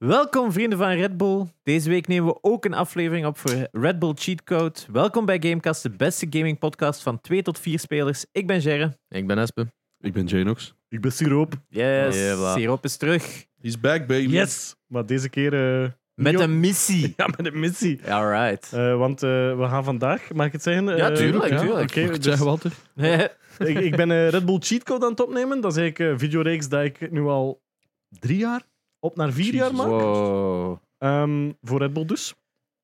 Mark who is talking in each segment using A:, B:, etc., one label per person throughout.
A: Welkom vrienden van Red Bull. Deze week nemen we ook een aflevering op voor Red Bull Cheat Code. Welkom bij Gamecast, de beste gaming podcast van 2 tot 4 spelers. Ik ben Gerre.
B: Ik ben Espe.
C: Ik ben Janox.
D: Ik ben Siroop.
A: Yes,
B: Jawel.
A: Sierop is terug.
C: He's back, baby.
D: Yes! Maar deze keer eh,
A: Met
D: niet
A: een missie.
D: op- ja, met een missie.
A: Alright.
D: Eh, want eh, we gaan vandaag, mag ik het zeggen?
A: Ja,
D: Eh,
A: tuurlijk,
D: ja.
A: tuurlijk.
D: Oké,
C: Mag ik het
D: dus
C: zeggen, Walter?
D: ik, ik ben eh, Red Bull Cheat Code aan het opnemen. Dat is eigenlijk een videoreeks dat ik nu al drie jaar, op naar vier
C: Jesus.
D: jaar maak.
B: Wow.
D: Ehm, voor Red Bull dus.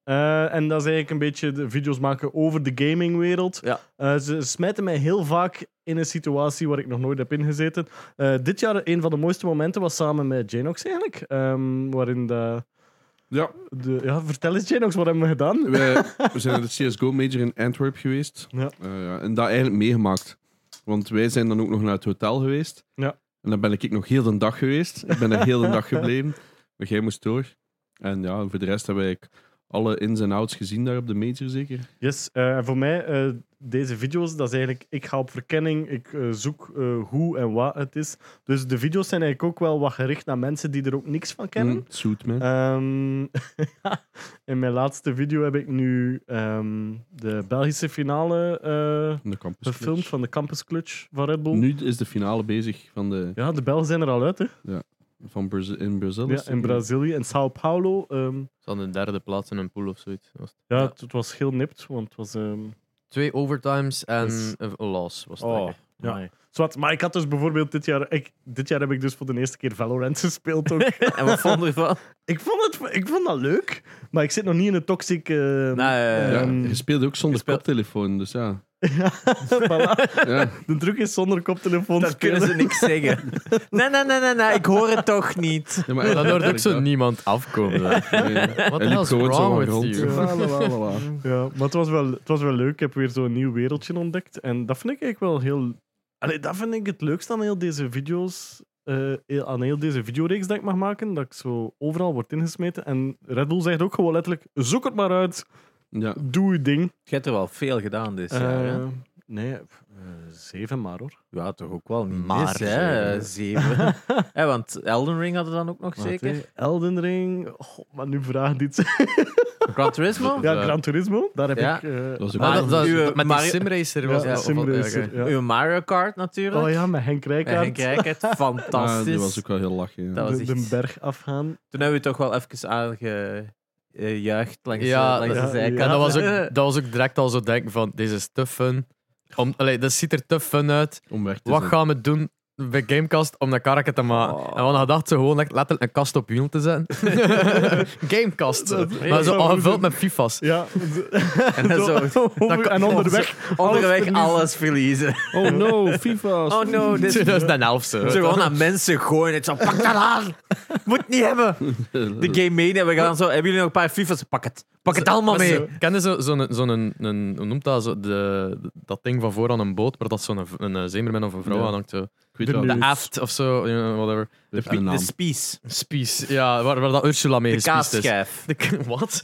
D: Eh, en dat is eigenlijk een beetje de video's maken over de gamingwereld.
B: Ja.
D: Eh, ze smijten mij heel vaak in een situatie waar ik nog nooit heb ingezeten. Eh, dit jaar een van de mooiste momenten was samen met Janox eigenlijk. Ehm, waarin de,
C: Ja,
D: de... Ja, vertel eens Janox, wat hebben we gedaan?
C: wij, we zijn naar de CSGO Major in Antwerp geweest.
D: Ja.
C: Eh, ja, en dat eigenlijk meegemaakt. Want wij zijn dan ook nog naar het hotel geweest.
D: Ja.
C: En dan ben ik nog heel de dag geweest. Ik ben er heel de dag gebleven. Maar jij moest door. En ja, voor de rest hebben wij alle ins en outs gezien daar op de Major zeker.
D: Yes, eh, en voor mij, eh, deze video's, dat is eigenlijk, ik ga op verkenning, ik eh, zoek eh, hoe en wat het is. Dus de video's zijn eigenlijk ook wel wat gericht naar mensen die er ook niks van kennen.
C: Mm, zoet, man.
D: Ehm, in mijn laatste video heb ik nu ehm, de Belgische finale eh,
C: Van de campus.
D: gefilmd van de Campus Clutch van Red Bull.
C: Nu is de finale bezig van, de,
D: Ja, de Belgen zijn er al uit, hè?
C: van Brazi- in Brazil. dus-
D: Ja, in Brazilië, in Sao Paulo. ehm,
B: Ze hadden de derde plaats in een pool of zoiets. Dat was-
D: ja,
B: Ja.
D: Het, het was heel nipt, want het was... ehm,
B: Twee overtimes en
D: Dus-
B: een een loss was het.
D: Oh,
B: denk ik.
D: ja. zwart. Maar ik had dus bijvoorbeeld dit jaar... Ik, dit jaar heb ik dus voor de eerste keer Valorant gespeeld ook.
A: en wat vond je ervan?
D: ik, vond het, ik vond dat leuk, maar ik zit nog niet in de toxic... eh,
A: Nou, eh,
C: Ja,
D: Ehm,
C: je speelde ook zonder
A: gespeeld-
C: koptelefoon, dus ja.
D: voilà.
C: ja.
D: De truc is zonder koptelefoon
A: daar
D: spelen.
A: kunnen ze niks zeggen. Nee, nee, nee, nee, nee, ik hoor het toch niet.
C: Ja, maar
B: Maar dat hoort ook
C: eigenlijk
B: zo
C: dat.
B: niemand afkomen. Wat
C: Wat
B: the hell is wrong with
D: Ja.
B: you?
D: Ja, maar het was, wel, het was wel leuk. Ik heb weer zo'n nieuw wereldje ontdekt. En dat vind ik eigenlijk wel heel... Allee, dat vind ik het leukste aan heel deze video's... eh, heel- aan heel deze videoreeks dat ik mag maken. Dat ik zo overal word ingesmeten. En Red Bull zegt ook gewoon letterlijk... Zoek het maar uit.
C: Ja,
D: Doe je ding.
A: Je hebt er wel veel gedaan dit jaar.
D: Eh,
A: hè?
D: nee, pff, eh, zeven maar hoor.
A: Ja, toch ook wel niet
B: Maar
A: mis, hè? Zeven. Eh, want Elden Ring hadden we dan ook nog
D: Wacht,
A: zeker.
D: hè. Elden Ring. God, maar nu vraag dit.
A: Gran Turismo? Ah,
D: ja,
B: Ja.
D: Gran Turismo. Daar heb
A: Ja.
D: ik... eh,
C: dat was ook
B: Maar
A: Ah,
B: dat, dat-
A: uw
B: met die
A: Mario-
B: simracer
D: ja,
B: was dat. of wat-
D: Simracer,
B: oké.
D: ja.
A: Uw Mario Kart natuurlijk.
D: Oh ja, met Henk
A: Henk
D: Rijkaard.
A: Rijkaard, fantastisch.
C: Ja, die was ook wel heel lachen. Ja.
A: Dat was
D: de,
A: echt-
D: de berg afgaan.
A: Toen hebben we toch wel even aangejuicht langs,
B: Ja,
A: eh, langs de
D: ja,
A: zijkant.
B: En dat was, ook,
A: Eh,
B: dat was ook direct al zo denken van, deze is te fun. Om, allee, dat ziet er te fun uit.
C: Om weg te
B: Wat
C: zijn.
B: gaan we doen bij Gamecast om dat karretje te maken?
A: Oh.
B: En we hadden gedacht ze gewoon echt letterlijk een kast op wiel te zetten. Gamecast.
D: Dat-
B: maar
D: dat
B: zo
D: zou
B: al gevuld
D: moeten.
B: met FIFA's.
D: Ja.
A: En dan zo-
D: over- en onderweg.
A: onderweg
D: verliezen.
A: alles verliezen.
C: Oh no, FIFA.
A: Oh no, dit is
B: 2011 zo. eh,
A: zo gewoon aan mensen gooien. Het zo, pak dat aan! Moet het niet hebben! De game meen en we gaan zo. Hebben jullie nog een paar FIFA's? Pak het! Pak het allemaal
B: Maar
A: mee!
B: zo- Ken je zo- zo'n, zo'n, een- hoe noemt dat, zo, de, dat ding van voor aan een boot, waar dat zo'n een, een eh, zeemerman of een vrouw
C: Ja.
B: aan hangt? Zo.
C: Ik weet
D: De
C: wel,
D: nu-
B: De
D: Spies.
B: aft of zo, you know, whatever.
C: heeft
A: De
C: een naam.
A: spies.
B: Spies, ja, waar, waar dat Ursula mee
A: De
B: gespiesd is.
A: kaasschijf.
B: De k- Wat?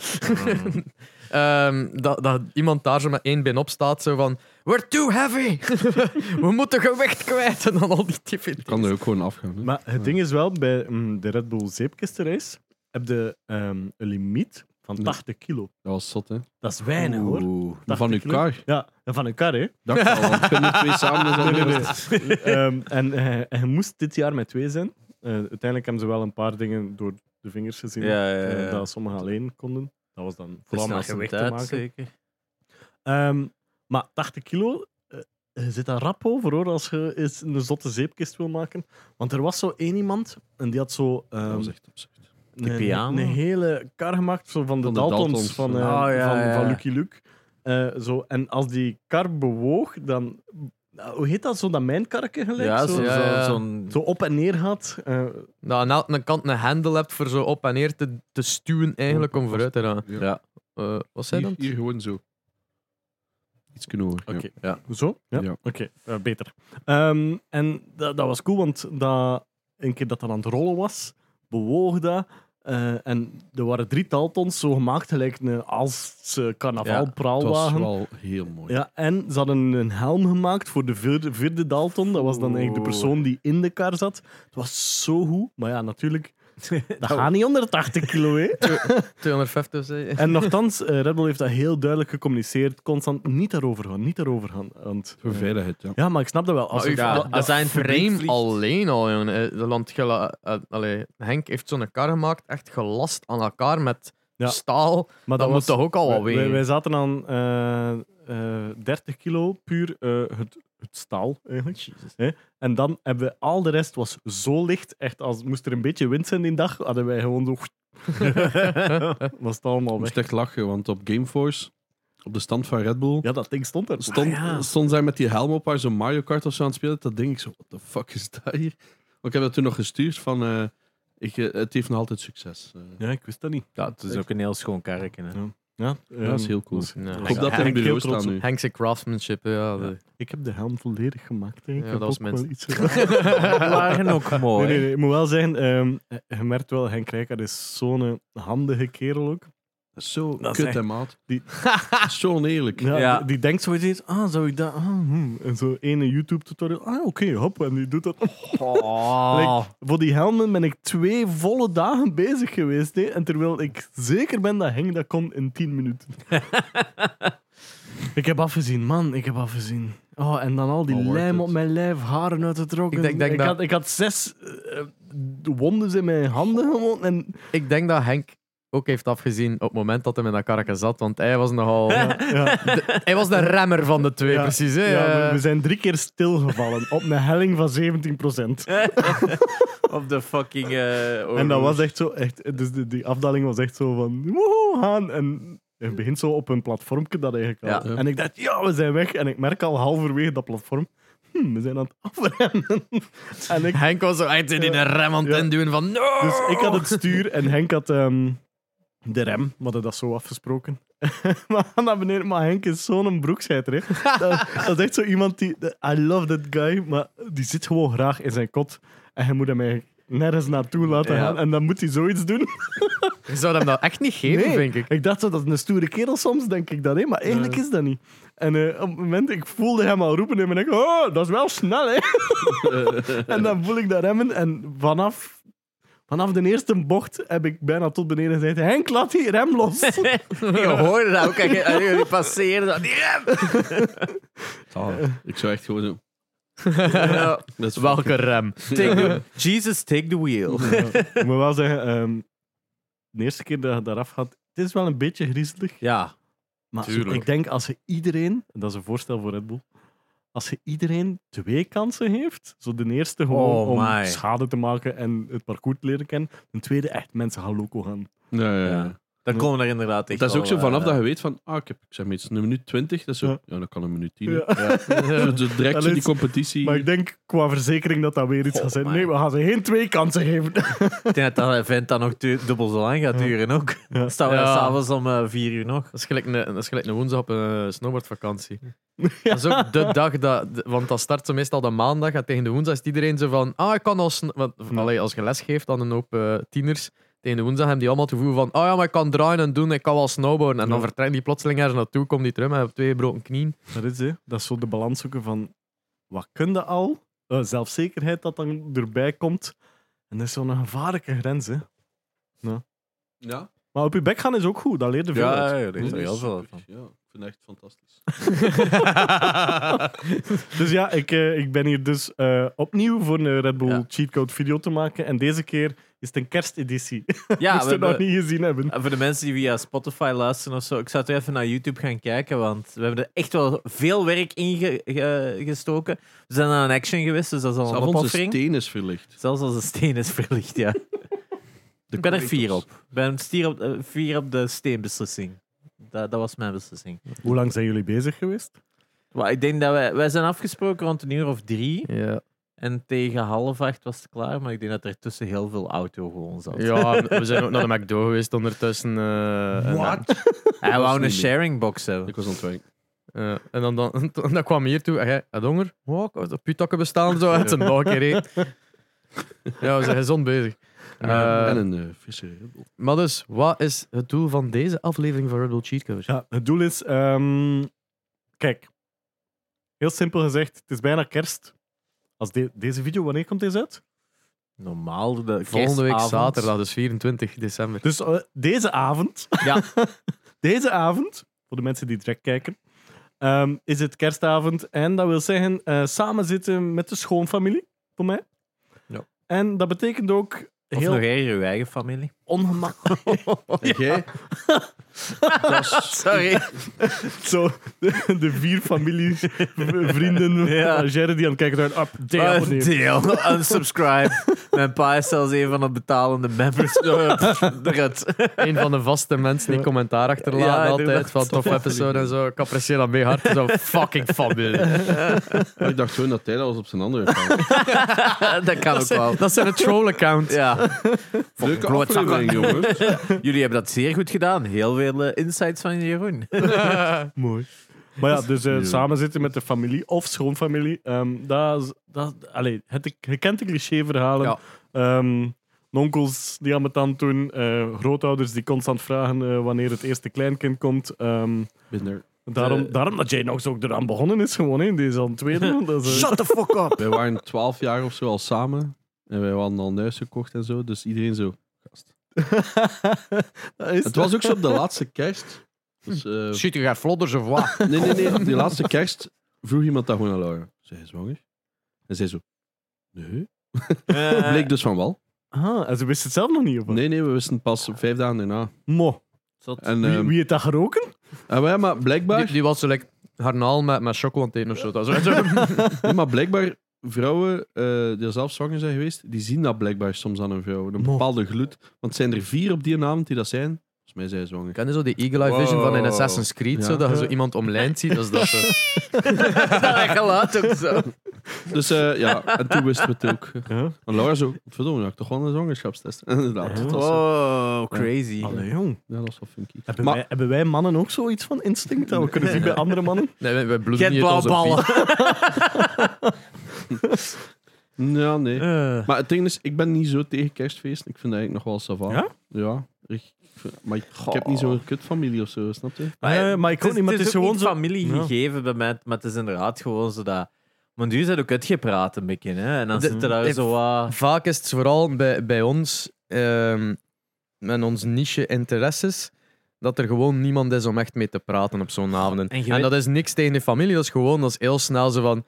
B: Ehm, dat, dat iemand daar zo met één been op staat, zo van... We're too heavy! We moeten gewicht kwijt! En dan al die
C: Ik kan
B: tiffin.
C: er ook gewoon afgaan. Hè.
D: Maar het ding is wel, bij mm, de Red Bull zeepkistenrace heb je ehm, een limiet van
C: Ja.
D: 80 kilo.
C: Dat was zot, hè?
D: Dat is weinig hoor.
C: Oeh. Maar
D: 80
C: Van
D: kilo.
C: elkaar.
D: Ja, en van elkaar hè.
C: Dacht al, want kunnen twee samen zijn.
D: Nee, nee, nee. Ehm, en eh, hij moest dit jaar met twee zijn. Eh, uiteindelijk hebben ze wel een paar dingen door de vingers gezien.
A: Ja, ja,
D: eh,
A: ja.
D: dat sommigen alleen konden. Dat was dan
A: Dus
D: vooral om
A: nou
D: met gewicht te
A: komt uit,
D: maken.
A: zeker.
D: Ehm, maar 80 kilo, eh, je zit daar rap over hoor, als je eens een zotte zeepkist wil maken. Want er was zo één iemand en die had zo
C: Dat
D: ehm,
C: was echt absurd.
D: een,
A: piano?
D: een hele kar gemaakt zo van de,
C: Van de
D: Daltons,
C: Daltons.
D: Van, eh,
A: Ah, ja,
D: van,
A: ja.
D: van Lucky Luke. Eh, zo. En als die kar bewoog, dan. nou, hoe heet dat? Zo dat mijnkarken gelijk?
A: Ja,
D: zo,
A: zo-
B: ja,
A: zo-
B: ja.
A: zo'n.
D: zo op en neer gaat. eh,
B: Dat aan elke kant een hendel hebt voor zo op en neer te, te stuwen, eigenlijk, om vooruit te gaan.
C: Ja.
A: Oh, Ja,
B: Eh, wat zei
C: Hier,
B: dat?
C: hier gewoon zo. Iets kunnen horen. ja.
D: Oké.
A: Ja.
D: Zo? Ja.
C: Ja.
D: Oké, eh, beter. Ehm, en dat, dat was cool, want dat, een keer dat dat aan het rollen was, bewoog dat. eh, en er waren drie taltons zo gemaakt, gelijk een Aalse
C: Het was
D: carnavalpraalwagen. Ja,
C: wel heel mooi.
D: en ze hadden een helm gemaakt voor de vierde, vierde Dalton. Dat was dan eigenlijk de
A: Oeh.
D: persoon die in de kar zat. Het was zo goed. Maar ja, natuurlijk,
C: Oh.
D: Dat gaat niet onder 80 kilo, hè?
B: 250 zei je.
D: En nogthans, eh, Red Bull heeft dat heel duidelijk gecommuniceerd. Constant niet daarover gaan, niet daarover gaan. Want, eh,
C: Voor veiligheid, ja.
D: ja, maar ik snap dat wel. Als
B: Maar
D: ik-
A: ja,
B: dat-
A: als
B: dat
A: hij in het fabriek
B: frame
A: vliegt.
B: alleen al, jongen. Eh, De landgela, eh, allee, Henk heeft zo'n kar gemaakt, echt gelast aan elkaar met
D: Ja.
B: staal. Dat,
D: maar
B: moet toch ook al wat
D: wij, wij-
B: wegen.
D: wij zaten aan eh, eh, 30 kilo, puur eh, het, het staal eigenlijk. Hè? En dan hebben we al de rest was zo licht. Echt, als moest er een beetje wind zijn die dag, hadden wij gewoon zo. was het allemaal
C: Ik
D: weg.
C: moest echt lachen, want op Gameforce, op de stand van Red Bull,
D: Ja, dat ding stond er.
C: stond, stond zij met die helm op waar zo'n Mario Kart of zo aan het spelen. Dat denk ik zo, what the fuck is dat hier? Maar ik heb dat toen nog gestuurd van, eh, ik, eh, het heeft nog altijd succes. Eh,
D: Ja, ik wist dat niet.
A: Ja, het is ook een heel schoon karretje. hè.
D: Ja,
C: dat is
D: ehm,
C: heel cool.
D: was-
B: Nee.
C: Ik
B: Henk-
C: hoop dat
D: Ja,
C: hij in
D: ik heel
C: bureau
D: trots
C: staat nu.
B: Henk's craftsmanship, ja. de-
D: Ik heb de helm volledig gemaakt. Hè. Ik
B: Ja,
D: heb
B: dat was
D: ook wel
B: mensen.
D: iets gedaan.
A: Die waren ook mooi.
D: Nee, nee, nee, ik moet wel zeggen, ehm, je merkt wel, Henk Rijkaard is zo'n eh, handige kerel ook.
C: Dat is zo
D: Dat is
C: kut,
D: echt-
C: hè, maat.
D: Die-
C: Dat is zo oneerlijk.
D: Ja,
A: Ja.
D: Die, die denkt zoiets, eens, ah, zou ik dat... Ah, hm. En zo ene YouTube-tutorial, ah, oké, hop, en die doet dat.
A: Oh.
D: Voor die helmen ben ik twee volle dagen bezig geweest, hè. En terwijl ik zeker ben dat Henk dat kon in tien minuten. ik heb afgezien, man, ik heb afgezien. Oh, en dan al die
C: Al wordt
D: lijm
C: het.
D: op mijn lijf, haren uitgetrokken.
B: Ik denk- denk dat-
D: had, ik had zes eh, wondes in mijn handen gewoon, en...
B: Ik denk dat Henk ook heeft afgezien op het moment dat hij in dat karretje zat, want hij was nogal...
D: ja.
B: de- hij was de remmer van de twee,
D: Ja.
B: precies. Hè?
D: Ja, we-
B: Eh,
D: we, zijn drie keer stilgevallen op een helling van 17
A: Op de fucking. eh,
B: Oh,
D: En dat
A: oorlog.
D: was echt zo, echt, dus die, die afdaling was echt zo van, woehoe, gaan. En het begint zo op een platformje dat eigenlijk al.
B: Ja.
D: En ik dacht, ja, we zijn weg. En ik merk al halverwege dat platform, hm, we zijn aan het afremmen. En ik,
B: Henk was zo echt in die
D: Ja.
B: rem aan het
D: Ja.
B: induwen van... No!
D: dus ik had het stuur en Henk had ehm, de rem. We hadden dat zo afgesproken. maar we gaan naar beneden, maar Henk is zo'n broekscheiter. hè. Dat, dat is echt zo iemand die... I love that guy, maar die zit gewoon graag in zijn kot. En je moet hem eigenlijk nergens naartoe laten
B: Ja.
D: gaan. En dan moet hij zoiets doen.
B: Je zou hem dat echt niet geven,
D: Nee.
B: vind ik.
D: Ik dacht zo, dat is een stoere kerel soms, denk ik dan. Hè? Maar eigenlijk is dat niet. En eh, op het moment, ik voelde hem al roepen in mijn nek. Oh, dat is wel snel, hè. en dan voel ik dat remmen. En vanaf, vanaf de eerste bocht heb ik bijna tot beneden gezegd... Henk, laat die rem los.
B: Je hoorde dat ook. En je- en nou, eh, jullie passeerden dat. Die rem!
C: Ah, ik zou echt gewoon zo...
B: Ja.
C: Dat is
B: Welke rem?
A: Take the- Jesus, take the wheel.
D: ik moet wel zeggen, ehm, de eerste keer dat je daar afgaat... Het is wel een beetje griezelig.
A: Ja.
D: Maar
C: Tuurlijk.
D: ik denk als je iedereen, en dat is een voorstel voor Red Bull, als je iedereen twee kansen heeft, zo de eerste gewoon
A: Oh
D: om
A: my.
D: schade te maken en het parcours te leren kennen, de tweede echt mensen gaan loco gaan.
C: Ja, ja, ja.
A: Ja. Dan komen er inderdaad echt
C: Dat is ook
A: wel,
C: zo vanaf
A: eh,
C: dat je weet van, ah, ik heb ik zeg maar iets, een minuut 20, dat is zo,
D: Ja.
C: ja, dan kan een minuut 10.
D: Ja.
C: Zo, zo direct zo
D: Allee,
C: die competitie.
D: Maar ik denk qua verzekering dat dat weer iets
A: Oh
D: gaat zijn.
A: my.
D: Nee, we gaan ze geen twee kansen geven.
A: Ik denk dat dat event dan nog du- dubbel zo lang gaat duren ook. Dan staan we
B: Ja.
A: s'avonds om eh, vier uur nog.
B: Dat is gelijk een, dat is gelijk een woensdag op een snowboardvakantie. Dat is ook de dag dat... de- Want dat start zo meestal de maandag. En tegen de woensdag is iedereen zo van... Ah, ik kan al... sn- Want,
D: Ja.
B: allee, als je les geeft aan een hoop eh, tieners... Tegen de woensdag hebben die allemaal het gevoel van... Ah ja, maar ik kan draaien en doen. Ik kan wel snowboarden. En dan
D: Ja.
B: vertrekken die plotseling ergens naartoe. Komt die terug met twee broken knieën.
D: Dat is, hè, dat is zo de balans zoeken van wat kun je al, Eh, zelfzekerheid dat dan erbij komt. En dat is zo'n gevaarlijke grens. Hè.
C: ja,
D: Maar op je bek gaan is ook goed, dat leerde veel uit.
A: Ja, ja, daar is er heel veel
C: super.
A: van.
C: Ja, ik vind het echt fantastisch.
D: Dus ja, ik, eh, ik ben hier dus eh, opnieuw voor een Red Bull
A: Ja.
D: cheatcode video te maken. En deze keer is het een kersteditie. Ja,
A: Ja,
D: Moest
A: we
D: je het nog
A: hebben-
D: niet gezien hebben.
A: En voor de mensen die via Spotify luisteren of zo, ik zou toch even naar YouTube gaan kijken, want we hebben er echt wel veel werk in ge- ge- gestoken. We zijn aan een action geweest, dus dat is al een
C: Zelfs onze
A: opoffering.
C: steen is verlicht.
A: Zelfs als een steen is verlicht, ja. ik ben er vier op. Ik ben stier op, eh, vier op de steenbeslissing. Dat, dat was mijn beslissing.
D: Hoe lang zijn jullie bezig geweest?
A: Maar ik denk dat wij, wij zijn afgesproken rond een uur of drie.
B: ja.
A: En tegen half acht was het klaar, maar ik denk dat er tussen heel veel auto gewoon zat.
B: ja, we zijn ook naar de McDo geweest ondertussen. eh, en-
C: Wat?
A: Hij
C: was
A: wou
C: niet
A: een
C: mee.
A: sharing box hebben.
C: Ik was aan het werk.
B: Eh, en dan, dan, dan kwam hij hier toe. En jij, had honger? Oh, ik had putakken bestaan. Zo, het zijn nog een keer eten. Ja, we zijn gezond bezig. Eh,
C: en een eh, visser.
B: maar dus, wat is het doel van deze aflevering van Red Bull Cheat Code?
D: Ja, het doel is... ehm, kijk, heel simpel gezegd, het is bijna kerst. Als de- deze video, wanneer komt deze uit?
A: Normaal de
B: Volgende week
A: kerstavond.
B: zaterdag, dus 24 december.
D: Dus eh, deze avond,
A: Ja.
D: deze avond, voor de mensen die direct kijken, ehm, is het kerstavond. En dat wil zeggen, eh samen zitten met de schoonfamilie, voor mij.
B: Ja.
D: En dat betekent ook
A: Of
D: heel
A: nog erger, uw eigen familie.
D: ongemakkelijk.
C: En jij? Dat is-
B: Sorry.
D: Zo, de, de vier families, v- vrienden,
A: Ja. Ah,
D: ja. Gerry die aan het kijken ah, zijn, up, deel.
A: Deel,
D: nee.
A: deel, unsubscribe. Mijn pa is zelfs een van de betalende members. Eh, pff, Eruit.
B: Een van de vaste mensen die commentaar achterlaat
A: Ja, ik doe
B: altijd.
A: dat.
B: Van tof episode en zo. Ik apprecieer dat mee hard. Zo fucking familie.
C: Ik dacht gewoon dat hij dat was op zijn andere account.
A: Dat kan ook wel.
B: Dat zijn een troll-account.
A: Ja.
C: Leuke
A: klootzakken.
C: aflevering, jongens.
A: Jullie hebben dat zeer goed gedaan. Heel veel eh, insights van Jeroen.
D: Mooi. Maar ja, dus eh,
C: Ja.
D: samen zitten met de familie of schoonfamilie. ehm dat, is- dat, allee, het, je kent de clichéverhalen.
B: Ja.
D: Ehm, nonkels die aan het tand doen. eh, grootouders die constant vragen eh, wanneer het eerste kleinkind komt. Ehm,
C: Binder.
D: daarom,
A: Eh.
D: daarom dat Jay Knox ook eraan begonnen is. Gewoon, hè. die is al een tweede. want dat is, eh,
A: the fuck up.
C: Wij waren 12 jaar of zo al samen. En wij hadden al een huis gekocht en zo. Dus iedereen zo.
D: dat is-
C: Het was ook zo op de laatste kerst. Dus, eh,
B: Shit, je gaat vlodders of wat?
C: nee, nee, nee. op Die laatste kerst vroeg iemand dat gewoon aan Laura. Zij is zwanger? En zij zo. Nee. Bleek dus van wel.
D: Ah, en ze wist het zelf nog niet. Of? Eh. wat?
C: Nee, nee, we wisten pas vijf dagen daarna.
D: Mo,
C: En,
D: wie,
C: ehm,
D: wie heeft dat geroken?
C: en wij- maar blijkbaar.
B: Die, die was zo like, garnaal met, met choco aan het eten of zo. Dat was zo-
C: Nee, maar blijkbaar, vrouwen eh, die zelf zwanger zijn geweest, die zien dat blijkbaar soms aan een vrouw. Een bepaalde gloed. Want het zijn er vier op die avond die dat zijn. Volgens mij zijn ze zwanger.
B: Ken je zo die Eagle Eye Vision van in
C: Wow.
B: Assassin's Creed?
C: Ja.
B: Zo, dat je zo
D: Ja.
B: iemand omlijnd ziet. Dat is dat eh, zo.
A: Dat geluid ook zo.
C: Dus eh, ja, en toen wisten we het ook.
D: Ja.
C: En Laura zo, verdomme, nou, ik toch wel een zwangerschapstest. En Inderdaad. Dat was, eh,
A: Wow, Oh, crazy.
D: Allee, jong.
C: ja, dat was wel funky.
D: Hebben,
C: Maar-
D: wij, hebben wij mannen ook zoiets van instinct dat we kunnen zien bij andere mannen?
B: Nee, wij, wij bloeden
A: Get
B: niet uit onze
A: ballen.
B: piep.
C: Ja, nee.
A: Eh,
C: Maar het ding is, ik ben niet zo tegen kerstfeesten. Ik vind dat eigenlijk nog wel savant.
D: Ja?
C: Ja. Ik, vind- maar ik, ik heb niet zo'n kutfamilie of zo, snap je?
A: Maar,
D: Eh, maar ik
A: Het
D: ook
A: is,
D: niet, maar
A: het is gewoon
D: gewoon zo...
A: familie
D: Ja.
A: gegeven bij mij, maar het is inderdaad gewoon zo dat... Want u zijn ook uitgepraat een beetje, hè? En dan
B: De-
A: zitten daar
B: de-
A: zo wat...
B: Vaak is het vooral bij, bij ons, ehm, met ons niche interesses, dat er gewoon niemand is om echt mee te praten op zo'n avond.
A: En
B: En,
A: je weet-
B: dat is niks tegen de familie, dat is gewoon dat is heel snel zo van...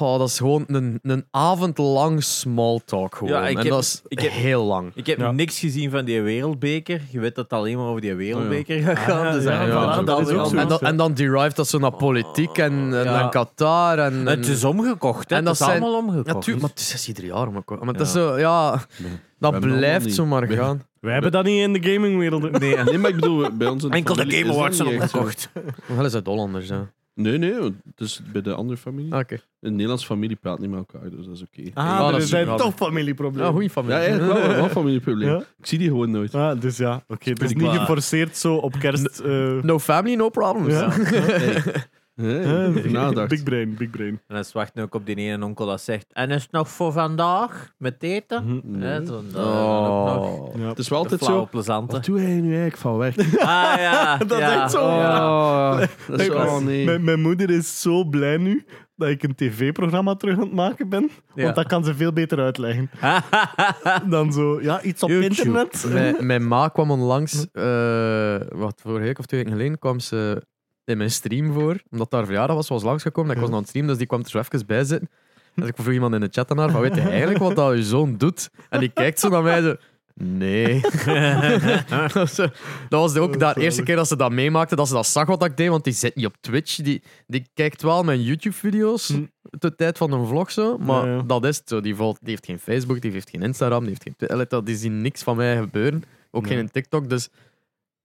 B: Oh, dat is gewoon een, een avond lang small talk. Gewoon.
A: Ja, ik
B: en
A: heb-
B: dat is
A: ik heb-
B: heel lang.
A: Ik heb
D: Ja.
A: niks gezien van die wereldbeker. Je weet dat het alleen maar over die wereldbeker gaat gaan. Dus
D: ja,
A: dan- voilà,
B: ja, ja.
A: dat
D: Dat is
A: weer
D: ook zo.
A: al-
B: En, dan en dan derived dat zo naar politiek en, en
A: Ja.
B: naar Qatar. En, en-
A: Het is omgekocht, hè?
B: En
A: Het
B: dat
A: is
B: zijn-
A: allemaal omgekocht. Dus-
B: Natuurlijk, maar het is- het is ieder jaar om elkaar. Maar
A: Ja.
B: dat is zo, ja, dat
C: hebben allemaal
B: blijft
C: niet.
B: zo maar
C: We-
B: gaan.
D: Wij hebben dat niet in de gamingwereld. hè.
A: Nee, en
C: Nee, maar ik bedoel, bij ons in de
A: enkel de
C: familie
A: Game
C: is dat
A: Awards zijn
C: niet echt zo.
A: omgekocht.
B: Wel is het Hollanders, ja.
C: Nee, nee, want het is bij de andere familie.
B: Oké.
C: Een Nederlandse familie praat niet met elkaar, dus dat is oké.
D: Ah,
B: Ja,
D: er
B: dat is-
D: zijn
B: ja,
D: toch
B: dat-
D: familieproblemen.
B: Ja, goeie familie.
C: Ja, eigenlijk wel, wel een familieprobleem.
D: Ja.
C: Ik zie die gewoon nooit.
D: Ah, dus ja, oké. Het is
A: ik
D: niet
A: wel-
D: geforceerd zo op kerst. eh,
B: No family, no problems.
D: Ja.
C: Nee,
D: eh,
C: over nadacht.
D: big brain, big brain.
A: En dan wacht nu ook op die ene onkel dat zegt... En is het nog voor vandaag? Met eten?
C: Nee.
A: Hè, zo- dan ook nog.
B: Oh.
D: Ja.
C: Oh. Het is wel
A: De
C: altijd
A: flauwe
C: zo.
A: plezante.
C: Wat doe jij nu eigenlijk van werk? Oh,
A: Ah ja,
D: Dat
A: ja.
D: is echt zo,
A: Ja.
C: dat is,
D: Ik was-
C: oh nee.
D: mijn, mijn moeder is zo blij nu dat ik een tv-programma terug aan het maken ben.
A: Ja.
D: Want dat kan ze veel beter uitleggen dan zo. Ja, iets op
A: YouTube.
D: internet.
B: Mijn, mijn ma kwam onlangs,
C: Hm.
B: eh, wat, vorige week of twee weken geleden, kwam ze in mijn stream voor. Omdat haar verjaardag was, was langsgekomen. en Ik was aan het streamen, dus die kwam er zo even bij zitten. Dus ik vroeg iemand in de chat aan haar, van, weet je eigenlijk wat dat je zoon doet? En die kijkt zo naar mij, zo... Nee. dat was zo- dat was
D: Oh,
B: ook de eerste keer dat ze dat meemaakte, dat ze dat zag wat ik deed, want die zit niet op Twitch. Die, die kijkt wel mijn YouTube-video's,
D: Hm.
B: de tijd van een vlog zo, maar
D: Ja, ja.
B: dat is het zo. Die, volgt, die heeft geen Facebook, die heeft geen Instagram, die heeft geen Twitter. Allee, dat- Die zien niks van mij gebeuren, ook
D: Nee.
B: geen TikTok. Dus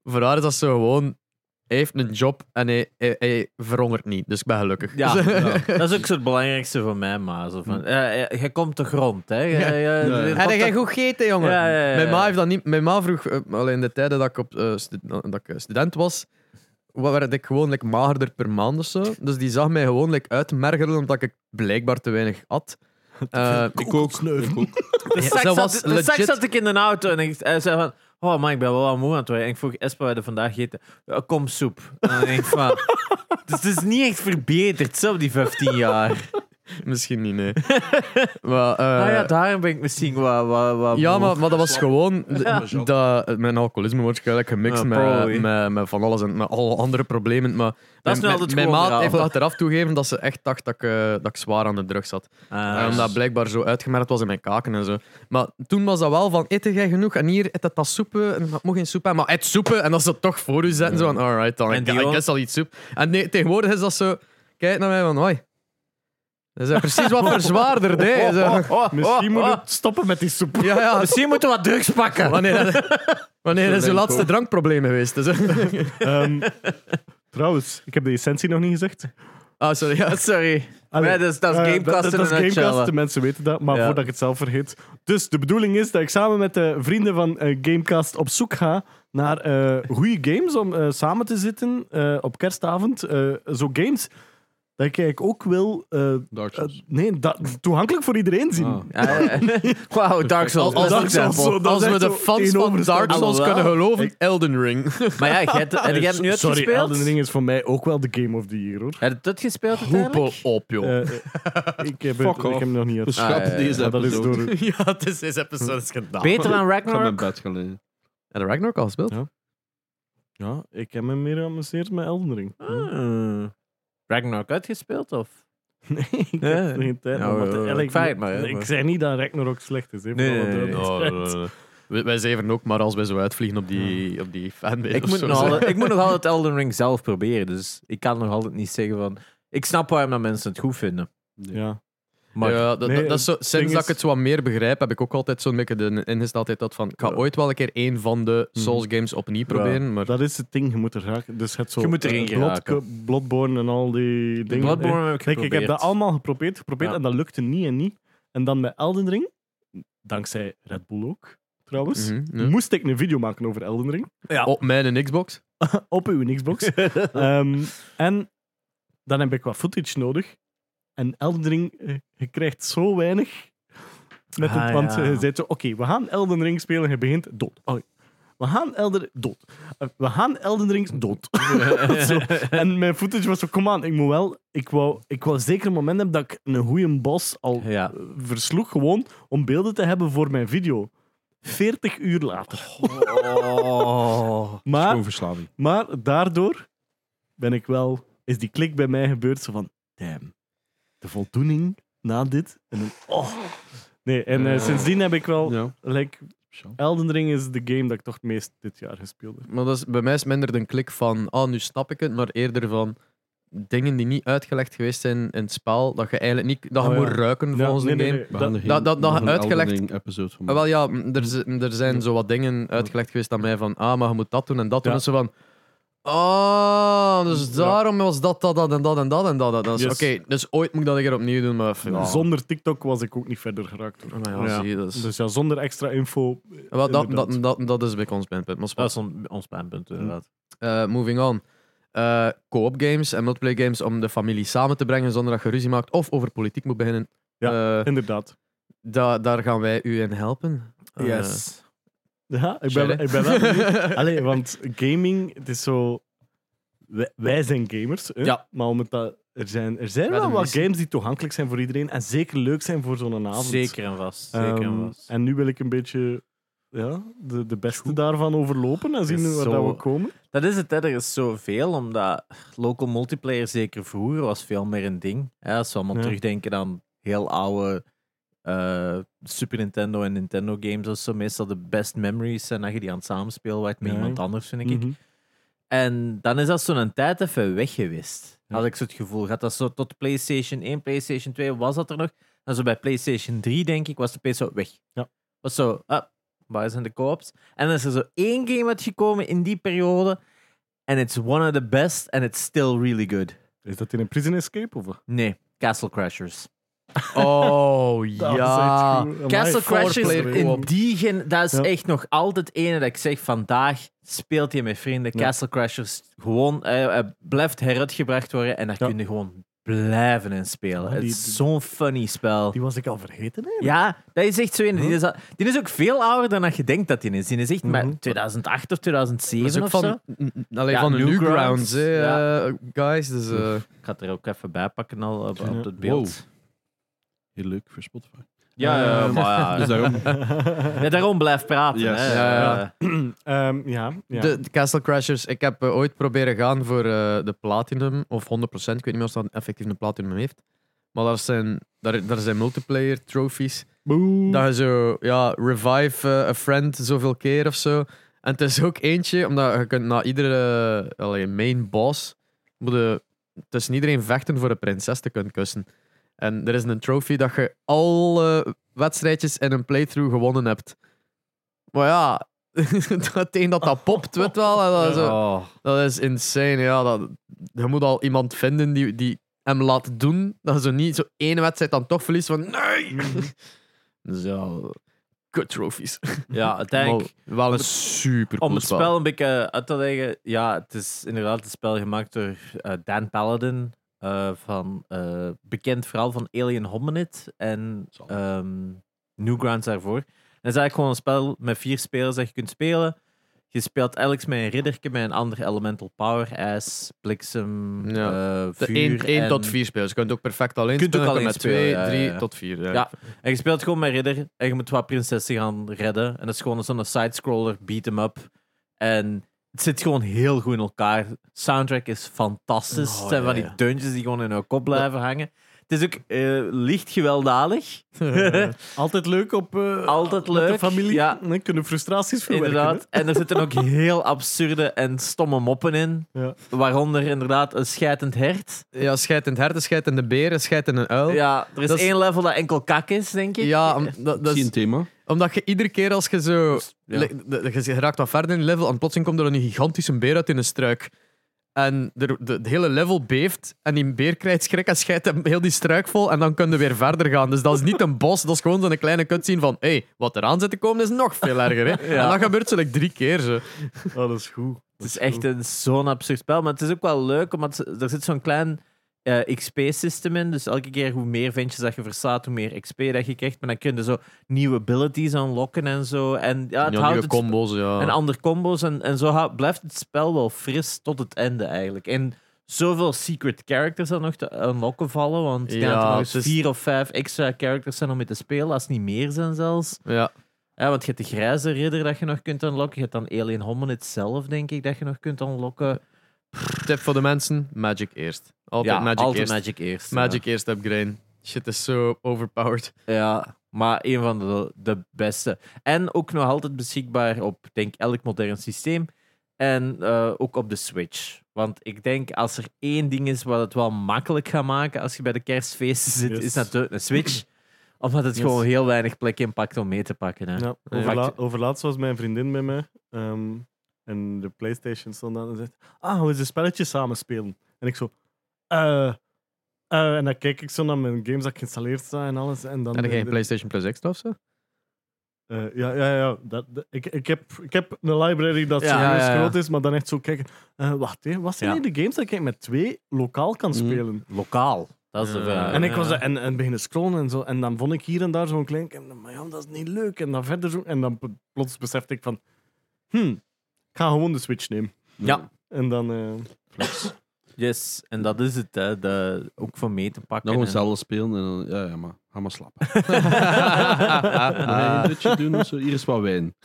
B: voor haar is dat zo gewoon... Hij heeft een job en hij, hij, hij verhongert niet, dus ik ben gelukkig.
A: Ja,
B: Dus-
A: dat is ook zo het belangrijkste voor mij, maar zo van, eh, eh, je komt de grond, hè? Je,
B: Ja.
A: je- je-
C: Ja, ja.
A: je-
B: Heb jij goed gegeten, jongen?
A: Ja, ja, ja,
B: Mijn, ma
A: ja.
B: heeft dat niet, mijn ma vroeg, eh, al in de tijden dat ik, op, eh, stu- dat ik eh, student was, wa- werd ik gewoon like, magerder per maand of zo. Dus die zag mij gewoon like, uitmergelen omdat ik blijkbaar te weinig at. Eh,
C: Ik ook. Ik ook.
A: De seks
B: zij
A: zat-
B: was
A: de
B: legit-
A: seks zat ik in de auto en ik eh, zei van... Oh man, ik ben wel wat moe aan het worden. En ik vroeg Espa wat we vandaag eten. Ja, kom soep. En dan denk ik van... Dus het is niet echt verbeterd, zo op die 15 jaar.
B: Misschien niet, nee. maar, eh,
A: ah ja,
B: ja,
A: daarom ben ik misschien wat... wat, wat
B: maar, maar dat was gewoon... d-
C: Ja.
B: Dat, eh, mijn alcoholisme wordt waarschijnlijk gemixt
A: Ja, probably.
B: met, met, met van alles en met alle andere problemen. Maar
A: Dat is nu
B: mijn- mijn-
A: altijd
B: Mijn
A: gewoon
B: maat
A: raar.
B: heeft achteraf toegegeven dat ze echt dacht dat ik, eh, dat ik zwaar aan de drug zat.
A: Ah,
B: En Omdat blijkbaar zo uitgemerkt was in mijn kaken en zo. Maar toen was dat wel van, eet jij genoeg? En hier, eet dat, dat soepen? En dat mocht geen soep hebben, maar eet soepen. En dat ze het toch voor u zetten. Zo van, alright dan,
A: En
B: ik
A: die
B: I
A: ook.
B: guess al iets soep. En nee, tegenwoordig is dat zo, kijk naar mij van, hoi. Dat is precies wat verzwaarder, hè. Zo.
D: Oh,
B: oh,
D: Misschien moet het stoppen met die soep.
B: Ja, ja.
A: Misschien moeten we wat drugs pakken.
B: Wanneer, wanneer is
C: denk
B: uw
C: ik
B: laatste
C: ook.
B: drankprobleem geweest? Dus,
D: Ehm, trouwens, ik heb de essentie nog niet gezegd.
B: ah, sorry. Ja.
A: Sorry.
D: Allee,
A: Nee, dat is, dat is
D: eh,
A: Gamecast in
D: dat- dat is
A: een nutshell,
D: Gamecast,
A: hè.
D: de mensen weten dat, maar
A: Ja.
D: voordat ik het zelf vergeet. Dus de bedoeling is dat ik samen met de vrienden van eh, Gamecast op zoek ga naar eh goede games om eh, samen te zitten eh, op kerstavond. eh, zo games dat ik eigenlijk ook wil... eh,
C: Dark
D: eh,
C: Souls.
D: nee, dat, toegankelijk voor iedereen zien.
C: Ah.
A: Ja, ja. Wauw, Dark Souls.
D: Als-
A: als
D: Dark Souls,
A: example.
D: zo- dat
B: Als
D: is
B: we
D: echt
B: de
D: zo
B: fans
D: één
B: van
D: overstap.
B: Dark Souls
A: Alhoewel.
B: kunnen geloven, Elden Ring.
A: Maar ja, jij hebt, en jij hebt nu het
D: Eh, Sorry,
A: gespeeld?
D: Elden Ring is voor mij ook wel de Game of the Year, hoor.
A: Heb je het gespeeld
B: Hoepel
A: uiteindelijk?
B: op, joh.
D: Eh, eh, ik, heb het,
C: Fuck
D: ik
C: off.
D: heb hem nog niet uit.
C: Beschap
A: Ah, ja, ja.
C: deze
D: Ja, dat is
C: episode.
D: door...
B: Ja, het is deze episode is gedaan.
A: Beter dan
C: Ik heb mijn
A: Ragnarok?
C: bed gelegen.
B: En Ragnarok al gespeeld?
D: Ja. Ja, ik heb me meer geamuseerd met Elden Ring.
A: Ah. Ragnarok uitgespeeld, of?
D: Nee, ik heb
A: Nee.
D: geen tijd.
A: Ja,
D: om
A: ja,
D: dat te-
A: ja,
D: eigenlijk-
A: ik vraag het maar, hè,
D: Ik
A: maar-
D: zei niet dat Ragnarok slecht is. Hè,
A: Nee,
D: voor alle
A: nee, nee, Oh, nee.
D: duidelijkheid.
B: eh, Wij, wij zeven ook, maar als wij zo uitvliegen op die, op die fanbase.
A: Ik
B: of
A: moet,
B: zo.
A: nog altijd, ik moet nog altijd Elden Ring zelf proberen, dus ik kan nog altijd niet zeggen van... Ik snap waarom dat mensen het goed vinden.
D: Ja.
A: Maar
B: ja, dat,
D: Nee,
B: dat, dat is zo,
D: ding
B: sinds
D: is-
B: dat ik het zo wat meer begrijp, heb ik ook altijd zo'n beetje de ingesteldheid dat van, ik ga
D: Ja. Mhm.
B: ooit wel een keer één van de Souls games opnieuw proberen, maar
D: Dat is het ding, je moet er raken. Dus het zo,
A: Je moet erin
D: eh, Blood-
A: geraken.
D: Bloodborne en al die dingen.
A: Bloodborne heb ik
D: Eh, kijk, ik heb
A: geprobeerd.
D: dat allemaal geprobeerd, geprobeerd
A: Ja.
D: en dat lukte niet en niet. En dan met Elden Ring, dankzij Red Bull ook, trouwens,
B: Mhm, ja.
D: moest ik een video maken over Elden Ring.
A: Ja.
B: op mijn en Xbox.
D: op uw Xbox. Ehm, en dan heb ik wat footage nodig. En Elden Ring, eh, je krijgt zo weinig. Met
A: Ah,
D: het, want
A: ja.
D: eh, je zegt zo, oké, we gaan Elden Ring spelen en je begint dood. Oei. We gaan Elden... Dood. Eh, we gaan Elden Ring... Dood. Zo. En mijn footage was zo, kom aan, ik moet wel... Ik wou, ik wou zeker een moment hebben dat ik een goede bos al
A: Ja.
D: eh, versloeg, gewoon om beelden te hebben voor mijn video. 40 uur later.
A: Oh.
D: Maar
C: Gewoon verslaving.
D: maar daardoor ben ik wel, is die klik bij mij gebeurd. Zo van, damn, de voldoening na dit. En dan, oh. Nee, en eh,
B: Eh.
D: sindsdien heb ik wel,
C: Ja.
D: like, Elden Ring is de game dat ik toch het meest dit jaar gespeeld heb.
B: Maar dat is, bij mij is minder de klik van, ah, nu snap ik het, maar eerder van dingen die niet uitgelegd geweest zijn in het spel, dat je eigenlijk niet, dat je
D: Oh, ja.
B: moet ruiken
D: Ja,
B: volgens
D: nee,
B: de
D: nee,
B: game.
D: nee,
C: We
D: dat-
C: gaan er geen-
B: dat- dat-
C: nog een
B: uitgelegd-
C: Elden Ring episode van
B: Ah, wel ja, m, er, zi- er zijn zo wat dingen uitgelegd geweest aan mij van, ah, maar je moet dat doen en dat doen.
D: Ja.
B: En zo van, ah, dus
D: Ja.
B: daarom was dat, dat, dat en dat en dat en dat. dat is
D: Yes.
B: Oké, dus ooit moet ik dat een keer opnieuw doen, maar... Ja. Ah,
D: Zonder TikTok was ik ook niet verder geraakt. hoor.
B: Maar ja,
D: Ja.
B: zie je, dat is... Ah,
D: Dus ja, zonder extra info.
B: wel, dat,
D: inderdaad.
B: dat, dat, dat is bij ons mijn punt. Maar
A: Dat
B: spijt.
A: is on- ons pijnpunt, inderdaad.
B: Eh, moving on. Eh co-op games en multiplayer games om de familie samen te brengen zonder dat je ruzie maakt of over politiek moet beginnen.
D: Ja.
B: Eh,
D: Inderdaad.
B: da- daar gaan wij u in helpen. Eh,
D: Ja, ik ben,
B: Sherry?
D: ik ben wel benieuwd. Allee, want gaming, het is zo... Wij, wij zijn gamers, hè?
B: Ja.
D: maar om het dat, er zijn, er zijn
B: Wij
D: wel
B: de
D: wat
B: meesten.
D: games die toegankelijk zijn voor iedereen en zeker leuk zijn voor zo'n avond.
A: Zeker en vast.
D: Ehm,
A: Zeker en vast.
D: en nu wil ik een beetje ja, de, de beste daarvan overlopen en zien
A: is
D: waar
A: zo-
D: dat we komen.
A: Dat is het, hè. er is zoveel, omdat local multiplayer zeker vroeger was veel meer een ding. Hè. Als we allemaal
D: Ja.
A: terugdenken aan heel oude eh, Super Nintendo en Nintendo games, dat is zo meestal de best memories zijn dat je die aan het samenspelen waart met
D: Ja.
A: iemand anders, vind ik.
D: Mhm.
A: En dan is dat zo'n tijd even weg geweest, had ik zo het gevoel. Gaat dat zo tot PlayStation 1, PlayStation 2, was dat er nog? En zo bij PlayStation 3, denk ik, was de PS zo weg.
D: Ja.
A: Was zo, ah, waar zijn de co-ops? En dan is er zo één game uitgekomen in die periode. En it's one of the best, and it's still really good.
D: Is dat in een prison escape of wat?
A: Nee, Castle Crashers.
B: Oh ja.
A: Castle
B: four
A: Crashers
B: player
A: in
B: co-op.
A: die gen, dat is
D: Ja.
A: echt nog altijd ene dat ik zeg vandaag speelt je met vrienden.
D: Ja.
A: Castle Crashers gewoon eh, eh, blijft heruitgebracht worden en daar
D: Ja.
A: kun je gewoon blijven in spelen.
D: Ja,
A: Het
D: die-
A: is zo'n funny spel.
D: Die was ik al vergeten, hè?
A: Ja, dat is echt zo een. Die is, al- die is ook veel ouder dan dat je denkt dat die is. Die is echt maar
D: Mhm.
A: 2008 of
B: Dat is
A: 2007
B: ook
A: of
B: van,
A: zo.
B: n- n- allee,
A: Ja,
B: van de
A: Newgrounds.
B: Newgrounds, hè,
A: Ja.
B: eh, guys. Dus, eh,
A: Ik ga het er ook even bij pakken al op, op het
C: Wow.
A: beeld.
C: heel leuk voor Spotify.
A: Ja, ja,
C: Eh,
A: maar ja.
C: Dus daarom,
A: Ja, eh, daarom blijf praten.
C: Yes.
A: Hè.
B: Ja, ja.
A: Eh,
D: Ehm, ja, ja.
B: De, de Castle Crashers, ik heb eh, ooit proberen gaan voor eh, de Platinum, of 100%, ik weet niet meer of dat effectief een Platinum heeft. Maar daar zijn, daar, daar zijn multiplayer trophies.
D: Boe.
B: Dat je zo, ja, revive eh, a friend zoveel keer of zo. En het is ook eentje, omdat je kunt na iedere eh, allee, main boss, moet je tussen iedereen vechten voor een prinses te kunnen kussen. En er is een trophy dat je alle wedstrijdjes in een playthrough gewonnen hebt. Maar ja, dat een dat dat popt, weet wel. En dat, is zo-
A: oh.
B: dat is insane, ja. Dat, je moet al iemand vinden die, die hem laat doen, dat je zo niet zo één wedstrijd dan toch verliest van nee! dus ja, kut trophies.
A: ja, uiteindelijk.
B: Maar wel een super
A: Om het spel een beetje uit te leggen, ja, het is inderdaad het spel gemaakt door eh, Dan Paladin, eh, van, eh, bekend vooral van Alien Hominid en
C: Zal.
A: ehm, Newgrounds daarvoor. Het is eigenlijk gewoon een spel met vier spelers dat je kunt spelen. Je speelt elk met een ridderke, met een ander elemental power, ijs, bliksem,
B: Ja.
A: eh, vuur.
B: 1,
A: en-
B: tot 4 spelers. Je kunt het ook perfect alleen
A: Kunt
B: spelen.
A: ook
B: je
A: alleen
B: kunt met twee,
A: spelen, ja,
B: drie
A: ja, ja.
B: tot vier. Ja.
A: Ja. En je speelt gewoon met ridder en je moet wat prinsessen gaan redden. En dat is gewoon zo'n sidescroller, beat 'em up. En het zit gewoon heel goed in elkaar. Soundtrack is fantastisch.
B: Oh,
A: het zijn
B: ja,
A: van die
B: ja.
A: deuntjes die gewoon in je kop blijven hangen. Het is ook eh, licht gewelddadig.
D: Altijd leuk op eh,
A: Altijd
D: met
A: leuk,
D: de familie.
A: ja.
D: Nee, kunnen frustraties verwerken.
A: Inderdaad. En er zitten ook heel absurde en stomme moppen in.
D: Ja.
A: Waaronder inderdaad een scheidend hert.
B: ja, scheid in het herten, scheid in de beren, scheid in een uil.
A: Ja, er is
B: Oh. Dat is-
A: één level dat enkel kak is, denk ik.
B: Ja, om- dat, dat
C: zie
B: is-
C: een thema.
B: omdat je iedere keer als je zo...
A: Dus, Ja.
B: le- de- de- Je raakt wat verder in het level en plotseling komt er een gigantische beer uit in een struik. En de, de, het hele level beeft en die beer krijgt schrik en scheidt hem heel die struik vol en dan kunnen we weer verder gaan. Dus dat is niet een bos, dat is gewoon zo'n kleine cutscene van hé, hey, wat eraan zit te komen is nog veel erger. Hè?
A: Ja.
B: En dat gebeurt zo like, drie keer. Zo.
D: Oh, dat is goed.
A: Het is echt een, zo'n absurd spel. Maar het is ook wel leuk, omdat ze- er zit zo'n klein eh, XP-systeem in. Dus elke keer hoe meer ventjes dat je verslaat, hoe meer XP dat je krijgt. Maar dan kun je zo nieuwe abilities unlocken en zo. En ja, het houdt
B: Ja, nieuwe
A: het
B: combos, ja.
A: en andere combo's. En, en zo hou- blijft het spel wel fris tot het einde eigenlijk. En zoveel secret characters dat nog te unlocken vallen. Want ik denk
B: Ja,
A: dat er nog
B: het
A: eens
B: is-
A: vier of vijf extra characters zijn om mee te spelen. Als het niet meer zijn zelfs.
B: Ja.
A: Ja, want je hebt de grijze ridder dat je nog kunt unlocken. Je hebt dan Alien Hominid zelf, denk ik, dat je nog kunt unlocken.
B: Tip voor de mensen: Magic eerst. Altijd
A: ja,
B: Magic
A: altijd
B: eerst. Magic,
A: Magic eerst.
B: eerst upgrade. Shit is zo overpowered.
A: Ja. Ja, maar een van de, de beste. En ook nog altijd beschikbaar op, denk elk modern systeem. En eh, ook op de Switch. Want ik denk, als er één ding is wat het wel makkelijk gaat maken als je bij de kerstfeesten zit,
D: Yes.
A: is natuurlijk een Switch. Omdat het
D: Yes.
A: gewoon heel weinig plek inpakt om mee te pakken. Hè.
D: Ja,
B: Ja.
D: overla-
A: Fact-
D: overlaatst was mijn vriendin bij mij. ehm, en de PlayStation stond aan en zegt: Ah, hoe is een spelletje samen spelen? En ik zo: eh. eh, en dan kijk ik zo naar mijn games dat geïnstalleerd zijn en alles. En dan.
B: En dan
D: eh,
B: geen
D: de-
B: PlayStation Plus extra of zo?
D: eh, ja, ja, ja. Dat, dat- ik, ik, heb, ik heb een library dat
A: Ja,
D: serieus
B: ja, ja.
D: groot is, maar dan echt zo kijken. eh, wacht, hè, wat zijn
A: Ja.
D: hier de games dat ik met twee lokaal kan
C: Mhm.
D: spelen?
A: Lokaal, dat is de
B: Ja.
A: vraag.
D: En ik was
A: Ja.
D: daar- en, en beginnen scrollen en zo. En dan vond ik hier en daar zo'n klein. en dan, Maar ja, dat is niet leuk. En dan verder zo. En dan pl- plots besefte ik van. Hm, ik ga gewoon de Switch nemen.
A: Ja.
D: En dan. eh,
A: Yes, en dat is het, hè. De, ook voor mee te pakken.
C: Dan gewoon
A: en-
C: zelf spelen en dan, ja, ja, maar ga maar slapen. Mag jij
B: Ah.
C: een dutje doen of zo? Hier is wat wijn.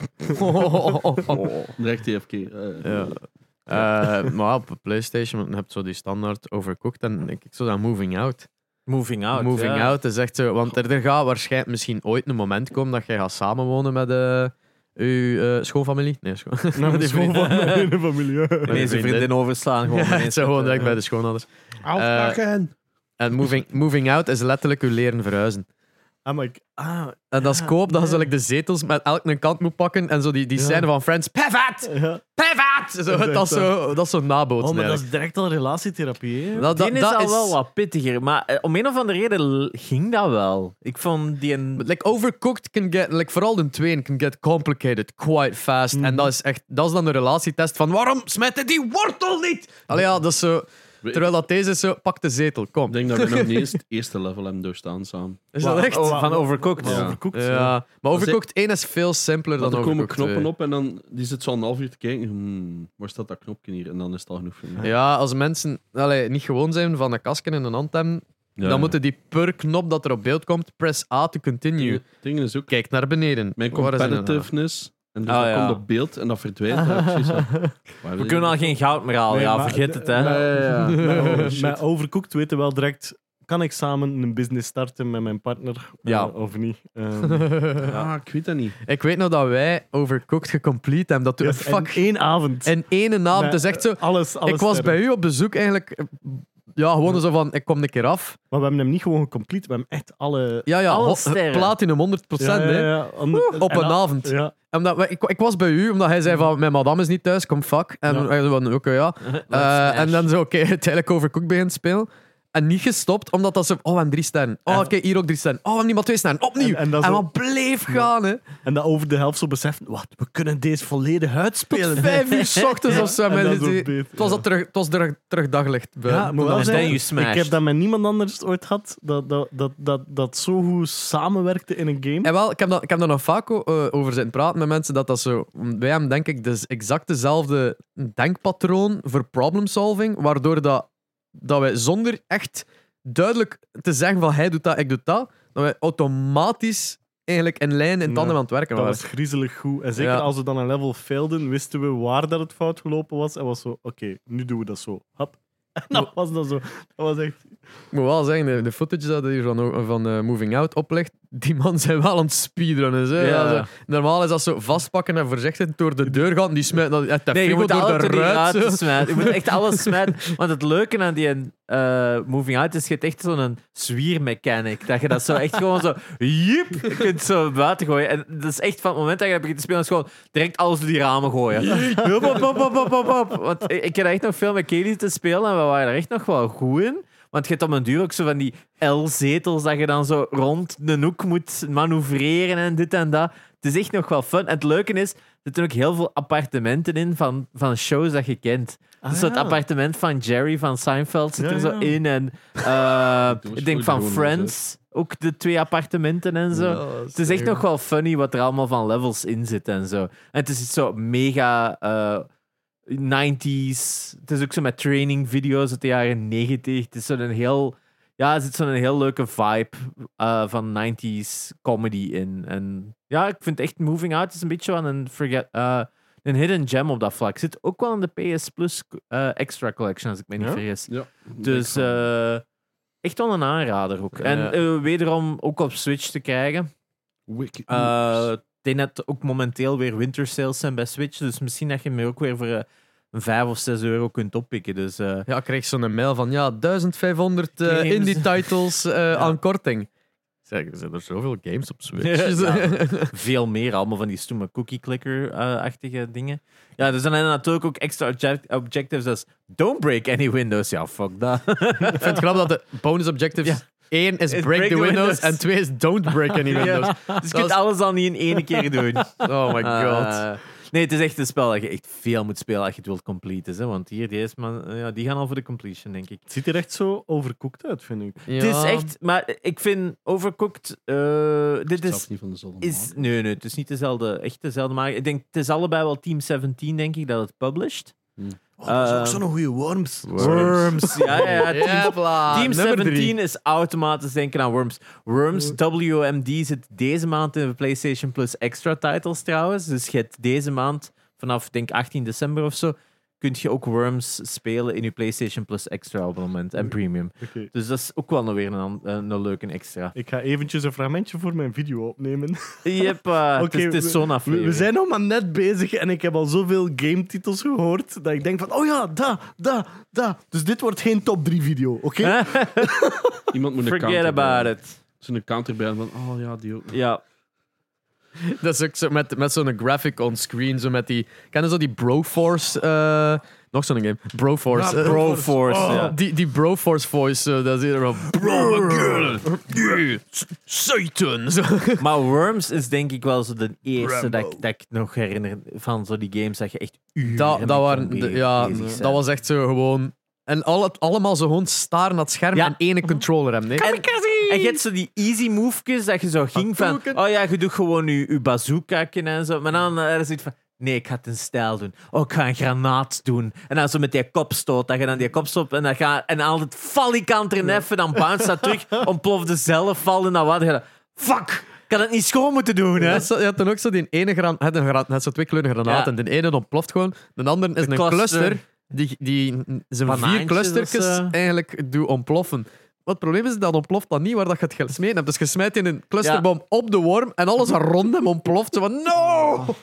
C: Direct TFK. eh,
B: Ja. Eh, maar op de PlayStation want je hebt zo die standaard overcooked. En ik, ik zou dan Moving Out.
A: Moving out.
B: moving
A: ja.
B: Out is echt zo. Want er, er gaat waarschijnlijk misschien ooit een moment komen dat jij gaat samenwonen met eh uw eh, schoonfamilie. Nee, schoon.
D: naar mijn
B: Die vriendin.
D: schoonvader en mijn familie.
A: Ineens een vriendin overslaan. Gewoon
B: Ja, het
A: ineens
B: is gewoon
A: met,
B: direct
A: eh,
B: bij de schoonouders. Eh,
C: Afpakken!
B: En moving, moving out is letterlijk u leren verhuizen.
D: Ah, maar ik. Ah,
B: En dat is
D: Ja,
B: koop, dat je
D: ja.
B: zo, like, de zetels met elk een kant moet pakken. En zo die, die
D: Ja.
B: scène van Friends, pivot!
D: ja.
B: Pivot! Zo,
D: Dat
B: dat,
D: is
B: is zo, dat is zo nabootsen
D: Oh, maar dat
B: eigenlijk.
D: is direct al relatietherapie. Hè?
B: Dat- dat-
A: die is
B: dat
A: al
B: is-
A: wel wat pittiger, maar eh, om een of andere reden l- ging dat wel. Ik vond die een...
B: Like, overcooked can get, like, vooral de tweeën, can get complicated quite fast. En
A: Mhm.
B: dat is echt, dat is dan de relatietest van waarom smijt je die wortel niet? Allee, ja, dat is zo... Terwijl dat deze is zo, pak de zetel, kom.
C: Ik denk dat we nog niet eens het eerste level hebben doorstaan samen.
B: Is dat
D: Wa-
B: echt?
D: wa-
A: Oh, van
D: wa-
A: Overcooked.
D: wa-
C: Ja.
D: Overcooked, ja.
B: Ja, maar Overcooked 1 is veel simpeler dan
C: Want er komen
B: Overcooked
C: knoppen
B: 2.
C: op en dan die zit zo een half uur te kijken. Hmm, waar staat dat knopje hier? En dan is het al genoeg voor mij.
B: Ja, als mensen allee, niet gewoon zijn van een kasken in een hand hebben,
C: Ja.
B: Dan moeten die per knop dat er op beeld komt, press A to continue.
C: Het ding is ook,
B: Kijk naar beneden.
C: mijn
B: Waar is het nou?
C: competitiveness, en dus
A: Ah,
C: dat
A: ja.
C: komt op beeld en dat verdwijnt. Ja, precies, ja. Waar
A: We
C: is-
A: kunnen al geen goud meer halen,
D: Nee,
A: ja,
D: maar-
A: vergeet het, hè.
D: maar-
C: Ja, ja, ja. Oh, shit.
D: Met Overcooked weten wel direct, kan ik samen een business starten met mijn partner eh,
A: Ja.
D: of niet? Ehm,
C: Ah, ik weet dat niet.
B: Ik weet nog dat wij overcooked gecomplete hebben. Dat
D: yes,
B: yes, fuck.
D: en dus één avond.
B: In één naam. Het is echt zo.
D: Alles, alles
B: ik was
D: sterren.
B: bij u op bezoek eigenlijk. eh, Ja, gewoon zo van, ik kom een keer af.
D: Maar we hebben hem niet gewoon gecomplete, we hebben echt alle...
B: Ja, ja,
A: Alle
B: ho-
A: sterren.
B: platinum 100%. hè.
D: ander-
B: Op
D: en
B: een
D: al-
B: avond.
D: Ja,
B: Omdat, we- ik, ik was bij u, omdat hij zei van, mijn madame is niet thuis, kom fuck. En
D: Ja.
B: wij zo van, oké, ja. Eh, en dan zo, oké, uiteindelijk overcooked begint te spelen. En niet gestopt, omdat dat zo... Oh, we hebben drie sterren. Oh,
A: En-
B: oké, hier ook drie sterren. Oh, we hebben niet maar twee sterren. Opnieuw.
D: En-
B: En,
D: en dat zo-
B: wat bleef gaan, hè.
D: en dat over de helft zo beseffen, wat, we kunnen deze volledig uitspelen.
B: Vijf uur s ochtends of zo.
D: En
B: met
D: dat is
B: die-
D: ook beter,
B: het was, dat terug, het was terug, terug daglicht. buiten.
D: Ja, moet wel
A: En
D: zeggen,
A: then you smashed.
D: Ik heb dat met niemand anders ooit gehad, dat, dat, dat, dat, dat zo goed samenwerkte in een game.
B: En wel, ik heb, dat, ik heb daar nog vaak o- eh, over zitten praten met mensen. Dat dat zo, wij hebben denk ik dus exact dezelfde denkpatroon voor problemsolving. Waardoor dat, dat wij zonder echt duidelijk te zeggen van hij doet dat, ik doe dat. Dat wij automatisch eigenlijk in lijn in
D: Ja,
B: tanden aan het werken
D: Dat
B: waren.
D: was griezelig goed. En zeker
B: Ja.
D: als we dan een level failden, wisten we waar dat het fout gelopen was. En was zo, oké, nu doen we dat zo. Hap. En dat was dat zo. Dat was echt...
B: Ik moet wel zeggen, de, de footage dat hier van, van eh, Moving Out oplegt, die man zijn wel aan het speedrunnen. Hè?
A: Ja.
B: Ja, zo. normaal is dat zo vastpakken en voorzichtig door de deur gaan. Die smijt dat uit de
A: Nee, je
B: frigo
A: moet
B: door
A: alles
B: de
A: door die
B: ruit.
A: ruiten
B: zo.
A: smijten. Je moet echt alles smijten. Want het leuke aan die eh, Moving Out is, je hebt echt zo'n zwiermechanic. Dat je dat zo echt gewoon zo... Jiep, je kunt zo buiten gooien. En dat is echt van het moment dat je dat begint te spelen, is gewoon direct alles door die ramen gooien. Hop, hop, hop, hop, hop, hop, hop. Want ik, ik heb echt nog veel met Kelly te spelen en we waren er echt nog wel goed in. Want je hebt op een duur ook zo van die L-zetels dat je dan zo rond de hoek moet manoeuvreren en dit en dat. Het is echt nog wel fun. En het leuke is, er zitten ook heel veel appartementen in van, van shows dat je kent. dus
D: ja.
A: het appartement van Jerry van Seinfeld zit
D: Ah. Ja,
A: er zo
D: ja.
A: in. En eh,
C: Jongens,
A: ik denk van
C: goeie jongens,
A: Friends, ook de twee appartementen en zo. Het is echt nog wel funny wat er allemaal van levels in zit en zo. En het is iets zo mega eh, 90s. Het is ook zo met training video's uit de jaren 90. Het is zo'n heel. Ja, er zit zo'n heel leuke vibe eh, van 90s comedy in. En ja, ik vind echt Moving Out is een beetje aan een, forget, eh, een hidden gem op dat vlak. Zit ook wel in de PS Plus eh, Extra Collection, als ik me niet
D: Ja?
A: vergis.
C: Ja.
A: Dus eh, echt wel een aanrader ook. En
B: Ja.
A: eh, wederom ook op Switch te krijgen.
C: Wicked
A: Eh,
C: moves.
A: Ik denk dat ook momenteel weer winter sales zijn bij Switch. Dus misschien dat je hem ook weer voor eh, een 5 of 6 euro kunt oppikken. Dus eh,
B: Ja, ik kreeg zo'n mail van ja, 1500 eh,
A: Games.
B: indie titles eh, aan korting. Dus, Zeg, er zijn er zoveel games op Switch.
A: Ja. eh, veel meer. Allemaal van die stoeme cookie clicker-achtige dingen. Ja, er zijn natuurlijk ook extra object- objectives als don't break any windows. Ja, fuck dat. Dus
B: ik vind het grappig dat de bonus objectives.
A: Ja.
B: één is break, the, windows, en twee is don't break any windows.
A: Dus je kunt alles al niet in één keer doen.
B: Oh my god.
A: Eh, nee, het is echt een spel dat je echt veel moet spelen als je het wilt completen. Hè? Want hier, deze man, eh, ja, die gaan al voor de completion, denk ik.
D: Het ziet er echt zo overcooked uit, vind ik.
B: Ja.
A: Het is echt, maar ik vind Overcooked. eh, dit
C: Zelfs
A: is.
C: niet van dezelfde
A: is nee, nee, het is niet dezelfde. Echt dezelfde maar Ik denk, het is allebei wel Team 17, denk ik, dat het published.
D: Oh, dat is
A: Eh,
D: ook zo'n goede worms.
B: Worms.
A: Ja, ja, ja. Team,
B: Jepla,
D: Ah,
A: Team
B: nummer drie.
A: 17 is automatisch denken aan Worms. Worms WMD zit deze maand in de PlayStation Plus extra titles trouwens. Dus je hebt deze maand, vanaf denk 18 december of zo, kunt je ook Worms spelen in je PlayStation Plus extra abonnement en premium.
D: Oké.
A: Dus dat is ook wel weer een, an- een, een leuke extra.
D: Ik ga eventjes een fragmentje voor mijn video opnemen.
A: Yep, eh, het
D: Oké,
A: is- het is
D: we-
A: zo'n
D: We,
A: aflevering.
D: we zijn nog maar net bezig en ik heb al zoveel game-titels gehoord dat ik denk van, oh ja, da, da, da. Dus dit wordt geen top 3 video, oké?
C: Iemand moet een
A: Forget
C: counter
A: about
C: bij.
A: it.
C: Zo'n counter bij van, oh ja, die ook.
A: Ja.
B: Dat is ook zo met, met zo'n graphic on screen, zo met die... Ken je zo die Broforce... eh, nog zo'n game. Broforce. eh,
A: Broforce.
B: Oh,
A: ja.
B: die, die Broforce voice, eh, dat is hier wel... Bro, girl, yeah, s- Satan. Zo.
A: Maar Worms is denk ik wel zo de eerste dat ik, dat ik nog herinner van zo die games dat je echt uren
B: Dat,
A: mee
B: dat,
A: kon
B: waren, de-
A: bezig
B: ja,
A: zijn.
B: dat was echt zo gewoon... En al het, allemaal zo gewoon staan naar het scherm
A: Ja.
B: en ene controller hem. Nee?
A: En, en je hebt zo die easy
D: Ah,
A: movejes dat je zo ging van...
B: Hadouken.
A: Oh ja, je doet gewoon je, je bazooka en zo. Maar dan eh, er is iets van... Nee, ik ga het in stijl doen. Oh, ik ga een granaat doen. En dan zo met die kopstoot. Dan ga je dan die kopstoot en dan ga en haalt het valikant erin even. Dan bounce dat terug, ontplofte zelf, vallen naar wat. Fuck! Ik had het niet schoon moeten doen, hè?
B: Ja, zo- Je had dan ook zo die ene granaat, had een granaat, had zo twee kleuren granaten.
A: Ja.
B: De ene ontploft gewoon, de andere is
A: De
B: een
A: cluster.
B: cluster, die, die zijn vier
A: Banaantjes
B: clustertjes
A: of zo.
B: eigenlijk doet ontploffen. Wat het probleem is, dat ontploft dan niet waar dat je het gesmeten hebt. Dus je smijt in een clusterbom op de worm en alles wat rond hem ontploft. Zo van, no!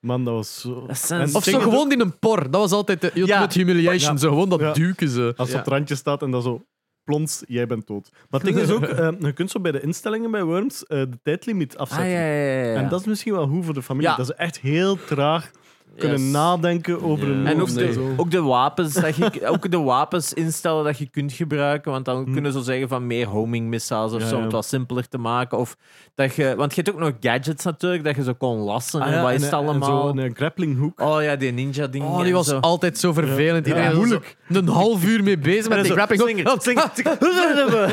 D: Man, dat was zo...
A: Dat zijn
D: En ik
B: Of zo
D: denk
B: gewoon in een por. Dat was altijd de ultimate humiliation.
D: Ja.
B: Zo gewoon dat
D: Ja.
B: duiken ze.
D: Als ze op het randje staat en dan zo plons, jij bent dood. Maar het ding is ook, eh, je kunt zo bij de instellingen bij Worms eh, de
A: Ah,
D: tijdlimiet
A: ja,
D: afzetten.
A: ja, ja, ja.
D: En dat is misschien wel hoe voor de familie.
A: Ja.
D: Dat ze echt heel traag kunnen
A: Yes.
D: nadenken over
B: Ja.
D: hun
A: En ook
D: moves
A: de,
D: zo.
A: ook, de wapens dat je, ook de wapens instellen dat je kunt gebruiken. Want dan kunnen ze zeggen van meer homing missiles of
D: Hm. Ja,
A: zo, om
D: ja.
A: het wat simpeler te maken. Of dat je, want je hebt ook nog gadgets natuurlijk, dat je zo kon lassen.
D: Ah,
A: en
D: ja,
A: wat is
D: en-
A: het
D: en
A: allemaal?
D: Zo'n eh, grapplinghoek.
A: oh ja, die ninja dingen.
B: Oh, die
A: en
B: was
A: zo.
B: altijd zo vervelend. Iedereen was
D: moeilijk.
B: zo Een half uur mee bezig met
A: En
B: die
A: zo,
B: grapping.
A: slinger, slinger,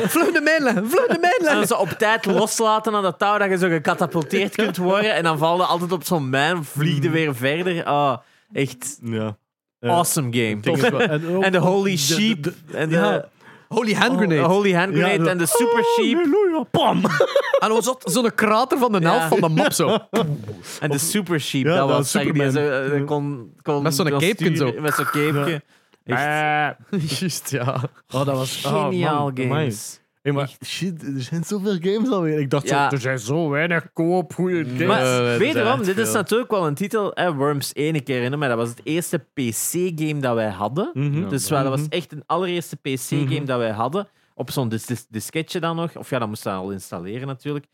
B: Vlug de mijnlijn, vlug de
A: En
B: mijnlijn.
A: dan zo op tijd loslaten aan dat touw, dat je zo gecatapulteerd kunt worden. En dan val je altijd op zo'n mijn, vliegde weer verder. Ah, echt
D: Hm. Ja. Eh,
A: awesome game.
D: ding is wel- En, ook-
A: En de holy
D: de-
A: sheep.
D: de-
A: En de
D: ja.
B: Oh, Holy hand
A: de
B: grenade.
A: holy hand
D: Ja, Oh,
A: grenade
D: zo-
A: en de super sheep.
D: Halleluja, pam!
B: En dan was dat zo'n krater van de helft
A: Ja.
B: van de map zo.
A: En de Super Sheep,
D: Ja,
A: dat
D: dat
A: was
D: was
A: zeg, die
D: Superman.
A: zo, eh, kon, kon
B: Met zo'n
A: kon
B: capeje
A: sturen,
B: zo.
A: Met zo'n capeje. Echt
B: Juist, ja.
D: Oh, dat was
A: geniaal
D: game.
A: games.
D: Hey, maar shit, er zijn zoveel games alweer. Ik dacht
A: Ja.
D: zo, er zijn zo weinig co-op goede games.
A: Maar
B: Eh, dat is
A: wederom,
B: echt
A: dit is
B: veel.
A: natuurlijk wel een titel. Hè, Worms één keer herinner maar dat was het eerste PC-game dat wij hadden.
D: Mhm.
C: Ja.
A: Dus wel, dat was echt een allereerste PC-game
B: Mhm.
A: dat wij hadden. Op zo'n dis dis- disketje dan nog. Of ja, dat moesten we al installeren natuurlijk.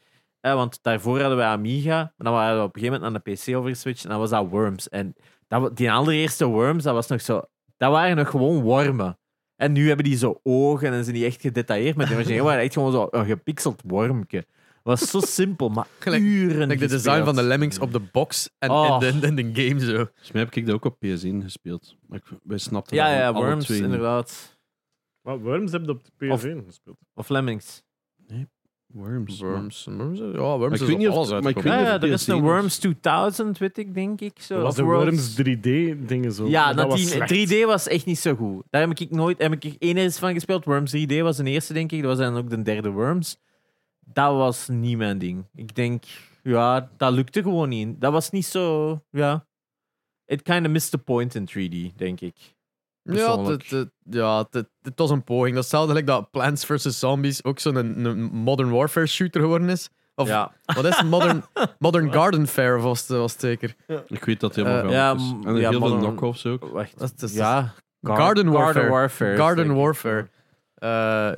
A: Eh, want daarvoor hadden wij Amiga. Maar dan waren we op een gegeven moment naar de PC overgeswitcht. En dan was dat Worms. En dat, wa- die allereerste Worms, dat was nog zo... Dat waren nog gewoon wormen. En nu hebben die zo ogen en zijn die echt gedetailleerd met de origineel. waren echt gewoon zo een gepixeld wormke. was zo simpel, maar
B: Gelijk-
A: uren
B: Like de design
A: gespeeld.
B: van de lemmings op de box en,
A: Oh.
B: en, de, en de game zo.
C: Volgens mij heb ik dat ook op PS1 gespeeld. Maar ik, wij snapten
A: Ja,
C: dat
A: ja,
C: alle
A: Worms,
C: twee niet.
A: inderdaad.
D: Maar Worms hebben op de PS1 gespeeld.
A: Of Lemmings.
C: Worms.
B: Worms. Worms ja, Worms
C: Maar
B: is
C: ik weet niet
B: op
C: of-
B: alles
C: maar ik
B: uitgekomen.
C: weet
A: Ja,
C: niet of
A: ja, er
C: het
A: is
C: DLC
A: een
C: was.
A: Worms 2000, weet ik, denk ik. Zo.
D: Dat was
A: Of
D: de
A: Worlds-
D: Worms 3D-dingen zo.
A: Ja,
D: Maar
A: dat
D: was
A: die-
D: slecht.
A: 3D was echt niet zo goed. Daar heb ik nooit heb ik één eens van gespeeld. Worms 3D was de eerste, denk ik. Dat was dan ook de derde Worms. Dat was niet mijn ding. Ik denk, ja, dat lukte gewoon niet. Dat was niet zo, ja. It kind of missed the point in 3D, denk ik.
B: Ja,
A: Persoonlijk.
B: het, het- ja het, het- het was een poging. Dat is hetzelfde like dat Plants vs. Zombies ook zo'n een, een Modern Warfare shooter geworden is. Of
A: Ja,
B: wat is het? Modern, modern Garden Fair was, het- was het zeker.
C: Ik weet dat helemaal
B: Eh,
C: wel.
A: ja,
C: is.
A: m-
C: En
A: ja,
C: heel veel
A: mannen-
C: knock-offs ook.
A: oh, wacht.
B: Dat is- dat is-
A: ja. Gar-
B: Garden Warfare.
A: Garden Warfare.
B: Garden
A: denk ik.
B: Warfare. Eh,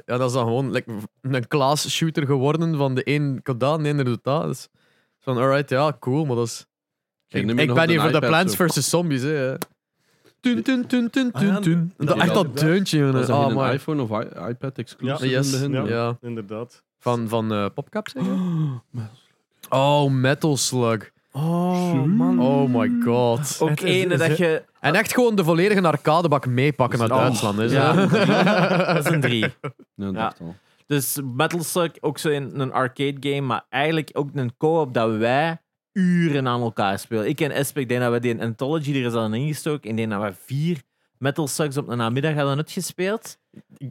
B: ja, dat is dan gewoon like, een class shooter geworden. Van de een kan dat, de ander doet dat. Dus van, alright, ja, cool, maar dat is...
C: Kijk,
B: Ik,
C: nu
B: ik
C: moet je nog
B: ben hier
C: op
B: voor
C: een
B: de
C: iPad
B: Plants
C: zo.
B: vs. Zombies, hè. Tun, tun, tun, tun,
D: Ah, ja,
B: tun, tun.
D: dat-
B: Dat-
C: dat-
B: Echt dat deuntje, jongen.
C: Was dat
B: Ah,
C: geen
B: maar-
C: iPhone of i- iPad exclusive
B: Ja. Yes.
C: in het begin?
D: Ja.
B: Ja,
D: Inderdaad.
B: van, van eh, Popcap, zeg Oh, Metal Slug.
D: Oh, man.
B: Oh my god.
A: Ook
D: Het is-
A: ene
D: is-
A: dat je...
B: En echt gewoon de volledige arcadebak meepakken naar
A: Oh,
B: Duitsland. Is
A: ja.
B: dat?
A: Dat is een drie.
C: Nee,
A: Ja.
C: dat dacht al.
A: Dus Metal Slug, ook zo in een arcade game, maar eigenlijk ook een co-op dat wij uren aan elkaar spelen. Ik en Espe, ik denk dat we die Anthology er is aan ingestoken. Ik denk dat we vier Metal Slugs op een namiddag hadden uitgespeeld.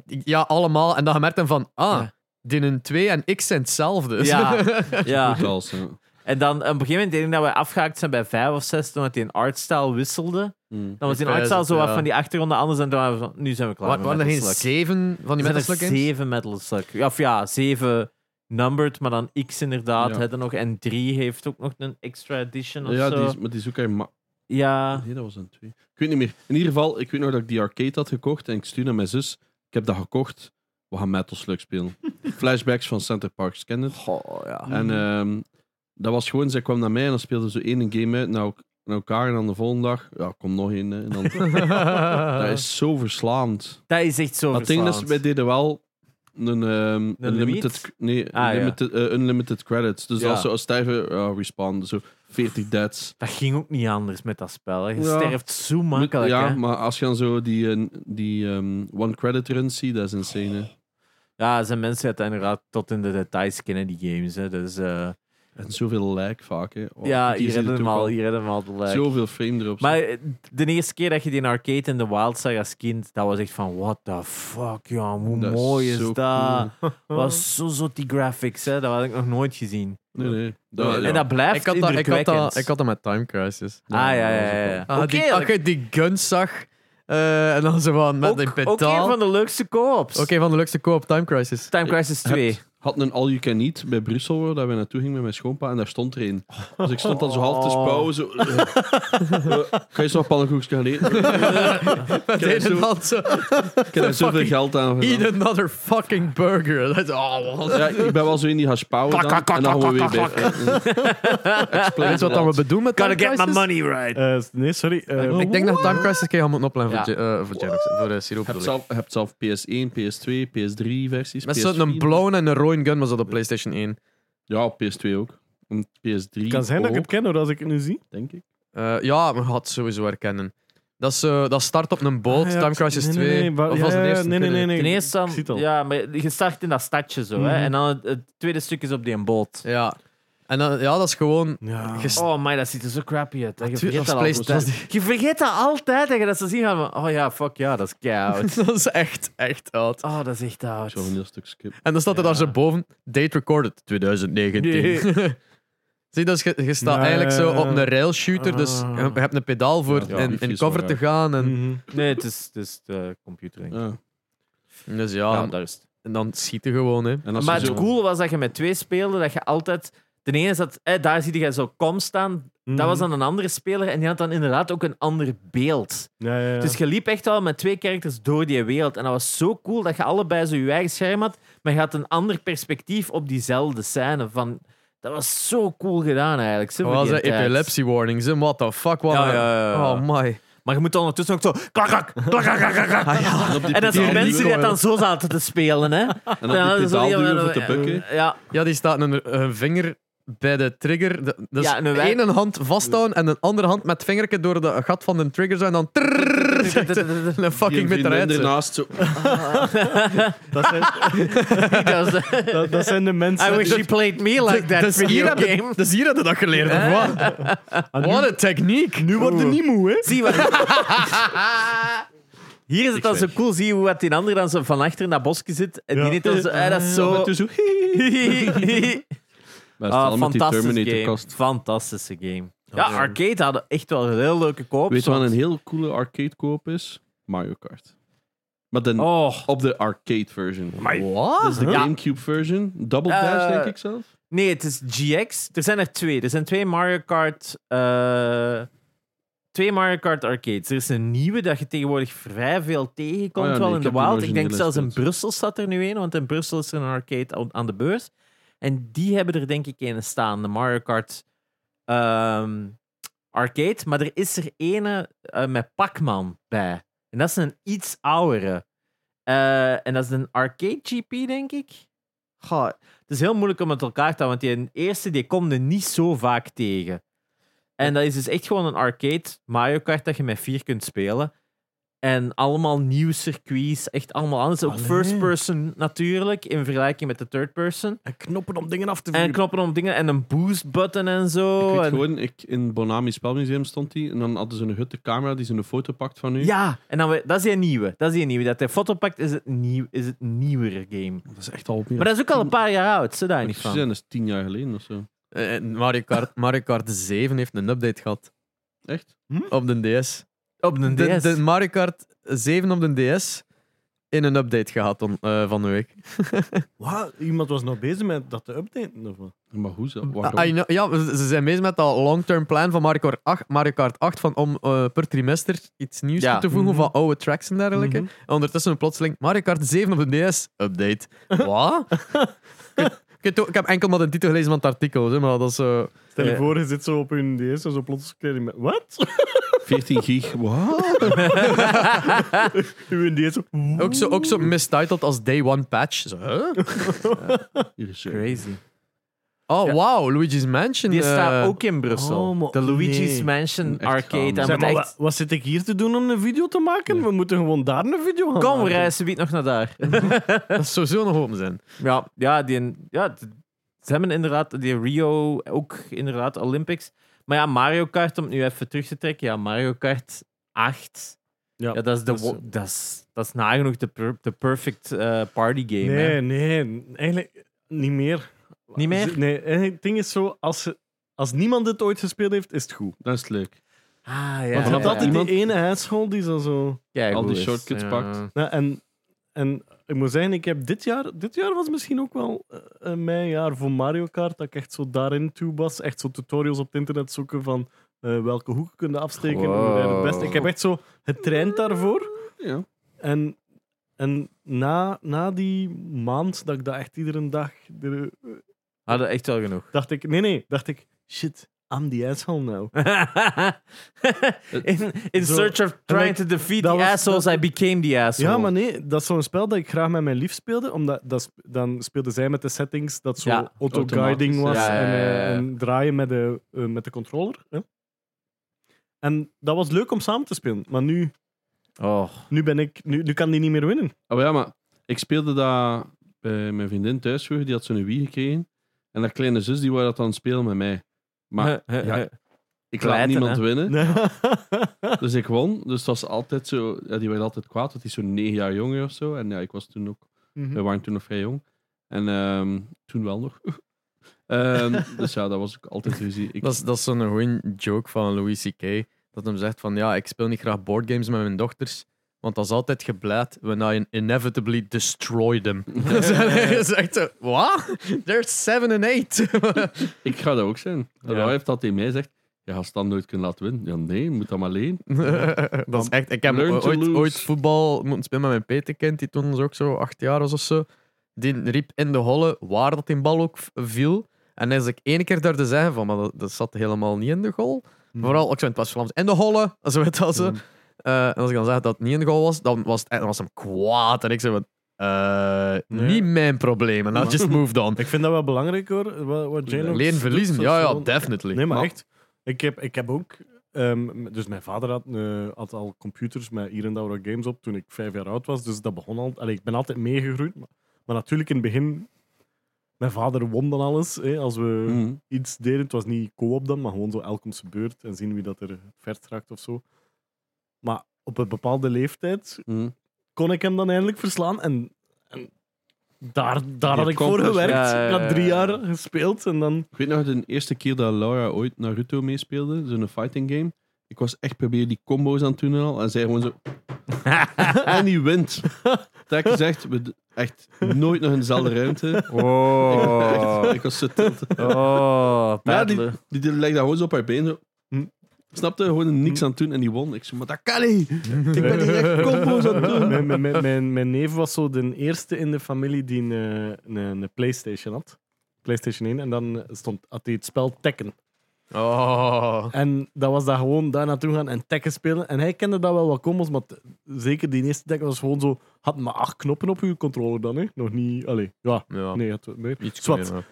B: Ja, allemaal. En dan gemerkt hem van, ah,
A: Ja.
B: Dinnen 2 en ik zijn hetzelfde.
A: Ja. Ja.
C: Goed als, ja.
A: En dan op een gegeven moment denk ik dat we afgehaakt zijn bij vijf of zes, toen het die een artstyle wisselde.
C: Mm.
A: Dan was die een
B: Ik
A: artstyle
B: wijs
A: zo
B: het,
A: wat
B: ja.
A: van die achtergronden anders en toen waren we van, nu zijn we klaar
B: Wa-
A: met
B: Waren er geen
A: Metal Slug.
B: zeven van die
A: Er
B: Metal
A: zijn
B: Slug
A: er
B: games?
A: zeven Metal Slug. Ja, Of ja, zeven numbered, maar dan X inderdaad.
C: Ja.
A: Hè, dan nog, en drie heeft ook nog een extra edition of
C: Ja,
A: zo.
C: die is, maar die is ook uit Ma-
A: Ja.
C: Nee, dat was een twee. Ik weet niet meer. In ieder geval, ik weet nog dat ik die arcade had gekocht en ik stuurde mijn zus. Ik heb dat gekocht. We gaan Metal Slug spelen. Flashbacks van Center Parks, ken je het?
A: Goh, ja.
C: En ehm, dat was gewoon, zij kwam naar mij en dan speelde ze één game uit naar, elk- naar elkaar. En dan de volgende dag, ja, kom nog één. hè. En dan, dat is zo verslaand.
A: Dat is echt zo
C: Dat ding is, wij deden wel een, ehm,
A: limiet?
C: unlimited, nee,
A: Ah, ja.
C: unlimited, eh, unlimited credits. Dus
A: Ja.
C: als ze sterven, ja, respawn. Zo 40 deads.
A: Dat ging ook niet anders met dat spel. hè. Je
C: Ja.
A: sterft zo makkelijk.
C: ja,
A: hè.
C: maar als je dan zo die, eh, die ehm, one credit run ziet, dat is insane. hè.
A: ja, er zijn mensen die het inderdaad tot in de details kennen, die games. Hè. Dat is, eh,
C: En zoveel lijk vaak. Hè. Oh,
A: ja,
C: die
A: hier
C: zit
A: hebben we hem
C: ook
A: al,
C: al
A: hier hebben we al eh, de lijk.
C: Zoveel frame drops.
A: Maar eh, de eerste keer dat je die in arcade in de wild zag als kind, dat was echt van, what the fuck, ja, hoe
C: Dat
A: mooi is
C: zo
A: dat? was zo zot die graphics, hè? dat had ik nog nooit gezien.
C: cool. Nee, nee. Dat, ja.
A: En dat blijft
B: Ik had, dat, ik, had dat,
A: indrukwekkend.
B: ik had dat met Time Crisis.
A: Ah, ja, ja, ja. ja.
B: Ah,
A: Oké,
B: die, als
A: dat-
B: je die guns zag eh, en dan zo van met een
A: ook, ook
B: pedaal.
A: een
B: Oké,
A: van de leukste co-ops.
B: van, de leukste co-op Time Crisis.
A: Time Crisis 2.
C: had een All You Can Eat bij Brussel, waar dat we naartoe gingen met mijn schoonpa, en daar stond er een. Dus ik stond dan zo half te
A: Oh.
C: spouwen, zo... eh, eh, Ga je zo pannenkoekjes gaan eten?
B: Met
C: Kijk,
B: een
C: zo-
B: en hand zo.
C: Ik heb er zoveel geld aan gedaan.
B: Eat another fucking burger. Dat is- oh, wat-
C: Ja, ik ben wel zo in die haspouwen dan, en dan gaan we weer bij.
B: Weet je wat dan we bedoelen met Time
A: Gotta get my
B: Crisis?
A: money right.
D: Eh, nee, sorry. eh,
B: Ik denk dat Time Crisis een keer gaan moeten opleggen voor,
A: Ja.
B: Ge- eh, voor Genox, voor eh, Siroop
C: Je hebt
B: bedoel ik.
C: zelf, je hebt zelf PS1, PS2, PS3 versies.
B: Met
C: PS4.
B: zo'n blauwe en een rode gun was dat op PlayStation 1.
C: Ja, PS2 ook. En PS3
D: kan zijn dat ik het
C: ook,
D: ken hoor, als ik het nu zie.
C: denk ik.
B: Eh, ja, maar had sowieso herkennen. Dat, is, eh, dat start op een boot,
D: Ah, ja,
B: Time Crisis
D: nee, nee,
B: 2.
D: nee, wa-
B: of
D: ja,
B: was het
D: ja,
B: eerste?
D: nee,
B: Ik weet
D: nee,
B: het
D: nee,
B: niet.
D: nee.
A: Ten eerste,
D: Ik zie het al.
A: dan- ja, maar je start in dat stadje zo, hè?
D: Mhm.
A: en dan het, het tweede stuk is op die boot.
B: Ja. En dan, ja, dat is gewoon...
D: Ja.
B: Gest-
A: Oh my, dat ziet er zo crappy uit. hè. Je
B: Tuurlijk,
A: vergeet
B: als
A: dat
B: PlayStation-
A: altijd. Je vergeet dat altijd, dat je dat zo zien van, oh ja, fuck ja, dat is koud.
B: dat is echt, echt oud.
A: Oh, dat is echt
C: Ik
A: oud.
C: zal een heel stuk skip.
B: En dan staat er
A: Ja.
B: daar zo boven, date recorded 2019. Zie, dus je, je staat
D: Ja,
B: eigenlijk zo
D: ja,
B: op
D: ja.
B: een rail shooter, dus je
A: Ah.
B: je hebt een pedaal voor
C: Ja, ja,
B: in,
C: wifi
B: in
C: is
B: cover
C: wel
B: te
C: raar.
B: gaan. En,
D: Mhm.
A: Nee, het is, het is de computer, denk ik.
C: Ja.
D: Mm.
B: dus
A: Ja,
B: ja,
A: daar is het.
B: en dan schieten gewoon, hè.
C: En als
A: Maar
C: je
A: het
C: zo-
A: cool was dat je met twee speelde, dat je altijd... De ene zat, hé, daar zie je zo kom staan. Dat was dan een andere speler en die had dan inderdaad ook een ander beeld.
D: Ja, ja, ja.
A: Dus je liep echt al met twee characters door die wereld. En dat was zo cool dat je allebei zo je eigen scherm had, maar je had een ander perspectief op diezelfde scène. Van, dat was zo cool gedaan eigenlijk. Ze
B: Dat was
A: vergeet tijd.
B: epilepsie warnings, hè. What the fuck, wat
A: Ja,
B: een-
A: ja, ja, ja.
B: Oh my.
A: Maar je moet dan ondertussen ook zo... klak, klak, klak, klak, klak, klak, klak.
C: En op die
A: En dat zijn
C: pedaal
A: mensen die
C: duwen-
A: dat dan zo zaten te spelen, hè.
C: En op die pedaal duwen voor te bukken.
A: eh, Ja,
B: Ja, die staat een, een vinger bij de trigger. De- dus
A: Ja, en een
B: de
A: wij-
B: ene hand vasthouden en een andere hand met het vingertje door de gat van de trigger zo en dan... trrrr, zegt ze, Een fucking
C: Die vriendin
B: meteorijt. zo.
C: ernaast zo.
D: dat, zijn,
A: dat was-
D: dat, dat zijn de mensen...
A: I wish she played me like that
B: Dus hier
A: video
B: heb je-
A: game.
B: dus hier hadden dat geleerd, of wat?
D: Ah, nu-
B: Wat een techniek.
D: Nu worden niet moe, hè?
A: Zie wat... Hier is het dan zo cool. Zie je hoe wat die andere dan zo van achter in dat bosje zit. En
D: Ja.
A: die net dan zo... eh, dat is
D: Ja,
A: zo...
D: maar toen zo,
C: Maar
A: Ah,
C: stel met die
A: fantastische
C: Terminator
A: game.
C: kast.
A: Fantastische game. Ja, arcade hadden echt wel een heel leuke koop.
C: Weet je wat een heel coole arcade koop is? Mario Kart. Maar dan
A: Oh,
C: op de arcade version.
B: Wat?
C: Dus de
A: Ja.
C: Gamecube version. Double
A: Eh,
C: Dash, denk ik zelf.
A: nee, het is GX. Er zijn er twee. Er zijn twee Mario Kart... eh, twee Mario Kart arcades. Er is een nieuwe dat je tegenwoordig vrij veel tegenkomt,
C: Oh ja, nee,
A: wel
C: ik
A: in de
C: heb de
A: wild. Ik
C: originele
A: denk zelfs in
C: steeds.
A: Brussel staat er nu een, want in Brussel is er een arcade aan- aan de beurs. En die hebben er denk ik een staan, de Mario Kart ehm, arcade. Maar er is er ene eh, met Pac-Man bij. En dat is een iets oudere. Eh, en dat is een arcade GP, denk ik. Goh, het is heel moeilijk om het elkaar te houden, want die eerste die komt er niet zo vaak tegen. En dat is dus echt gewoon een arcade Mario Kart dat je met vier kunt spelen. En allemaal nieuw circuits, echt allemaal anders. Ook
D: Allee.
A: first person natuurlijk, in vergelijking met de third person.
D: En knoppen om dingen af te
A: En knoppen om dingen en een boost button en zo.
C: ik weet
A: en-
C: gewoon, ik, in Bonami Spelmuseum stond die. En dan hadden ze een hutte camera die ze een foto pakt van u.
A: Ja, en dan, we- dat is die nieuwe. Dat is die nieuwe. Dat hij foto pakt, is het, nieuw, is het nieuwere game.
C: Dat is echt al op
A: Maar dat is ook al een paar jaar oud, ze daar niet
C: Precies,
A: van.
C: en dat is tien jaar geleden of zo.
B: Eh, eh, Mario Kart, Mario Kart 7 heeft een update gehad
C: Echt?
B: op de DS.
A: Op de
B: De,
A: DS.
B: de Mario Kart 7 op de DS in een update gehad on- eh, van de week.
D: Wat? Iemand was nog bezig met dat te updaten, of wat?
C: Maar hoe zo? Waarom?
B: Ah, I know- ja, ze ze zijn bezig met dat long-term plan van Mario Kart 8, Mario Kart 8 van om eh, per trimester iets nieuws
A: Ja.
B: toe te voegen
D: Mhm.
B: van oude tracks en dergelijke.
D: Mhm.
B: En ondertussen plotseling Mario Kart 7 op de DS update. Wat? Ik weet ook- ik heb enkel maar de titel gelezen van het artikel, hè, maar dat is... eh,
D: Stel je
A: Ja.
D: voor, je zit zo op hun DS en zo plots krijg je met... Wat?
C: 14 gig. Wat?
D: Uw DS zo...
B: ook, zo, ook zo mistitled als Day One Patch. Zo, huh?
C: Hier is eh,
A: Crazy.
B: Oh,
A: Ja.
B: wauw, Luigi's Mansion.
A: Die
B: eh,
A: staat ook in Brussel.
D: oh, maar
A: de Luigi's
D: nee.
A: Mansion
C: Echt gaan.
A: Arcade. En
D: Zeg
A: met
D: maar,
A: echt...
D: wa- wat zit ik hier te doen om een video te maken? We moeten gewoon daar een video gaan
A: Kom,
D: maken.
A: we reizen wie nog naar daar.
B: Dat zou sowieso nog open zijn.
A: ja, ja, die, ja, d- Ze hebben inderdaad die Rio, ook inderdaad Olympics. Maar ja, Mario Kart, om het nu even terug te trekken. Ja, Mario Kart 8. Ja, dat is, de,
D: dat is-
A: wo- dat is, dat is nagenoeg de, per- de perfect eh, party game. hè.
D: Nee, nee, eigenlijk niet meer. Dus,
A: Niet meer?
D: Nee, eigenlijk, het ding is zo, als, ze- als niemand dit ooit gespeeld heeft, is het goed.
C: Dat is leuk.
A: Ah, ja.
D: Want je
A: ja,
D: hebt altijd
A: ja.
C: Iemand-
D: die ene asshole die zo... zo
A: Ja,
C: al die
A: goed is.
C: shortcuts
A: Ja.
C: pakt.
D: Ja, Nou, en, en ik moet zeggen, ik heb dit jaar... Dit jaar was misschien ook wel eh, eh, mijn jaar voor Mario Kart, dat ik echt zo daarin toe was. Echt zo tutorials op het internet zoeken van eh, welke hoeken kunnen afsteken en hoe rijden het best.
A: Wow.
D: Ik heb echt zo getraind daarvoor.
C: Ja.
D: En, en na, na die maand dat ik dat echt iedere dag... er-
A: Hadden echt wel genoeg.
D: dacht ik... Nee, nee. Dacht ik, shit, I'm the asshole now.
A: in in
D: Zo,
A: search of trying
D: ik-
A: to defeat
D: dat
A: the
D: was-
A: assholes, I became the asshole.
D: Ja, maar nee, dat is zo'n spel dat ik graag met mijn lief speelde. Omdat dat, sp- dan speelde zij met de settings dat zo
A: Ja,
D: auto-guiding was
A: automatisch, ja.
D: en,
A: Ja, ja, ja,
D: eh,
A: ja.
D: en draaien met de, eh, met de controller. hè. En dat was leuk om samen te spelen, maar nu,
A: Oh.
D: nu, ben ik, nu, nu kan die niet meer winnen.
C: Oh ja, maar ik speelde dat bij mijn vriendin thuis vroeger. Die had zo'n Wii gekregen. En haar kleine zus, die wou dat dan spelen met mij. Maar
B: Eh,
C: ja, ik laat
A: Kleiten,
C: niemand
A: hè?
C: winnen.
D: ja,
C: Dus ik won. Dus dat was altijd zo... Ja, die werd altijd kwaad. Want die is zo'n negen jaar jonger of zo. En ja, ik was toen ook...
B: Hm.
D: Mhm.
C: We waren toen nog vrij jong. En ehm, toen wel nog. Ehm, dus ja, dat was ook altijd ruzie. Ik,
B: Dat is, dat is zo'n goeie joke van Louis C.K. Dat hem zegt van, ja, ik speel niet graag boardgames met mijn dochters, want dat is altijd geblijd, when I inevitably destroy them. dat is echt zo, what? They're seven and eight.
C: ik ga dat ook zijn. En
B: Ja.
C: Hij heeft dat tegen mij zegt. Je gaat Stan nooit kunnen laten winnen. Ja, nee, je moet dat maar alleen.
B: dat is echt, ik heb
C: Learn to
B: ooit,
C: lose.
B: ooit voetbal moeten spelen met mijn peterkind, die toen ook zo acht jaar was of zo. Die riep in de holle waar dat die bal ook v- viel. En als ik één keer durfde zeggen van, maar dat, dat zat helemaal niet in de goal.
D: Mhm.
B: Vooral, ik zei, het was Vlaams, in de holle. Zo weet dat zo. Eh, en als ik dan zeg dat het niet in de goal was, dan was, het, eh, dan was hem kwaad. En ik zei, van, eh,
D: Nee.
B: niet mijn probleem. En I just moved on.
D: Ik vind dat wel belangrijk hoor, wat, wat J-Lo
B: Alleen
D: doet
B: verliezen,
D: voor
B: ja, ja,
D: zo'n-
B: definitely. Oh.
D: Nee, maar, echt. Ik heb, ik heb ook. ehm, dus mijn vader had, eh, had al computers met hier en daar wat games op toen ik vijf jaar oud was. Dus dat begon al. Allee, ik ben altijd meegegroeid. Maar, maar natuurlijk in het begin. Mijn vader won dan alles. Hè, als we
B: Hm.
A: Hmm.
C: Mhm.
D: iets deden. Het was niet co-op dan, maar gewoon zo elk om zijn beurt. En zien wie dat er vert raakt of zo. Maar op een bepaalde leeftijd
C: Mhm.
D: kon ik hem dan eindelijk verslaan. En, en daar, daar had
C: Je
D: ik voor
C: komt dus-
D: gewerkt.
A: Ja, ja, ja,
D: Ik had drie
A: ja.
D: jaar gespeeld en dan...
C: Ik weet nog de eerste keer dat Laura ooit Naruto meespeelde, zo'n fighting game. Ik was echt proberen die combo's aan het doen en al. En zij gewoon zo. en die wint. Dat is echt, we d- echt nooit nog in dezelfde ruimte.
A: Oh.
C: Echt, ik was zo tilt.
A: Oh,
C: Maar die,
A: paddelen.
C: die, die legde dat gewoon zo op haar been. Zo.
D: Hm.
C: Snapte gewoon er niks aan het doen en die won. Ik zo, maar dat kan niet. Ik ben hier echt combo's aan het doen.
D: Mijn, mijn- mijn, mijn, mijn neef was zo de eerste in de familie die een, eh, een, een PlayStation had. PlayStation 1. En dan stond, had hij het spel Tekken.
B: Oh.
D: En dat was daar gewoon daar naartoe gaan en Tekken spelen. En hij kende dat wel wat combos, maar t- zeker die eerste Tekken was gewoon zo... Had maar acht knoppen op uw controller dan, hè? Nog niet... Allee, ja.
B: Ja,
D: Nee, had wat meer.
B: iets
D: Zwat.
B: meer, ja.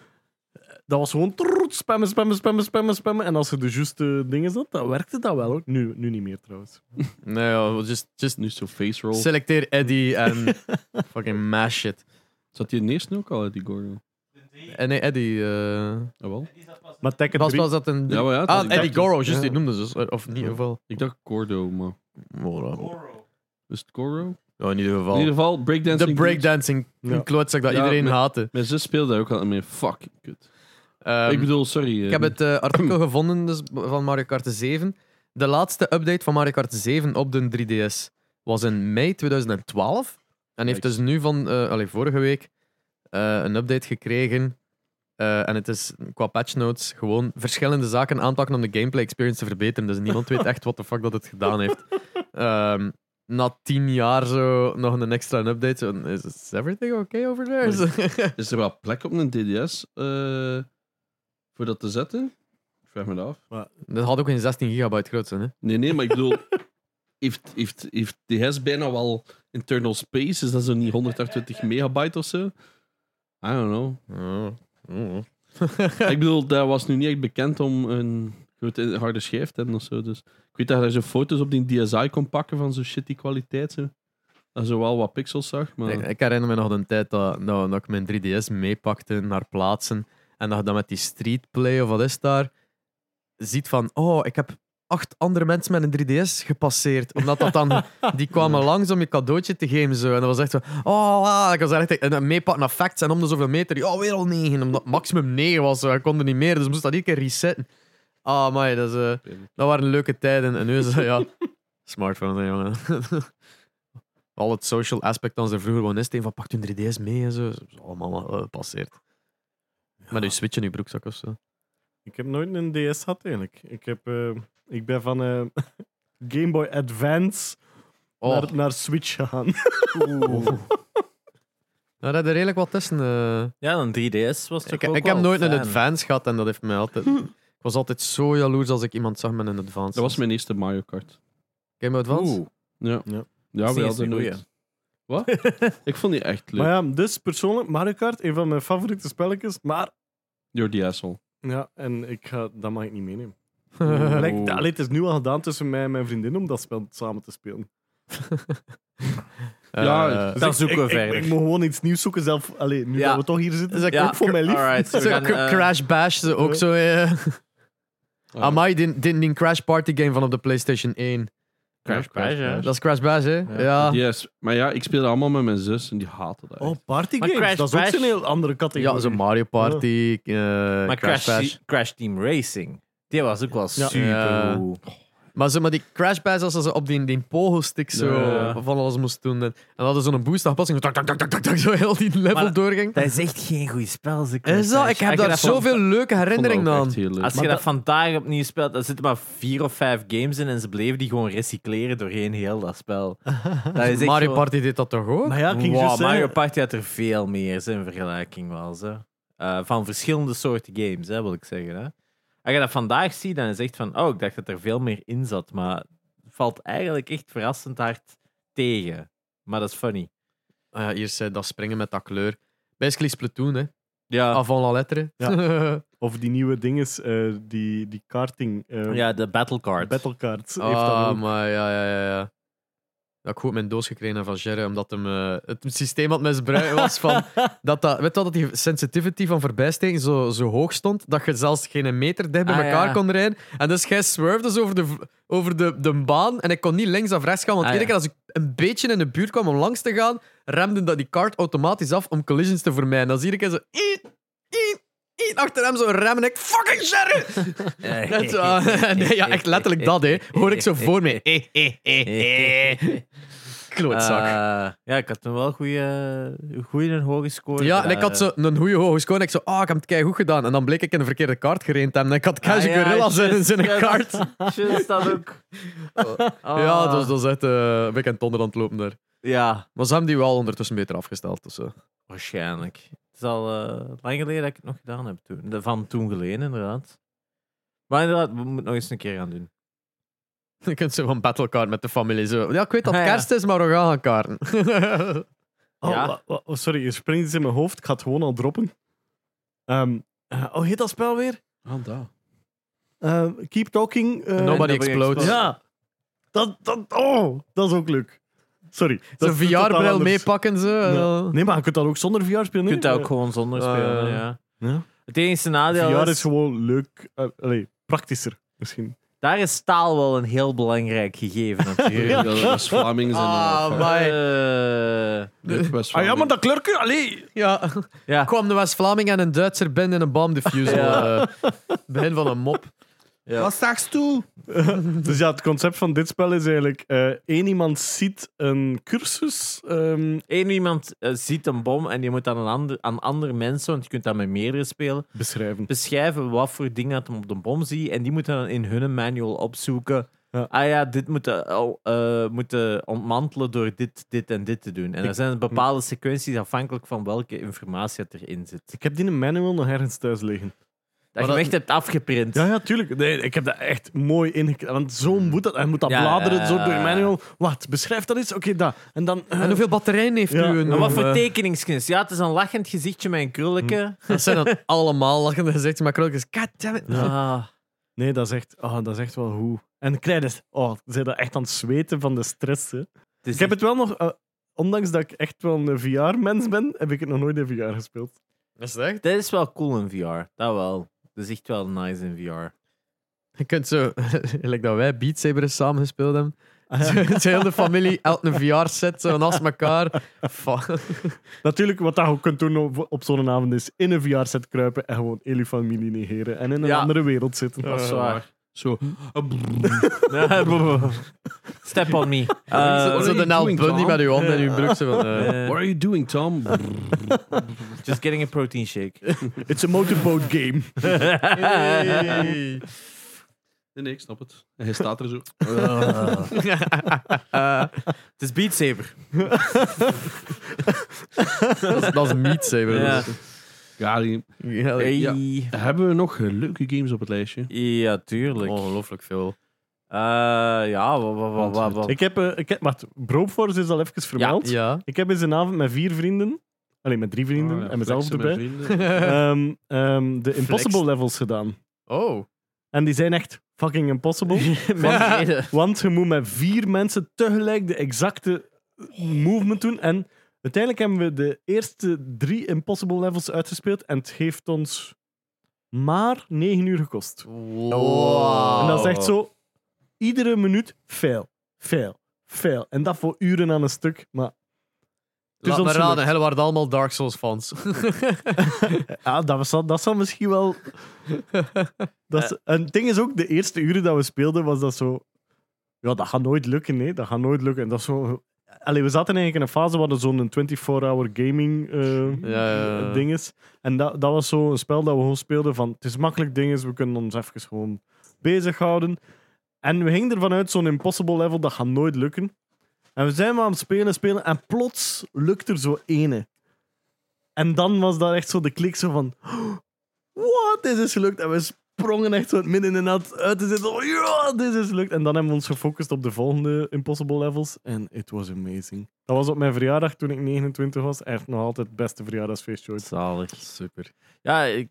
D: Dat was gewoon trrrt, spammen, spammen, spammen, spammen, spammen. En als er de juiste dingen zat, dan werkte dat wel hoor. Nu, nu niet meer trouwens.
B: Nee, ja, just, just
C: Nu is zo'n face roll.
B: selecteer Eddie en fucking mash it.
C: Zat die ineens nu ook al uit die Ah, Gordon?
B: Eh, nee, Eddie. eh
C: Jawel.
D: Maar Tekken
B: was,
D: 3...
B: was dat een.
C: Ja, maar ja, het was-
B: ah,
C: ik
B: Eddie
C: dacht-
B: Goro, juist
D: ja.
B: die noemde ze. dus, Of in ieder geval.
C: Ik dacht Gordo, maar is het Goro?
B: Ja, in ieder
C: In ieder
B: geval.
C: geval, breakdancing.
B: De breakdancing
D: Ja.
B: klootzak dat
C: Ja,
B: iedereen
C: maar-
B: haatte.
C: Mijn zus speelde daar ook al mee. Fucking kut.
B: Ehm,
C: ik bedoel, sorry.
B: ik heb het eh, artikel gevonden dus, van Mario Kart 7. De laatste update van Mario Kart 7 op de 3DS was in mei 2012. En heeft dus nu van, eh allee, vorige week, eh, een update gekregen. Eh, en het is qua patch notes gewoon verschillende zaken aanpakken om de gameplay experience te verbeteren. Dus niemand weet echt wat de fuck dat het gedaan heeft. Ehm, na tien jaar zo nog een extra update. Zo, Is is everything okay over there?
C: Is er wel plek op een DDS eh, voor dat te zetten? Ik vraag me dat af.
B: dat had ook geen 16 gigabyte groot zijn, hè?
C: Nee, nee, maar ik bedoel, heeft, heeft, heeft DS bijna wel internal space? Is dat zo niet 128 megabyte of zo? I don't know. ik bedoel, dat was nu niet echt bekend om een grote harde schijf te hebben of zo. Dus ik weet dat je zo foto's op die DSi kon pakken van zo'n shitty kwaliteit. Zo. Dat je wel wat pixels zag, maar...
B: Ik, ik herinner me nog een tijd dat, dat, dat ik mijn 3DS meepakte naar plaatsen. En dat je dan met die streetplay of wat is het daar, ziet van, oh, ik heb acht andere mensen met een 3DS gepasseerd. Omdat dat dan, die kwamen langs om je cadeautje te geven. Zo. En dat was echt zo, oh, ah, ik was daar echt en dan meepakken naar facts. En om de zoveel meter, ja, weer al negen. Omdat het maximum negen was, zo. ik kon er niet meer. Dus moest dat iedere keer resetten. Ah, maar dat, is, eh, dat waren leuke tijden. En nu is dat, ja, smartphone, hè, jongen. Al het social aspect dan ze vroeger gewoon is, het een van pakt hun 3DS mee en zo. Dat is allemaal eh, passeert. Met uw switch in uw broekzak of zo.
D: Ik heb nooit een DS gehad, eigenlijk. Ik, heb, eh, ik ben van eh, Game Boy Advance
B: Oh,
D: naar, naar Switch gegaan.
B: daar had er redelijk wat tussen. eh.
A: Ja, een 3DS was toch
B: Ik,
A: ook
B: ik heb
A: wel
B: nooit een
A: fijn.
B: advance gehad en dat heeft mij altijd. Ik was altijd zo jaloers als ik iemand zag met een advance.
C: Dat was mijn eerste Mario Kart.
B: Game Boy Advance?
A: Oeh.
C: Ja,
D: Ja.
C: ja we
A: Die is
C: hadden
A: een goeie.
C: nooit. Wat? ik vond die echt leuk.
D: maar ja, dus persoonlijk, Mario Kart, een van mijn favoriete spelletjes. Maar
C: You're the asshole.
D: ja, en ik ga, dat mag ik niet meenemen.
C: Oeh.
D: Like, dat- allee, het is nu al gedaan tussen mij en mijn vriendin om dat spel samen te spelen.
B: Eh,
D: Dus
B: ja,
D: eh,
A: Dan zoeken we
D: ik,
A: verder.
D: Ik, ik moet gewoon iets nieuws zoeken zelf. Allee, nu
A: Ja.
D: dat we toch hier zitten,
B: Is dat
D: ja. ook
A: ja,
D: voor mij lief.
A: alright, we gaan, eh,
B: Crash Bash ze ook
D: Ja.
B: zo. eh.
C: Ah,
B: Amai, die, die, die Crash Party game van op de PlayStation 1.
A: Crash eh. Bash, hè.
B: Dat is Crash Bash, hè?
A: Ja.
B: Ja.
C: Yes. Maar ja, ik speelde allemaal met mijn zus en die haatte dat.
D: Oh,
C: echt.
D: party
A: Maar
D: games.
A: Crash
D: dat is ook
A: Bash-
D: een heel andere categorie.
B: Ja, zo Mario Party, eh
A: Maar
B: Crash,
A: Crash,
B: Bash.
A: Crash Team Racing, die was ook wel super
B: Ja.
A: goed.
B: Maar, zo, maar die Crash Bash, als ze op die, die pogelstick zo
A: Ja.
B: van alles moest doen. En, en hadden zo'n boost aanpassing, zo, tak, tak, tak, tak, tak, tak, zo heel die level
A: Maar-
B: doorging.
A: Dat is echt geen goed spel. ze Crash
B: Is dat?
A: Bash.
B: Ik heb
A: Als je
B: daar
A: dat van-
B: zoveel leuke
C: Ik vond dat
B: herinneringen
C: ook
B: aan.
C: echt heel leuk.
A: Als je
B: Maar
A: dat,
B: dat-
A: vandaag opnieuw speelt, dan zitten maar vier of vijf games in en ze bleven die gewoon recycleren doorheen heel dat spel. Dat is echt
B: Mario
A: zo-
B: Party deed dat toch ook?
D: Maar Ah ja, ik ging
A: Wow,
D: juist
A: Mario
D: zeggen-
A: Party had er veel meer zijn in vergelijking wel. Zo. Eh, van verschillende soorten games, hè, wil ik zeggen. Hè. Als je dat vandaag ziet, dan is het echt van... Oh, ik dacht dat er veel meer in zat. Maar het valt eigenlijk echt verrassend hard tegen. Maar dat is funny.
B: Ah ja, hier zei dat springen met dat kleur. Basically Splatoon, hè.
A: Ja,
B: Avant la lettre.
D: Of die nieuwe dinges, eh, die, die karting. eh
A: ja de battle card.
D: Battlecards. heeft dat
B: ah,
D: ook.
B: maar ja, ja, ja. ja. Dat ik goed op mijn doos gekregen heb van Jerry, omdat hem, eh, het systeem aan het misbruiken was van... dat dat, weet je wel, dat die sensitivity van voorbijsteken zo, zo hoog stond, dat je zelfs geen meter dicht bij
A: Ah,
B: elkaar
A: ja.
B: kon rijden. En dus jij swerfde zo over de, v- over de, de baan en ik kon niet links of rechts gaan, want
A: Ah,
B: iedere
A: ja.
B: keer als ik een beetje in de buurt kwam om langs te gaan, remde dat die kaart automatisch af om collisions te vermijden. Dan zie ik zo... Iet, iet, iet, achter hem zo remmen en ik... Fucking Jerry!
A: Eh,
B: Net zo, ah, nee, ja, echt letterlijk dat, hè. Hoor ik zo voor me. Eh, eh, eh, eh. Klootzak.
A: Eh, ja, ik had toen wel goede, goede en hoge score.
B: ja, en
A: daar,
B: ik had
A: eh.
B: zo een goede hoge score en ik zo, ah, ik heb het keigoed gedaan. En dan bleek ik in de verkeerde kaart gerend te hebben. En ik had
A: Ah,
B: Cash
A: ja,
B: Gorilla's in- in
A: juist,
B: zijn
A: juist.
B: kaart.
A: Juist dat ook. Ah.
B: Ja, dat was, dat was echt eh, een beetje aan het onder aan het lopen daar.
A: Ja,
B: Maar ze hebben die wel ondertussen beter afgesteld. Dus, eh.
A: waarschijnlijk. Het is al eh, lang geleden dat ik het nog gedaan heb. Toen. De- Van toen geleden, inderdaad. Maar inderdaad, we moeten het nog eens een keer gaan doen.
B: Je kunt zo van battlecard met de familie zo. Ja, ik weet dat
A: Ah,
B: het
A: Ja, Ah, ja.
B: kerst is, maar we gaan gaan kaarten.
D: Oh,
A: Ja.
D: wa- wa- oh, sorry, je springt iets in mijn hoofd. Ik ga het gewoon al droppen. Ehm, eh, oh, heet dat spel weer?
C: Ah, daar.
D: Ehm, keep Talking. eh,
B: Nobody
A: Nobody
B: explodes.
A: Explodes.
D: Ja. Dat, dat, oh, dat is ook leuk. Sorry. dat
B: Zo'n
D: is totaal
B: VR-bril
D: anders.
B: meepakken ze.
D: Ja.
B: eh.
D: Nee, maar je kunt dat ook zonder VR spelen.
A: Je
D: hè?
A: kunt dat ook gewoon zonder
B: Eh,
A: spelen, ja.
D: ja.
A: Het enige nadeel
D: VR
A: is,
D: is gewoon leuk. eh, allee, praktischer misschien.
A: daar is taal wel een heel belangrijk gegeven natuurlijk.
C: Ja. Dat was Vlamingen zijn
B: Ah,
C: dan wel
B: maar-
C: fout.
A: Eh,
C: Dit was
D: Ah ja, maar
C: Vlamingen.
D: dat klerken, allee.
B: Ja.
A: ja.
B: kwam de West-Vlaming en een Duitser binnen in een bombdiffuser.
A: Ja.
B: eh, begin van een mop.
A: Ja.
C: Wat straks toe?
D: Dus ja, het concept van dit spel is eigenlijk... eh één iemand ziet een cursus. ehm,
A: Eén iemand eh, ziet een bom en die moet aan, een ander, aan andere mensen, want je kunt dat met meerdere spelen,
D: beschrijven.
A: beschrijven wat voor dingen dat hem op de bom ziet. En die moeten dan in hun manual opzoeken.
D: Ja.
A: Ah ja, dit moeten oh, eh, moeten ontmantelen door dit, dit en dit te doen. En er zijn bepaalde sequenties afhankelijk van welke informatie dat erin zit.
D: Ik heb die manual nog ergens thuis liggen.
A: Dat je
B: dat-
A: hem echt hebt afgeprint.
D: Ja, ja, tuurlijk. Nee, ik heb dat echt mooi ingeknipt. Want zo moet dat. Hij moet dat
A: Ja,
D: bladeren,
A: ja,
D: zo door
A: ja.
D: manual. Wat, beschrijf dat eens? Oké, dat. En dan... eh,
B: En hoeveel batterijen heeft
D: Ja.
B: u? Een,
A: En wat voor
B: eh,
A: tekeningskunst? Ja, het is een lachend gezichtje met een krulletje.
B: Dat zijn dan allemaal lachende gezichten, maar Krulk is... Goddammit.
A: Ah,
D: Nee, dat is echt, oh, dat is echt wel hoe. En kleines, oh, zijn dat echt aan het zweten van de stress. Hè.
A: het is
D: Ik heb het wel nog, eh, ondanks dat ik echt wel een VR-mens ben, heb ik het nog nooit in VR gespeeld.
B: Is dat echt?
A: Dit is wel cool in VR, dat wel. Dat is echt wel nice in VR.
B: Je kunt zo, gelijk dat wij Beat Saber eens samen gespeeld hebben. Het hele familie, elk een VR-set, zo naast elkaar. Fuck.
D: Natuurlijk, wat dat je ook kunt doen op, op zo'n avond is in een VR-set kruipen en gewoon hele familie negeren en in een
A: Ja.
D: andere wereld zitten.
A: Dat is waar.
C: Zo. "Oh,
A: Step on me.
C: Eh,
B: zo
A: Uh,
C: what are
B: de
C: you
B: Nel
C: doing,
B: Bundy
C: Tom?
B: met uw handen en uw broek. Zo van, eh,
C: What are you doing, Tom?
A: just getting a protein shake.
D: It's a motorboat game.
B: hey.
C: Nee, nee, ik snap het. En hij staat er zo.
B: Eh,
A: Het is Beat Saber.
B: dat, is, dat is Meat Saber.
A: Ja.
B: dat is het.
C: Ja, die-
B: Ja,
A: Hey. Ja.
C: Hebben we nog eh, leuke games op het lijstje?
A: tuurlijk.
B: Ongelooflijk veel.
A: Eh, ja, wat, wat, wat, wat, wat.
D: Ik heb, eh, ik heb, wacht, Broopforce is al even vermeld.
B: Ja.
D: Ik heb eens een avond met vier vrienden, alleen met drie vrienden
C: Oh, ja,
D: en mezelf
C: flexen
D: erbij,
C: met vrienden.
D: ehm, ehm, de Impossible
B: Flexed.
D: levels gedaan.
B: Oh.
D: En die zijn echt fucking impossible.
B: Van
D: Want-
B: reden.
D: Want je moet met vier mensen tegelijk de exacte movement doen. En uiteindelijk hebben we de eerste drie impossible levels uitgespeeld. En het heeft ons maar negen uur gekost.
B: Wow.
D: En dat is echt zo... Iedere minuut fail, fail, fail. En dat voor uren aan een stuk. Maar
B: Laat
D: ons
B: me
D: gelukt.
B: raden, heel waren allemaal Dark Souls fans.
D: ja, dat, was, dat zal misschien wel... dat is- en het ding is ook, de eerste uren dat we speelden, was dat zo... Ja, dat gaat nooit lukken, nee. Dat gaat nooit lukken. En dat is zo... Allee, we zaten eigenlijk in een fase waar er zo'n 24-hour gaming eh,
B: Ja, ja, ja.
D: ding is. En dat, dat was zo een spel dat we gewoon speelden van... Het is makkelijk ding is, we kunnen ons even gewoon bezighouden. En we gingen ervan uit, zo'n impossible level, dat gaat nooit lukken. En we zijn maar aan het spelen, spelen. En plots lukt er zo ene. En dan was daar echt zo de klik zo van... "Oh, Wat, dit is gelukt. En we sprongen echt zo het midden in de nat uit te zitten. Oh, ja, dit is gelukt. En dan hebben we ons gefocust op de volgende impossible levels. En it was amazing. Dat was op mijn verjaardag toen ik 29 was. Echt nog altijd het beste verjaardagsfeestje ooit.
A: Zalig.
B: Super.
A: Ja, ik-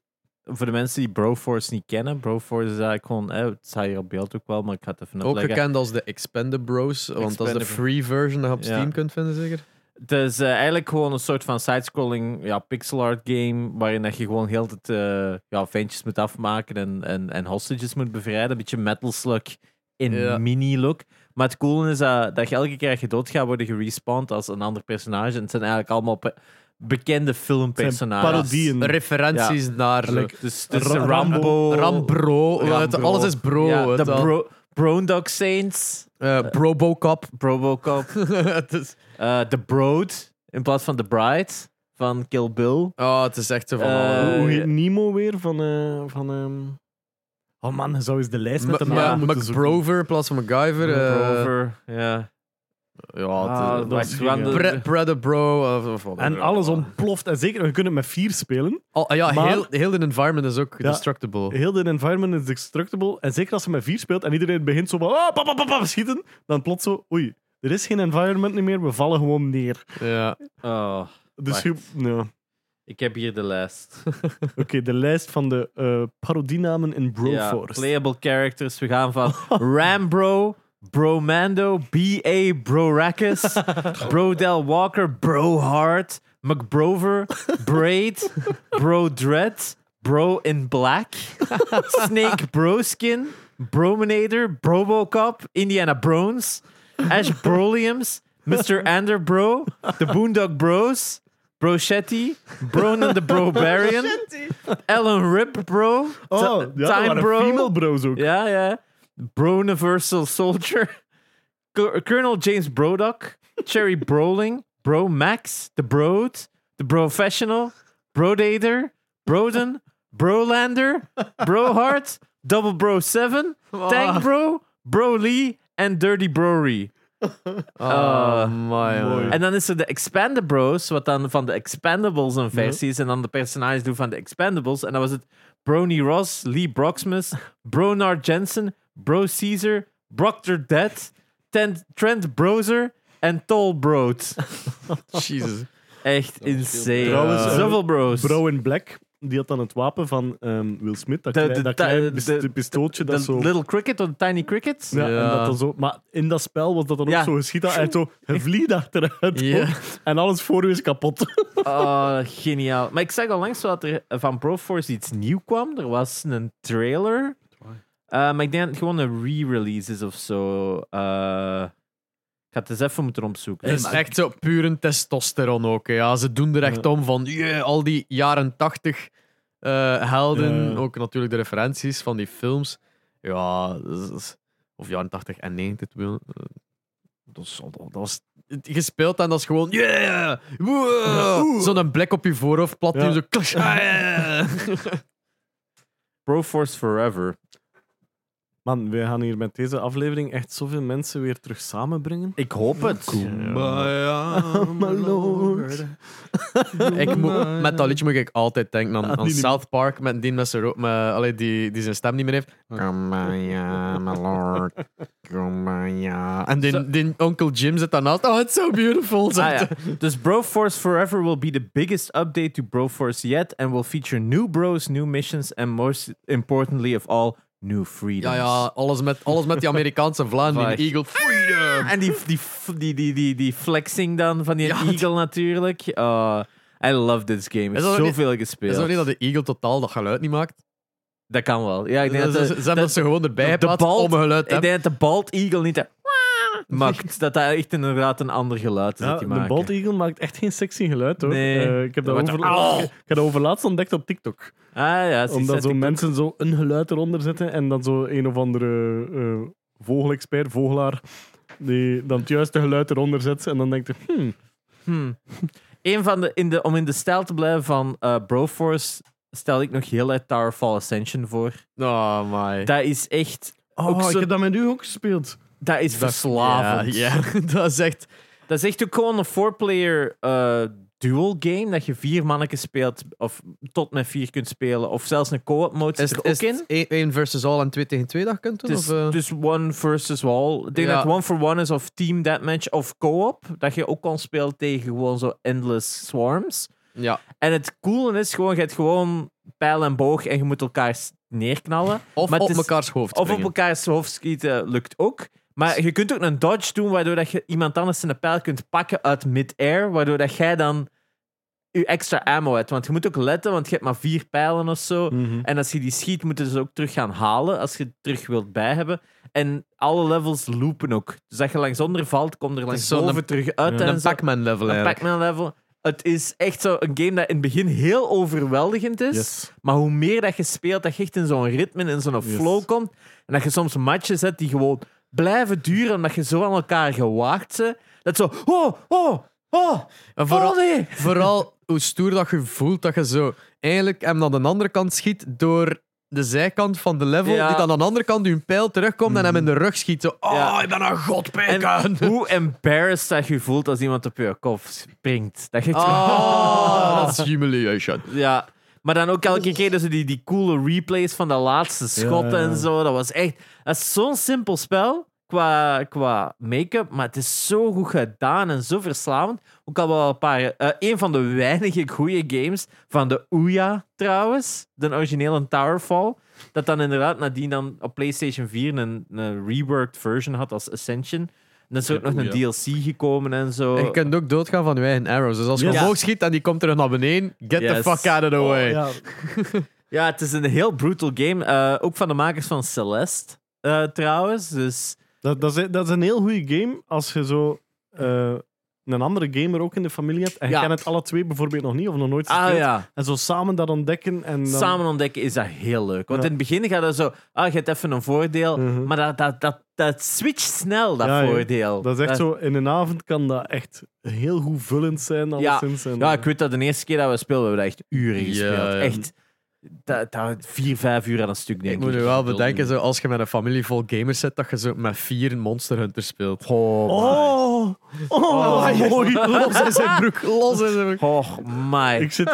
A: voor de mensen die Broforce niet kennen, Broforce is eigenlijk gewoon, eh, het staat hier op beeld ook wel, maar ik ga het even
B: Ook
A: uitleggen.
B: gekend als de Expanded Bros, want dat is de
A: Expanded-
B: free version dat je op
A: Ja.
B: Steam kunt vinden, zeker?
A: Het is eh, eigenlijk gewoon een soort van sidescrolling ja, pixel art game, waarin dat je gewoon heel de tijd eh, ja, ventjes moet afmaken en, en, en hostages moet bevrijden. Een beetje metal slug in
B: Ja.
A: mini-look. Maar het coole is dat, dat je elke keer als je dood gaat worden gerespawnd als een ander personage. En het zijn eigenlijk allemaal pe- bekende
D: Het zijn
A: filmpersonages.
D: parodieën.
B: Referenties naar zo.
A: Like, dus, dus
D: Ra-
A: Rambo,
B: Rambro, eh, het-
A: Rambo.
B: alles is bro.
A: Ja, de
B: het al.
A: bro Brondog Saints,
B: Eh, Brobocop.
A: Robocop,
B: het, is,
A: eh, de Broad in plaats van de Bride van Kill Bill.
B: oh, het is echt zo van...
A: Eh,
B: alle-
D: Hoe heet Nemo weer van... eh, van ehm, Oh man, je zou eens de lijst met de
B: M-
D: namen
B: M-
D: moeten zoeken.
B: McBrover in plaats van MacGyver. eh,
A: Rover, ja.
B: Ja,
A: Ah,
B: het is-
A: dat
D: dat
A: is
D: is
A: gewoon de-
D: gek,
B: Pre- Predabro. of- of
A: Oh,
B: whatever.
D: En alles ontploft. En zeker, we kunnen met vier spelen.
B: Al- ja,
D: Maar-
B: heel, heel de environment is ook
D: Ja.
A: Oh.
B: destructible.
D: Heel de environment is destructible. En zeker als je met vier speelt en iedereen begint zo van... Oh, pap, pap, pap, pap, schieten. Dan plots zo... Oei, er is geen environment niet meer. We vallen gewoon neer.
B: Ja.
A: Oh,
D: Dus je- ja. Oké,
A: ik heb hier de lijst.
D: de lijst van de eh parodienamen in
A: Ja,
D: Broforce.
A: playable characters. We gaan van Rambro, Bromando, B.A. Broracus, Brodel Walker, Brohart, McBrover, Braid, Brodred, Bro in Black, Snake Broskin, Brominator, Brobocop, Indiana Brones, Ash Broliums, Mr. Ander Bro, The Boondog Bros, Brochetti, Bronan the Brobarian, Ellen Rip Bro,
D: Oh,
A: Ti-
D: ja, dat
A: Time
D: waren
A: Bro.
D: female bros ook.
A: Ja, ja. Broniversal Soldier. Co- Colonel James Brodock. Cherry Broling. Bro Max. The Broad. The Professional. Brodader. Broden. Brolander. Brohart. Double Bro 7. Tank Bro. Bro Lee. En Dirty Brory.
B: Oh,
A: Eh,
B: my.
D: mooi.
B: man.
A: En dan is er de Expandable Bros, wat dan van de Expendables een versie is. En dan de personages doen van de Expendables. En dan was het Brony Ross, Lee Broxmus, Bronard Jensen, Bro Caesar, Proctor Dead, Tent- Trent Brozer en Tol Broad.
B: Jesus.
A: Echt insane.
C: veel.
D: Trouwens, eh,
A: Zoveel bros.
D: Bro in Black die had dan het wapen van ehm, Will Smith. Dat,
A: De-
D: klein-
A: de-
D: dat
A: de-
D: klein
A: de-
D: pis-
A: de-
D: pistooltje dat
A: De
D: zo...
A: Little Cricket of the Tiny Cricket?
D: Ja,
B: Ja.
D: En dat dan zo, maar in dat spel was dat dan
A: Ja.
D: ook zo geschiet. dat Hij zo, hij vliegt achteruit.
B: Ja.
D: ook. En alles voor u is kapot.
A: Oh, geniaal. Maar ik zag al langs dat er van Proforce iets nieuw kwam. Er was een trailer. Eh, maar ik denk dat het gewoon een re-release is of zo. Eh, ik ga het eens even moeten opzoeken.
B: Het is Dus echt zo puur een testosteron ook. hè. Ja, ze doen er echt om van yeah, al die jaren tachtig eh, helden.
D: Ja.
B: Ook natuurlijk de referenties van die films. Ja, dat is- of jaren tachtig en negentig. wil- eh, Dat, is- dat was gespeeld en dat is gewoon yeah! Wow! Zo'n blik op je voorhoofd, plat
D: Ja.
B: die zo klash, ah, yeah.
A: Proforce Forever.
D: Man, we gaan hier met deze aflevering echt zoveel mensen weer terug samenbrengen.
A: Ik hoop het.
D: my lord.
B: Ik moet, met dat liedje moet ik altijd denken
A: Ah,
B: aan, aan
D: die niet-
B: South Park, met die, met zijn ro- met, allee, die, die zijn stem niet meer heeft.
A: Ah.
B: Kumbaya, my lord. Kumbaya. En die, die onkel Jim zit daarnaast. Oh, it's so beautiful.
A: Ah, ja. Dus Broforce Forever will be the biggest update to Broforce yet and will feature new bros, new missions and most importantly of all, new
B: ja,
A: freedoms.
B: ja, alles met, alles met die Amerikaanse vlaan, die
A: Vaag.
B: Eagle. Freedom!
A: En die, die, die, die, die, die flexing dan van die
B: Ja,
A: eagle natuurlijk. Oh, I love this game.
B: Is dat ook
A: Zoveel
B: Is
A: gespeeld.
B: dat
A: Dat,
B: niet dat de Eagle totaal dat geluid niet maakt?
A: kan wel. Ja, ik denk
B: Ze,
A: dat,
B: ze,
A: de-
B: ze hebben dat ze gewoon erbij
A: de
B: geplaatst
A: bald-
B: om een geluid te
A: ik
B: hebben.
A: denk dat de bald eagle niet... dat- maakt. Dat dat echt inderdaad een ander geluid is
D: Ja,
A: dat die
D: de
A: maakt.
D: bald eagle maakt echt geen sexy geluid hoor.
A: Nee.
D: Eh, ik heb dat
A: Wat-
D: over...
A: Au!
D: ik heb dat overlaatst ontdekt op TikTok.
A: Ah ja, zie,
D: Omdat
A: zet
D: zo
A: ik-
D: mensen zo een geluid eronder zetten en dan zo een of andere eh vogelexpert, vogelaar, die dan het juiste geluid eronder zet en dan denkt hij, hmm,
A: Hmm. Een van de, in de, om in de stijl te blijven van eh, Broforce stel ik nog heel uit Tower Fall Ascension voor.
B: Oh, my.
A: Dat is echt... ook
D: oh, ik
A: zo-
D: heb dat met u ook gespeeld.
A: dat is verslavend.
B: Ja, ja, dat is echt...
A: Dat is echt ook gewoon een four-player eh, duel game, dat je vier mannetjes speelt, of tot met vier kunt spelen, of zelfs een co-op mode zit
B: Is,
A: er ook in.
B: is 1 versus all en 2 tegen 2 dat je kunt doen?
A: Dus,
B: of, eh?
A: dus one versus all. Ik denk
B: Ja.
A: dat het one for one is of team deathmatch of co-op. Dat je ook kan spelen tegen gewoon zo endless swarms.
B: ja.
A: En het coole is gewoon, je hebt gewoon pijl en boog en je moet elkaar s- neerknallen.
B: Of
A: Maar
B: op
A: het is-
B: mekaars hoofd
A: Of op
B: springen.
A: elkaar hoofd schieten lukt ook. Maar je kunt ook een dodge doen, waardoor dat je iemand anders zijn pijl kunt pakken uit mid-air, waardoor dat jij dan je extra ammo hebt. Want je moet ook letten, want je hebt maar vier pijlen of zo.
B: Mhm.
A: En als je die schiet, moeten ze ook terug gaan halen, als je het terug wilt bij hebben. En alle levels loopen ook. Dus als je langs onder valt, komt er langs
B: is zo'n-
A: boven terug uit. en
B: Een
A: zo.
B: Pac-Man level
A: Een
B: eigenlijk.
A: Pac-Man level. Het is echt zo een game dat in het begin heel overweldigend is.
D: Yes.
A: Maar hoe meer dat je speelt, dat je echt in zo'n ritme, in zo'n flow komt. En dat je soms matches hebt die gewoon blijven duren, omdat je zo aan elkaar gewaagd bent. Dat zo, oh, oh, oh,
B: En
A: oh
B: vooral,
A: nee.
B: vooral hoe stoer dat je voelt dat je zo eigenlijk hem aan de andere kant schiet door de zijkant van de level,
A: Ja.
B: die dan aan de andere kant uw pijl terugkomt en hem in de rug schiet. Zo, oh,
A: Ja.
B: ik ben een god, Pac-Man.
A: En hoe embarrassed dat je voelt als iemand op je kop springt. Dat je echt zo-
B: Oh, dat is humiliation.
A: Ja, maar dan ook elke keer dus die, die coole replays van de laatste schotten
D: ja.
A: en zo. Dat was echt... Dat is zo'n simpel spel qua, qua make-up, maar het is zo goed gedaan en zo verslavend. Ook al wel een paar... eh, een van de weinige goede games van de Ouya, trouwens. De originele Towerfall. Dat dan inderdaad nadien dan op PlayStation 4 een, een reworked version had als Ascension. En dan is er ook
C: Ja,
A: nog een
C: Ouya.
A: DLC gekomen en zo.
B: En je kunt ook doodgaan van je eigen arrows. Dus als je
D: Yes.
B: omhoog schiet en die komt terug naar beneden, get
A: Yes. Oh,
B: the fuck out of the way.
D: Ja,
A: Ja, het is een heel brutal game. eh, ook van de makers van Celeste, eh, trouwens. Dus
D: dat, dat, is, dat is een heel goede game als je zo eh, een andere gamer ook in de familie hebt en je
A: Ja.
D: kan het alle twee bijvoorbeeld nog niet of nog nooit
A: ah,
D: gespeeld.
A: ja.
D: En zo samen dat ontdekken en dan...
A: samen ontdekken is dat heel leuk. Want
D: Ja.
A: in het begin gaat dat zo, ah, je hebt even een voordeel.
D: Mhm.
A: Maar dat, dat, dat, dat switcht snel, dat
D: Ja, ja.
A: voordeel.
D: Dat is echt zo, in een avond kan dat echt heel goed vullend zijn, alleszins. En,
A: Ja, ik weet dat de eerste keer dat we speelden, we hebben dat echt uren
B: Ja,
A: gespeeld.
B: ja.
A: Echt dat, dat, vier, vijf uur aan een stuk, denk
B: Ik
A: ik.
B: moet je wel bedenken, zo, als je met een familie vol gamers zit, dat je zo met vier Monster Hunter speelt.
A: Oh,
D: Oh, Oh, oh, mooi.
B: Los in zijn broek, los in zijn broek.
A: Och, my.
D: Ik zit...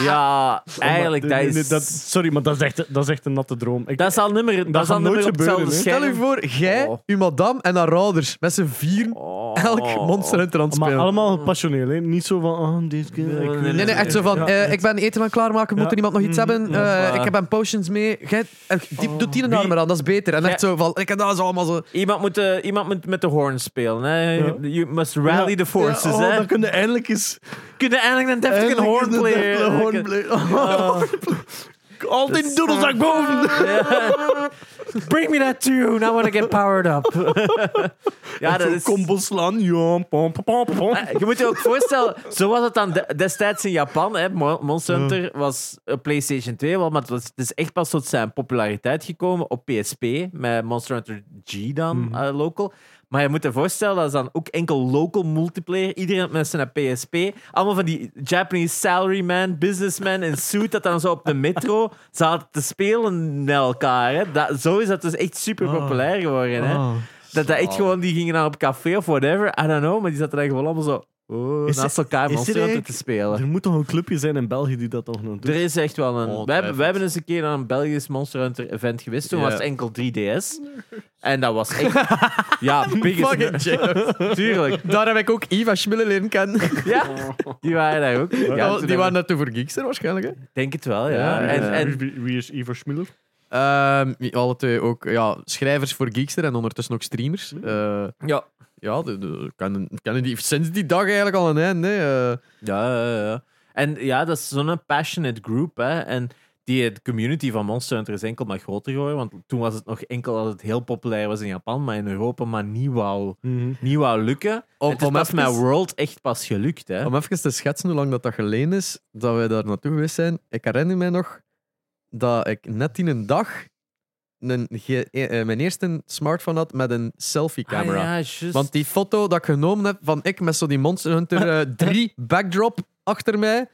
A: Ja, eigenlijk,
D: Nee,
A: dat
D: Ah. nee, nee,
A: is...
D: dat- sorry, maar dat is echt, dat is echt een natte droom. Ik,
A: Dat is al nummer, dat
D: Dat
A: is al
D: gaat nooit
A: nummer op hetzelfde
D: gebeuren,
B: Stel u
A: scherm.
B: voor, jij,
A: Oh.
B: uw madame en haar ouders met z'n vier
A: Oh.
B: elk Monster Hunter aan het
D: maar
B: spelen.
D: allemaal passioneel, hè? Niet zo van, oh, deze keer...
A: Nee,
D: ik weet
A: nee,
B: Nee, nee, echt zo van,
D: Ja.
B: eh, ik ben eten aan het klaarmaken, moet
D: Ja.
B: er iemand nog iets
D: Mm, Oh.
B: hebben?
A: ja,
B: Eh,
A: voilà.
B: ik heb hem potions mee. Jij, eh, die, doe die een
A: Wie-
B: arm aan, dat is beter. En
A: Jij-
B: echt zo van, ik heb dat is allemaal zo...
A: Iemand moet, eh, iemand moet met de horn spelen. Hè.
D: Ja.
A: You must rally
D: Ja.
A: the forces.
D: Ja, oh,
A: hè.
D: Dan kunnen eindelijk eens...
A: Kunnen eindelijk een deftige
D: eindelijk
A: horn
D: eens een deftige
A: player.
D: horn play- Oh. Al die doodles naar boven.
A: Ja. Bring me that tune. I want to get powered up. ja, dat
D: Zo'n
A: is...
D: combo slaan. Ja, pom, pom, pom, pom.
A: Eh, Je moet je ook voorstellen, zo was het dan de- destijds in Japan. Hè. Mo- Monster Hunter was eh, PlayStation 2, wel, maar het, was, het is echt pas tot zijn populariteit gekomen op PSP, met Monster Hunter G dan, eh, local. Maar je moet je voorstellen, dat is dan ook enkel local multiplayer. Iedereen met zijn PSP. Allemaal van die Japanese salaryman, businessman in suit, dat dan zo op de metro zaten te spelen met elkaar. Hè. Dat, zo is dat dus echt super populair geworden.
D: Ah.
A: Hè. Dat dat echt gewoon, die gingen dan op café of whatever, I don't know, maar die zaten dan gewoon allemaal zo oh,
D: Is
A: naast
D: er-
A: elkaar
D: is
A: Monster
D: er
A: Hunter te
D: eigenlijk-
A: spelen.
D: Er moet toch een clubje zijn in België die dat toch nog doet?
A: Er is echt wel een... We hebben,
B: Ongetwijfeld.
A: wij hebben eens een keer aan een Belgisch Monster Hunter event geweest, toen
B: Ja.
A: was het enkel 3DS. En dat was echt... ja, biggest... Tuurlijk.
B: Daar heb ik ook Iva Schmille leren kennen.
A: Ja, die waren daar ook. Ja, toen
B: Dat was- die waren
A: hebben-
B: naartoe voor Geekster waarschijnlijk. Hè?
A: Denk het wel, ja.
B: Ja, ja,
A: En,
B: ja.
A: en
D: Eh, wie, wie is Ivar Schmiller?
B: Ehm, wie- alle twee ook ja, schrijvers voor Geekster en ondertussen ook streamers.
A: Mm.
B: Eh,
A: Ja.
B: ja, de, de- kennen, kennen die sinds die dag eigenlijk al een einde. hè. Eh,
A: Ja, ja, ja. En ja, dat is zo'n passionate group. Hè? En die de community van Monster Hunter is enkel maar groter geworden. Want toen was het nog enkel dat het heel populair was in Japan, maar in Europa maar niet wou,
D: Mhm.
A: niet wou lukken.
B: Om-
A: het is
B: om
A: pas
B: even-
A: met World echt pas gelukt. Hè?
B: Om even te schetsen hoe lang dat, dat geleden is dat wij daar naartoe geweest zijn. Ik herinner mij nog dat ik net in een dag een ge- eh, eh, mijn eerste smartphone had met een selfie-camera.
A: Ah, ja, juist.
B: Want die foto dat ik genomen heb van ik met zo die Monster Hunter eh, 3 backdrop achter mij,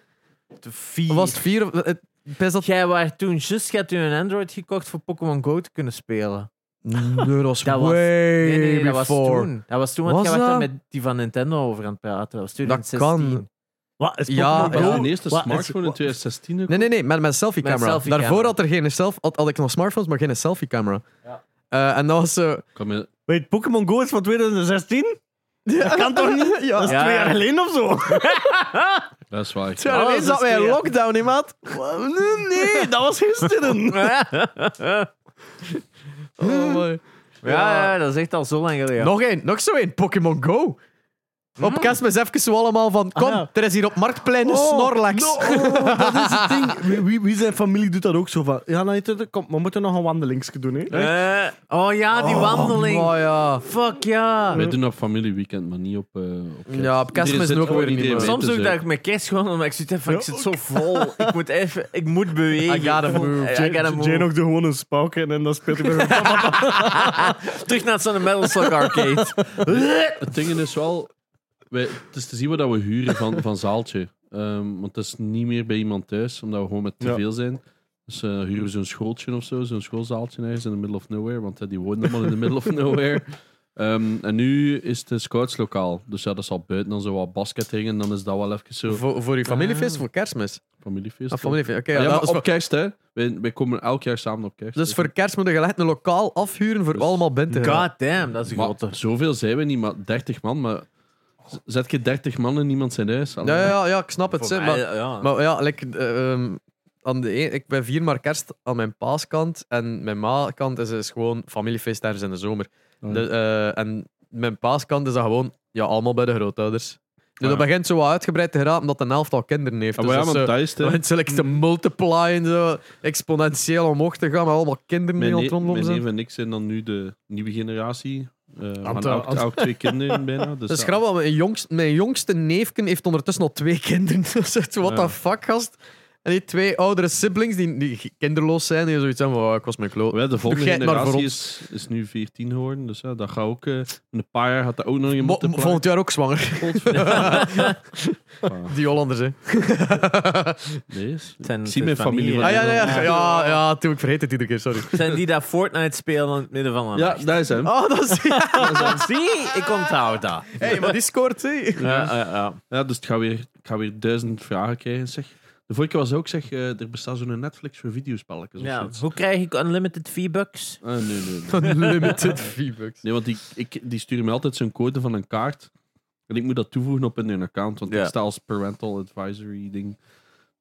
A: De vier-
B: of was het 4? Het, best dat...
A: Jij was toen juist, je had toen een Android gekocht voor Pokémon Go te kunnen spelen.
B: Nee, Mm, dat was
A: Dat was-
B: way
A: Nee, nee, dat was
B: before.
A: toen. Dat was toen, want
B: Was
A: jij was daar
B: dat?
A: met die van Nintendo over aan het praten. Dat was
B: Dat
A: 2016.
B: kan.
D: Wat? Is
B: Ja,
D: Pokémon
B: Ah, ja.
D: Go?
C: Mijn eerste
D: Wat is-
C: smartphone in
D: wat-
C: 2016.
B: Nee, nee, nee, met mijn
A: Met een
B: selfie-camera.
A: selfie-camera.
B: Daarvoor had, er geen self had, had ik nog smartphones, maar geen selfie-camera. Eh, en dat was zo...
C: Ik kan me-
D: Wait, Pokémon Go is van 2016? Dat kan toch niet? Dat is
A: Ja.
D: twee jaar geleden of zo?
C: Dat is waar.
B: Toen
A: dat
B: ineens
A: is
B: zaten wij in
A: weer-
B: lockdown, hè, maat.
D: Nee, nee, dat was gisteren.
B: Oh, mooi.
A: Ja, ja, dat is echt al zo lang geleden.
B: Nog één, nog zo één. Pokémon Go. Op kerstmis even zo allemaal van... Kom,
D: ja.
B: er is hier op Marktplein een
D: Oh,
B: Snorlax.
D: no, oh, dat is het ding. Wie, wie, wie zijn familie doet dat ook zo van. Ja, nou, kom, we moeten nog een wandelingsje doen. Hè.
A: Eh, oh ja, die wandeling.
B: Oh, ja.
A: Fuck ja.
C: Wij doen op familieweekend, maar niet op. eh, op kerst.
B: Ja, op kerstmis
C: Iedereen zit
B: ook
C: gewoon
B: weer niet,
C: idee
B: maar-
C: mee
A: Soms
C: te
A: doe ik dat
C: zeggen.
A: ik met kerst gewoon, omdat ik zoiets heb van,
D: Ja,
A: ik zit zo vol. Ik moet even, ik moet bewegen.
B: I gotta move.
A: I gotta move.
D: Jane ook doet gewoon een spalk in en dan speelt hij met een
A: Terug naar zo'n Metal Slug arcade.
C: Het ding is wel. Wij, het is te zien wat dat we huren van, van zaaltje. Ehm, want dat is niet meer bij iemand thuis, omdat we gewoon met te
D: Ja.
C: veel zijn. Dus eh, huren we zo'n schooltje of zo, zo'n schoolzaaltje ergens in the middle of nowhere. Want eh, die wonen allemaal in the middle of nowhere. Ehm, en nu is het een scoutslokaal. Dus ja, dat is al buiten dan zo wat baskettingen. En dan is dat wel even zo.
B: Voor, voor uw familiefeest, voor kerstmis.
C: Familiefeest. Ah,
B: Of familiefeest, oké.
C: Ja,
B: Ah, ja,
C: maar
B: dat
C: op
B: is voor-
C: kerst, hè? Wij, wij komen elk jaar samen op kerst.
B: dus voor kerst moet je gelijk een lokaal afhuren voor allemaal binnen te gaan.
A: Dus God damn, dat is een
C: Maar
A: grote.
C: zoveel zijn we niet, maar 30 man. Maar z- zet je 30 man in niemand zijn huis?
B: Ja, ja, ja, ja, ik snap het.
A: Voor
B: zeg,
A: mij,
B: maar,
A: ja.
B: Maar ja, like, eh, ehm, aan de een, ik ben vier maar kerst aan mijn paaskant. En mijn ma-kant is, is gewoon familiefeest ergens in de zomer.
C: Oh ja.
B: De- eh, en mijn paaskant is dat gewoon ja, allemaal bij de grootouders. Dus
C: Ah, ja.
B: dat begint zo wat uitgebreid te geraken omdat een elftal kinderen heeft.
C: Ah,
B: dus
C: maar ja,
B: dat
C: want
B: is zo-
C: dat is het, hè.
B: begint zo like, te multiplyen, zo, exponentieel omhoog te gaan met allemaal kinderen die
C: Mijn,
B: aan
C: ne
B: het rondlopen
C: mijn
B: zijn.
C: neef en ik zijn dan nu de nieuwe generatie. Eh we
D: Ant-
C: hebben elk,
D: ant-
C: elk twee kinderen bijna. Dus
B: Dat is
C: ja.
B: grappig, want mijn jongste, mijn jongste neefken heeft ondertussen al twee kinderen. Dat is echt, what
C: Ja.
B: the fuck, gast. En die twee oudere siblings die, die kinderloos zijn, die zoiets hebben van, oh, ik was mijn kloot.
C: Wel, de volgende
B: jij het maar
C: generatie
B: voor
C: is, is nu 14 geworden, dus ja, dat gaat ook... eh, in een paar jaar gaat dat ook nog iemand
B: Mo-
C: te
B: Volgend jaar ook zwanger. Die Hollanders, hè.
C: Nee, is-
A: zijn-
C: ik
A: het
C: zie
A: zijn
C: mijn familie
A: familie.
C: wel
B: Ah, ja,
C: in.
B: ja, ja, ja, ja, toen ik vergeet het iedere keer, sorry.
A: Zijn die dat Fortnite spelen in het midden van de
C: Ja,
A: nacht?
C: dat is hem.
B: Oh, dat is... Hé,
A: Dan Zie, ik onthoud dat.
B: hey, maar die scoort, hé.
A: Ja, ja, ja.
C: Ja, dus ik ga, weer, ik ga weer duizend vragen krijgen, zeg. De vorige keer was ook, zeg, eh, er bestaat zo'n Netflix voor videospelletjes of
A: Ja,
C: zoiets.
A: Hoe krijg ik unlimited V-bucks?
C: Ah, nee, nee, nee.
B: Unlimited V-Bucks.
C: Nee, want die, ik, die sturen me altijd zo'n code van een kaart. En ik moet dat toevoegen op in hun account, want
A: Ja.
C: ik sta als parental advisory ding.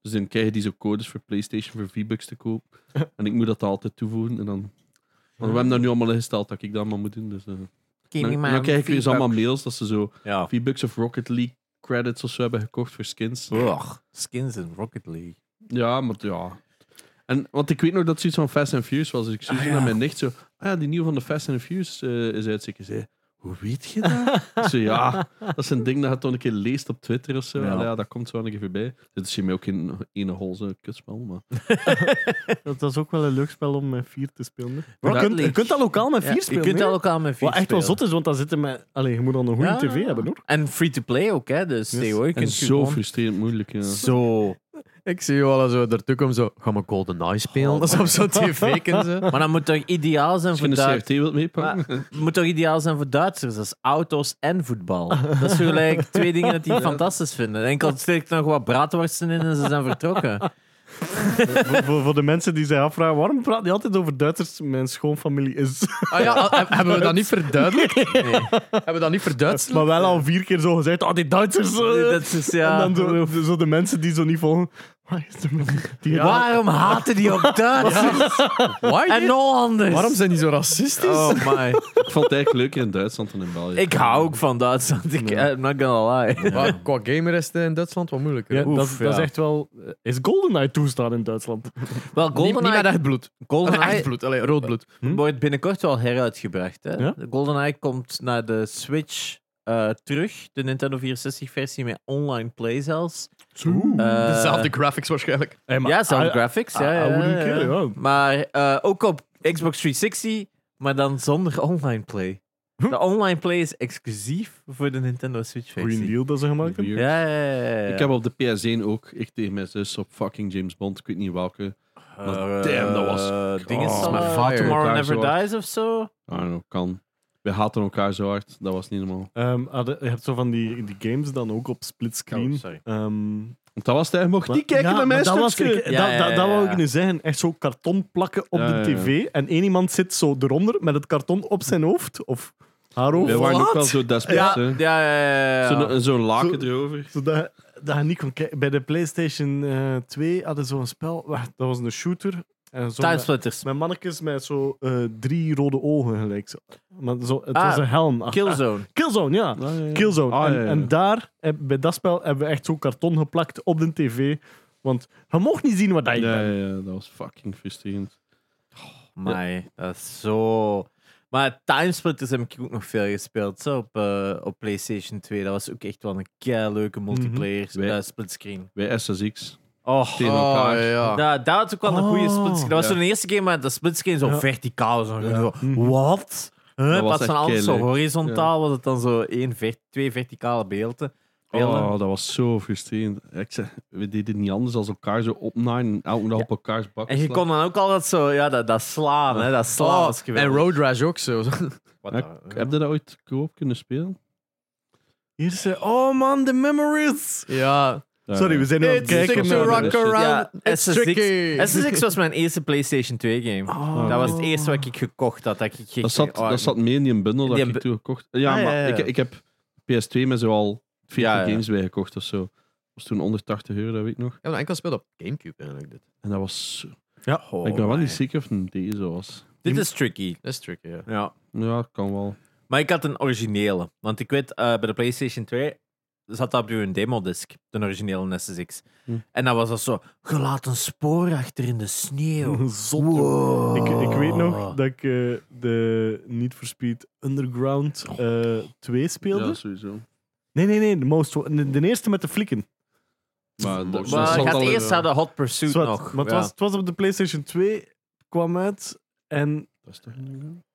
C: Dus dan krijgen die zo'n codes voor PlayStation voor V-Bucks te koop. en ik moet dat altijd toevoegen. En dan, want we hebben dat nu allemaal ingesteld dat ik dat allemaal moet doen. Dus, eh.
A: Geef
C: dan,
A: me maar
C: dan krijg ik
A: een
C: weer eens
A: V-buck.
C: allemaal mails dat ze zo
A: Ja.
C: V-Bucks of Rocket League credits of zo hebben gekocht voor skins.
A: Och, skins in Rocket League.
C: Ja, maar t- ja. En, want ik weet nog dat zoiets van Fast and Furious was. Dus ik stuurde
A: Ah, ja.
C: naar mijn nicht zo... Ah ja, die nieuwe van de Fast and Furious eh, is uit. Dus Ik zei, hoe weet je dat? ik zei, ja, dat is een ding dat je toch een keer leest op Twitter of zo.
A: Ja.
C: Ja, ja dat komt zo een keer voorbij. Dit is hiermee ook in ene hol zo'n kutspel, maar...
D: Dat is ook wel een leuk spel om met vier te spelen. hè.
A: Rocket
D: Je kunt- je
A: League.
D: kunt dat lokaal met
A: Ja,
D: vier spelen.
A: je kunt
D: hè?
A: dat lokaal met vier
D: Wat echt wel
A: spelen.
D: zot is, want dan zitten met... Allee, je moet dan een goede
A: Ja.
D: tv hebben, hoor.
A: En free-to-play ook, hè. Dus
D: Yes.
A: tegenwoordig
C: En
A: kunt je
C: zo
A: gewoon-
C: frustrerend moeilijk, ja.
A: Zo.
B: Ik zie jou al zo ertoe komen, zo... Ga maar Golden Eye spelen?
A: Oh.
B: dat is op zo'n tv ze.
A: Maar dat moet toch ideaal zijn voor
C: Misschien een
A: Duitsers?
C: CRT wilt meepakken?
A: moet toch ideaal zijn voor Duitsers? Dat is auto's en voetbal. Dat zijn gelijk twee dingen dat die fantastisch vinden. Enkel steekt nog wat braadworsten in en ze zijn vertrokken.
D: voor, voor, voor de mensen die zich afvragen, waarom praat je altijd over Duitsers? Mijn schoonfamilie is...
B: Ah ja, he- hebben we dat niet verduidelijkt?
A: Nee.
B: Hebben we dat niet verduidelijkt?
D: maar wel al vier keer zo gezegd, oh, die Duitsers... eh.
A: Dat is, ja.
D: En dan zo, zo de mensen die zo niet volgen. Waar is de man? Die-
A: Waarom haten die ook Duitsers
B: Why
A: en
B: did-
A: Hollanders?
B: Waarom zijn die zo racistisch?
A: Oh my.
C: Ik vond het eigenlijk leuker in Duitsland dan in België.
A: Ik hou ook van Duitsland. Ik, I'm not gonna lie.
B: Maar qua gamer is het in Duitsland wat moeilijker.
D: Ja,
B: hè?
A: Oef,
D: dat, dat is
A: ja.
D: echt wel... eh, Is GoldenEye toestaan in Duitsland?
A: Wel,
B: Niet, niet met
A: GoldenEye,
B: echt bloed. Met
A: GoldenEye
B: echt bloed, alleen rood bloed.
A: wordt binnenkort wel heruitgebracht. Hè?
D: Ja?
A: GoldenEye komt naar de Switch eh, terug. De Nintendo 64 versie met online play zelfs. Eh,
B: Dezelfde graphics waarschijnlijk.
D: Hey, maar-
A: ja, zelfde
D: Hm, ah,
A: graphics.
D: I-
A: ja, ja,
D: I wouldn't
A: ja,
D: care,
A: ja.
D: ja.
A: Maar eh, ook op Xbox 360, maar dan zonder online play. De online play is exclusief voor de Nintendo Switch
D: Goeie
A: versie.
D: deal dat ze gemaakt hebben.
C: Weird.
A: Ja, ja, ja, ja, ja.
C: Ik heb op de PS1 ook, ik tegen mijn zus, op fucking James Bond, ik weet niet welke. I
A: Eh,
C: Damn, dat was-
A: eh, Dingen
C: Oh,
A: staan,
B: met
A: eh,
B: fire.
A: Tomorrow
C: Elkaar
A: Never
C: zo hard.
A: Dies of zo.
C: don't know, Ah, nou, kan. We haten elkaar zo hard, dat was niet normaal.
D: Ehm, hadden- je hebt zo van die, die games dan ook op splitscreen.
A: Oh,
D: screen.
A: sorry.
C: Want dat was het, hè. mocht
D: Ehm, Maar-
C: niet kijken
D: ja,
C: naar mijn
D: maar dat, was, ik,
C: stukje.
D: dat,
A: Ja, ja,
D: dat, dat
A: ja,
D: wou
A: ja.
D: ik nu zeggen. Echt zo karton plakken op
C: Ja, ja, ja.
D: de tv. En één iemand zit zo eronder met het karton op zijn hoofd. Of haar hoofd.
C: We waren ook wel
D: Wat?
C: zo desperate.
A: Ja,
C: hè.
A: ja, ja, ja, ja.
C: Zo'n zo'n laken
D: Zo-
C: erover.
D: Zodat dat je niet kon kijken. Bij de PlayStation eh 2 hadden ze zo'n spel. Wacht, dat was een shooter. En zo met,
A: Timesplitters.
D: met mannetjes met zo eh, drie rode ogen gelijk. Zo, maar zo, het
A: Ah,
D: was een helm. Ah, ah,
A: Killzone.
D: Killzone, ja. Killzone.
C: Ah,
D: en,
C: ja, ja.
D: en daar, eh, bij dat spel, hebben we echt zo'n karton geplakt op de tv. Want je mocht niet zien wat dat je
C: Ja,
D: bent.
C: ja, ja, dat was fucking frustrerend.
A: Amai, dat is zo. Maar Timesplitters heb ik ook nog veel gespeeld zo, op, eh, op PlayStation 2. Dat was ook echt wel een kei leuke multiplayer
C: Wij-
A: eh, splitscreen.
C: Bij SSX.
A: Oh,
C: Tegen elkaar.
B: ja.
A: dat, dat was ook wel een
D: Oh.
A: goede splitscreen. Dat was
C: Ja.
A: zo'n eerste game, maar dat splitscreen zo
D: Ja.
A: verticaal. Zo, zo,
D: Mhm.
A: Wat? Huh?
C: was
A: In plaats
C: echt
A: van alles zo
C: keileuk.
A: horizontaal was het dan zo één, ver- twee verticale beelden. beelden.
C: Oh, dat was zo frustrerend. Ik zeg, we deden niet anders als elkaar zo opnaaien en elke dag op elkaars bakken
A: En je
C: slaan.
A: kon dan ook altijd zo, ja, dat, dat slaan, hè, dat slaan
B: Oh,
A: was
B: en
A: geweldig.
B: Road Rash ook zo.
A: Wat
C: Ja,
A: dan?
C: Heb je dat ooit koop kunnen spelen?
D: Hier is ze- oh man, de memories.
B: Ja.
C: Eh,
D: Sorry, we zijn nu aan het
B: It's
D: kijken.
B: tricky
C: naar
B: to
C: de
B: rock
C: rest.
B: around.
A: Ja,
B: It's
A: SSX.
B: tricky.
A: SSX was mijn eerste PlayStation 2 game.
D: Oh.
A: Dat was het eerste wat ik gekocht had. Dat, ik oh,
C: Dat zat, dat zat mee in die bundel dat
A: Die
C: ik
A: bu-
C: toen gekocht Ja,
A: Ah, ja,
C: maar
A: ja, ja.
C: Ik, ik heb PS2 met zoal 40
A: Ja, ja.
C: games bij gekocht of zo. Dat was toen 180 euro, dat weet ik nog.
B: Ik heb enkel gespeeld op Gamecube eigenlijk. Dit.
C: En dat was...
A: Ja,
C: ik ben wel niet zeker of het een deze was.
A: oh, Dit is tricky.
B: Dat is tricky, ja.
A: Ja.
C: Ja, kan wel.
A: Maar ik had een originele. Want ik weet, eh, bij de PlayStation 2 zat dat op een demodisc. De originele SSX.
C: Hm.
A: En dat was dat zo... Je laat een spoor achter in de sneeuw.
D: Zot, joh.
A: Wow.
D: Ik, ik weet
A: Ah.
D: nog dat ik eh, de Need for Speed Underground eh 2 speelde.
C: Ja, sowieso.
D: Nee, nee, nee. De, most, de, de eerste met de flikken.
C: Maar dat,
A: Maar
C: dat zal
A: gaat
C: wel-
A: eerst naar de Hot Pursuit
D: Zwart,
A: nog.
D: Maar het,
A: ja.
D: was, het was op de PlayStation 2, kwam uit. En
C: Dat is toch underground?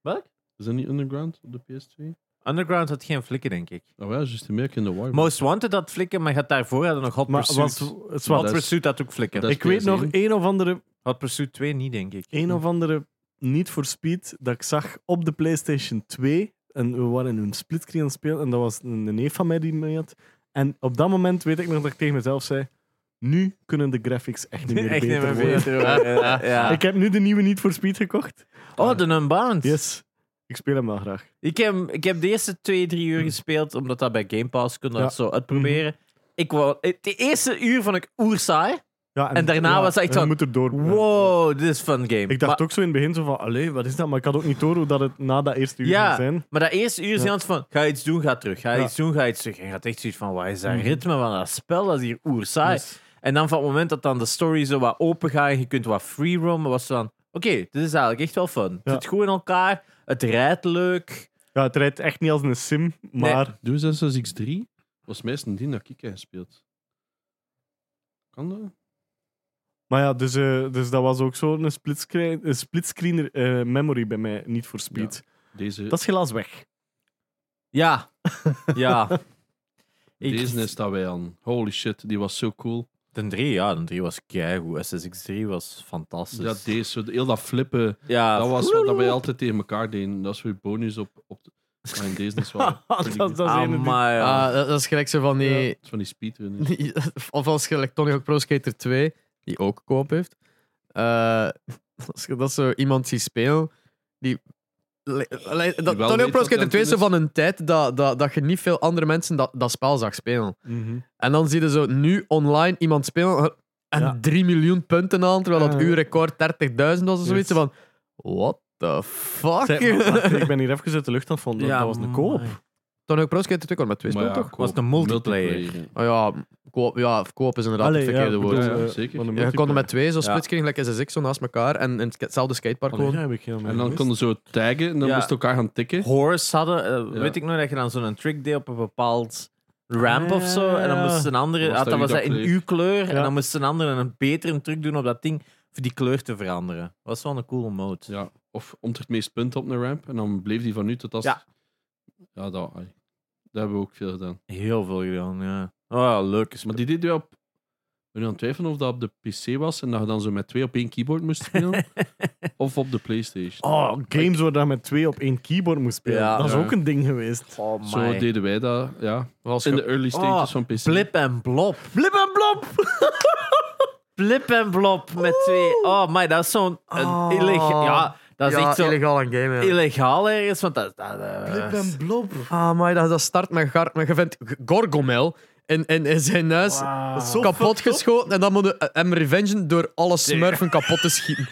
A: Welk?
C: Is dat niet underground op de PS2?
A: Underground had geen flikken, denk ik.
C: Nou ja, juist de merk in de war.
A: Most Wanted had flikken, maar je had daarvoor hadden nog Hot
D: maar
A: Pursuit.
D: was, het
A: Hot
C: dat is-
A: Pursuit had ook flikken.
C: dat is
D: ik weet nog
C: PS1.
D: een of andere,
A: Hot Pursuit 2 niet, denk ik.
D: een of andere niet voor speed dat ik zag op de PlayStation 2. En we waren in een splitscreen aan het spelen. En dat was een een neef van mij die mee had. En op dat moment weet ik nog dat ik tegen mezelf zei: Nu kunnen de graphics echt niet meer
A: Echt niet
D: beter
A: meer
D: worden.
A: beter. ja. ja.
D: Ik heb nu de nieuwe Need for Speed gekocht.
A: Oh, de Unbound.
D: Yes. Ik speel hem wel graag.
A: Ik, heb, ik heb de eerste twee, drie uur gespeeld, omdat dat bij Game Pass kon dat
D: Mm. Ja. Mm-hmm.
A: zo uitproberen. Ik wou, eh, de eerste uur vond ik oersaai.
D: Ja,
A: En daarna was het echt
D: en je
A: van,
D: moet er door.
A: Wow, dit is fun game.
D: Ik dacht
A: maar,
D: ook zo in het begin zo van, allee, wat is dat? Maar ik had ook niet door hoe dat het na dat eerste uur
A: Ja.
D: ging zijn.
A: maar dat eerste uur is
D: Ja.
A: iemand van, ga iets doen, ga terug. Ga
D: Ja. Mm-hmm.
A: iets doen, ga iets terug. En je had echt zoiets van, wat is dat ritme van dat spel? Dat is hier oersaai.
D: Dus-
A: En dan van het moment dat dan de story zo wat open gaat en je kunt wat free roamen, was het dan, oké, dit is eigenlijk echt wel fun.
D: Ja.
A: Het zit goed in elkaar, het rijdt leuk.
D: Ja, het rijdt echt niet als een sim, maar...
C: Doe 663 was meestal die dat ik heb gespeeld. Kan dat?
D: Maar ja, dus, eh, dus dat was ook zo'n splitscreen, een splitscreener eh, memory bij mij, niet voor speed.
C: Deze,
D: Dat is helaas weg.
A: Ja, ja. Ik-
C: deze is daar wij aan. Holy shit, die was zo cool.
A: De 3, ja, de 3 was keigoed. SSX3 was fantastisch.
C: Dat deze, zo- heel dat flippen,
A: ja,
C: dat was wat dat wij altijd tegen elkaar deden. Dat is weer bonus op... op de... Maar in deze is wel...
D: dat, dat is een die-
A: Amai, ja.
B: Ah, dat, dat is gelijk zo van die...
C: Het is van die speedrunnen.
B: of als je like, Tony Hawk Pro Skater 2, die ook koop heeft. eh, als je dat zo iemand ziet spelen, die... le- le- dat-
C: weet
B: Tony Hawk Pro
C: wat hij aan
B: Skater
C: het
B: 2 is zo
C: doen is.
B: van een tijd dat, dat, dat je niet veel andere mensen dat, dat spel zag spelen.
D: Mhm.
B: En dan zie je zo nu online iemand spelen en
D: Ja.
B: 3 miljoen punten aan, terwijl dat
D: Ja.
B: uw record 30.000 was of zoiets.
D: Yes.
B: Van, what the fuck?
D: Zeg, maar, wacht, ik ben hier even uit de lucht aan het vonden. dat was een koop.
B: Tony Hawk Pro Skater 2 kwam met twee
C: Maar
B: spelen,
C: ja,
B: toch?
C: koop.
A: Was een multiplayer.
B: Oh ja, koop, ja, koop is inderdaad
D: Allee,
B: het verkeerde
D: ja,
B: woord.
D: bedoel,
C: Ja, ja,
D: eh,
C: zeker.
D: van een
B: Ja, je kon er met twee,
A: Ja.
B: zo
A: Oh,
B: splitscreen, gelijk SSX, zo naast elkaar. En in hetzelfde skatepark
D: multiplayer. Allee,
B: gewoon.
D: daar heb ik helemaal
C: En dan
D: niet
C: konden ze zo taggen en dan
A: Ja.
C: moesten elkaar gaan tikken.
A: Horse hadden, eh,
C: Ja.
A: weet ik nog, dat je dan zo'n trick deed op een bepaald ramp of zo.
D: Ah.
A: En dan moest een andere,
C: Was
A: ah,
C: dat
A: dan
C: uw
A: was dat in
C: dakleed?
A: uw kleur. En
D: Ja.
A: dan moest een andere een betere truc doen op dat ding. Voor die kleur te veranderen. was wel een coole mode.
C: Ja. Of om het meest punten op een ramp. En dan bleef die van nu tot als...
A: Ja.
C: Ja, dat, ai. dat hebben we ook veel gedaan.
A: Heel veel gedaan, ja. Oh, ja, leuk is
C: Maar die deed je op... Ik ben nu aan het twijfelen of dat op de PC was en dat je dan zo met twee op één keyboard moest spelen. of op de Playstation.
D: Oh, games waar je met twee op één keyboard moest spelen.
A: Ja.
D: dat is
C: Ja.
D: ook een ding geweest.
A: Oh, my.
C: zo deden wij dat, ja.
B: Was
C: In
B: ge-
C: de early stages
A: Oh,
C: van PC.
A: Blip en blop. Blip en blop! Blip en blop met twee. Oh, my, dat is zo'n. een
B: Oh.
A: illega- Ja, dat is
B: ja,
A: echt zo illegaal,
B: illegaal aan game. Ja.
A: ergens. Want dat. dat eh,
D: blob.
B: Ah, maar dat, dat start met gar, maar je vindt G- Gorgomel in, in, in zijn huis kapot geschoten. En dan moet je eh, hem revengen door alle smurfen kapot te schieten.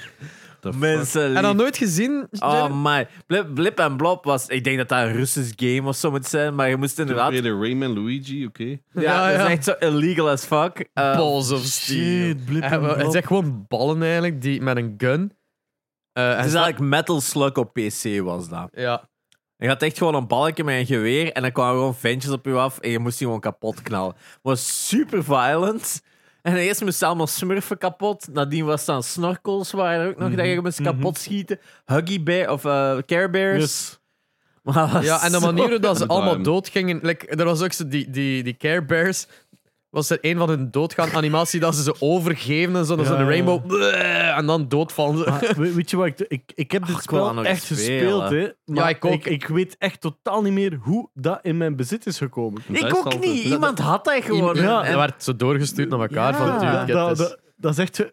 A: mensen.
B: En dan
A: lief.
B: nooit gezien.
A: Oh,
B: Jaren?
A: my. Blip, blip en blop was. Ik denk dat dat een Russisch game of zo moet zijn. Maar je moest
C: Toen
A: inderdaad. Ja,
C: deden Rayman Luigi, oké.
B: Ja,
A: dat
B: ja.
A: is echt zo illegal as fuck. Eh,
B: Balls of steel. Eh,
D: Shit, blip
B: En
D: en
B: we- Het
D: blop.
B: zijn gewoon ballen eigenlijk die met een gun. Eh, en
A: het is
B: sta-
A: eigenlijk Metal Slug op PC was dat.
B: Ja.
A: Je had echt gewoon een balkje met een geweer en dan kwamen gewoon ventjes op je af en je moest die gewoon kapot knallen. Het was super violent. En eerst moesten allemaal smurfen kapot. Nadien was dan snorkels, waren er ook nog dat je moest kapot schieten. Huggy Bear of eh Care Bears.
D: Yes.
A: Maar dat was
B: Ja, en de
A: zo-
B: manier hoe dat ze
C: Met
B: allemaal
C: hem.
B: doodgingen. Like, er was ook zo die, die, die Care Bears. Was er een van hun doodgaan animatie dat ze ze overgeven en zo. Dan
D: Ja,
B: zo'n
D: ja.
B: rainbow. bleh, en dan doodvallen ze.
D: Maar we- weet je wat? Ik, doe? ik, ik heb dit
A: ik wil dat
D: spel
A: nog
D: echt
A: eens
D: gespeeld, hè? Maar
B: ik ook.
D: Ik, ik weet echt totaal niet meer hoe dat in mijn bezit is gekomen.
C: Dat
A: Ik
C: is
A: ook
C: altijd-
A: niet. Iemand had dat gewoon.
B: Ja,
A: En-
B: en werd zo doorgestuurd naar elkaar.
A: Ja.
B: van,
A: Ja,
B: dude,
D: dat,
B: get
D: dat,
B: this.
D: dat, dat is echt. zo-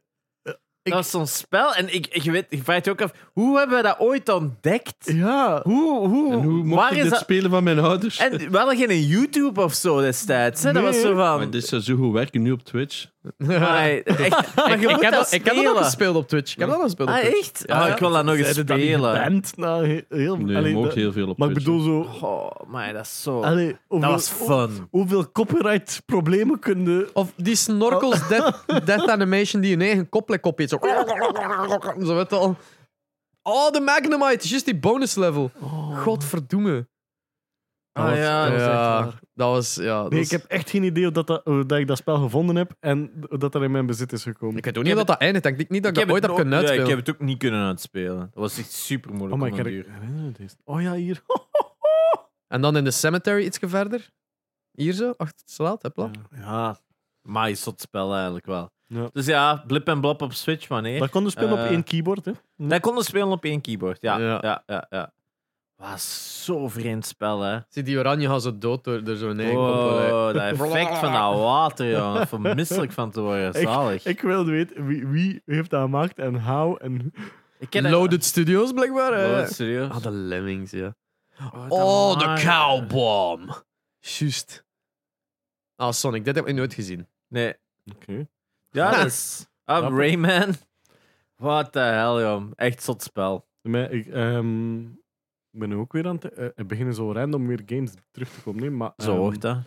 A: Dat was zo'n spel. En ik, ik, weet, ik vraag je ook af, hoe hebben we dat ooit ontdekt?
D: Ja.
A: Hoe, hoe,
C: En hoe mocht
A: Oh, waar
C: ik
A: is
C: dit
A: dat?
C: spelen van mijn ouders?
A: En we hadden geen YouTube of zo destijds. Hè? Dat was
D: Nee.
A: zo van...
C: Maar dit zou zo goed werken nu op Twitch.
A: Amai, echt, maar je
B: ik,
A: moet dat
B: heb dat, ik heb dat nog
A: spelen.
B: gespeeld op Twitch. Ik heb dat nog gespeeld op
A: Ah,
B: Twitch.
A: echt? Ah, ik wil dat nog eens
D: Zeiden dat niet
A: spelen.
D: geband? Nou, he- heel,
C: Nee,
D: allee,
C: je mag
D: dat-
C: heel veel op
D: Maar ik
C: Twitch.
D: bedoel zo.
A: Oh, maar dat is zo...
D: Allee, hoeveel,
A: dat was fun.
D: Hoeveel copyright-problemen kunnen.
B: Of die
A: Oh.
B: snorkels, death, death animation die een eigen koplek op heeft. Zo, zo weet je al.
A: Oh.
B: Oh, de Magnemite, juist die bonus level. Godverdomme.
A: Ah,
B: Dat was-
A: ja, dat is echt waar.
B: dat was. Ja, dat
D: Nee,
B: is-
D: ik heb echt geen idee hoe dat, dat, hoe dat ik dat spel gevonden heb en hoe dat er in mijn bezit is gekomen.
B: Ik weet ook niet dat dat eindigt. Ik denk niet dat ik,
A: heb
B: dat ooit
A: het
B: heb
A: ook-
B: kunnen
A: ja,
B: uitspelen.
A: ik heb het ook niet kunnen uitspelen. Dat was echt super
D: oh,
A: moeilijk.
D: maar
A: om
D: ik
A: een
D: her-
A: duur.
D: herinner me deze. Oh ja, hier.
B: En dan in de cemetery ietsje verder. Hier zo, achter het salaat. Hopla.
D: Oh.
A: Ja, maar is dat spel eigenlijk wel.
D: Ja.
A: Dus ja, blip en blop op Switch, wanneer?
D: Dat kon dus spelen op
A: Eh,
D: één keyboard, hè?
A: Wij konden dus spelen op één keyboard, ja.
B: Ja.
A: ja. ja, ja, Was zo'n vreemd spel, hè.
B: Zie die oranje gaat zo dood door, door zo'n eigen koppel.
A: Wow, dat effect van dat water, jongen. Vermisselijk van te worden,
D: Ik-
A: zalig.
D: Ik wil weten wie, wie heeft dat gemaakt en how en...
A: Ik ken dat-
B: Loaded Studios, blijkbaar. hè.
D: eh.
A: Loaded serieus.
B: Ah, de Lemmings, ja.
A: dat
B: Oh,
A: maar.
B: de Cowbomb. Juist. Ah, Sonic, dit heb ik nooit gezien.
A: Nee.
D: Oké.
A: Ja, dat is... Ah,
D: Grappig.
A: Rayman. What the hell, joh. Echt zot spel.
D: Maar Ik ehm, ben ook weer aan het... eh, er beginnen zo random weer games terug te komen, nee, maar...
A: Zo
D: ehm,
A: hoort dat.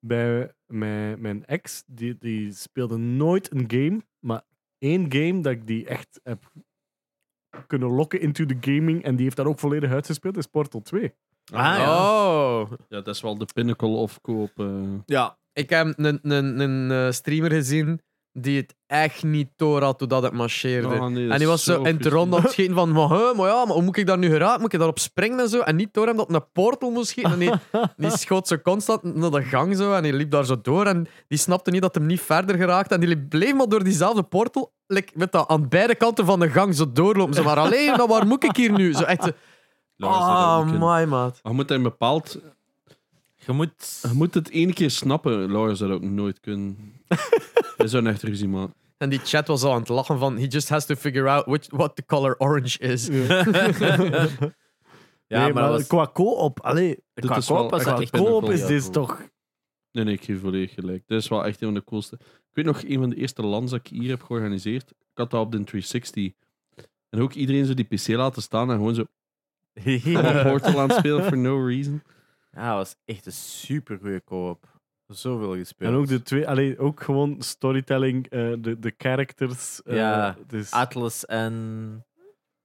D: bij mijn, mijn ex, die, die speelde nooit een game, maar één game dat ik die echt heb kunnen lokken into the gaming en die heeft daar ook volledig uitgespeeld, is Portal 2.
A: Ah, ja.
B: Oh.
C: Ja, dat is wel de pinnacle of eh, koop.
A: Ja.
B: Ik heb een, een, een eh, streamer gezien die het echt niet door had hoe dat het marcheerde. en die was zo in het rond aan het schieten van, maar, hè, maar ja, maar hoe moet ik daar nu geraakt? Moet ik daarop springen en zo? En niet door hem dat op een portal moest schieten. En die, die schoot zo constant naar de gang zo en die liep daar zo door. En die snapte niet dat hem niet verder geraakt. En die liep- bleef maar door diezelfde portal, like, met dat, aan beide kanten van de gang zo doorlopen. Zo maar, alleen, nou, waar moet ik hier nu? Zo echt, zo,
A: Oh,
B: ah, my maat.
C: Je moet, dat bepaald,
A: Je moet...
C: je moet het één keer snappen. Laura zou dat ook nooit kunnen. dat zou een echt ruzie maken.
B: En die chat was al aan het lachen van, he just has to figure out which, what the color orange is.
A: Ja, maar,
D: Nee,
A: dat was...
D: qua co-op, allee,
C: Dit
A: qua
C: is wel
A: koop was
C: echt
A: dat
C: een
A: echt
C: pinnacle.
D: co-op is
A: Ja,
D: dit
A: cool.
D: toch...
C: Nee, nee, ik geef volledig gelijk. Dat is wel echt een van de coolste. Ik weet nog, een van de eerste lands dat ik hier heb georganiseerd, ik had dat op de 360. En ook iedereen zo die PC laten staan en gewoon zo op Portal aan het spelen for no reason.
A: Ja, dat was echt een supergoeie koop. Zoveel gespeeld.
D: En ook de twee, allee, ook gewoon storytelling, eh, de, de characters. eh,
A: Ja,
D: dus,
A: Atlas en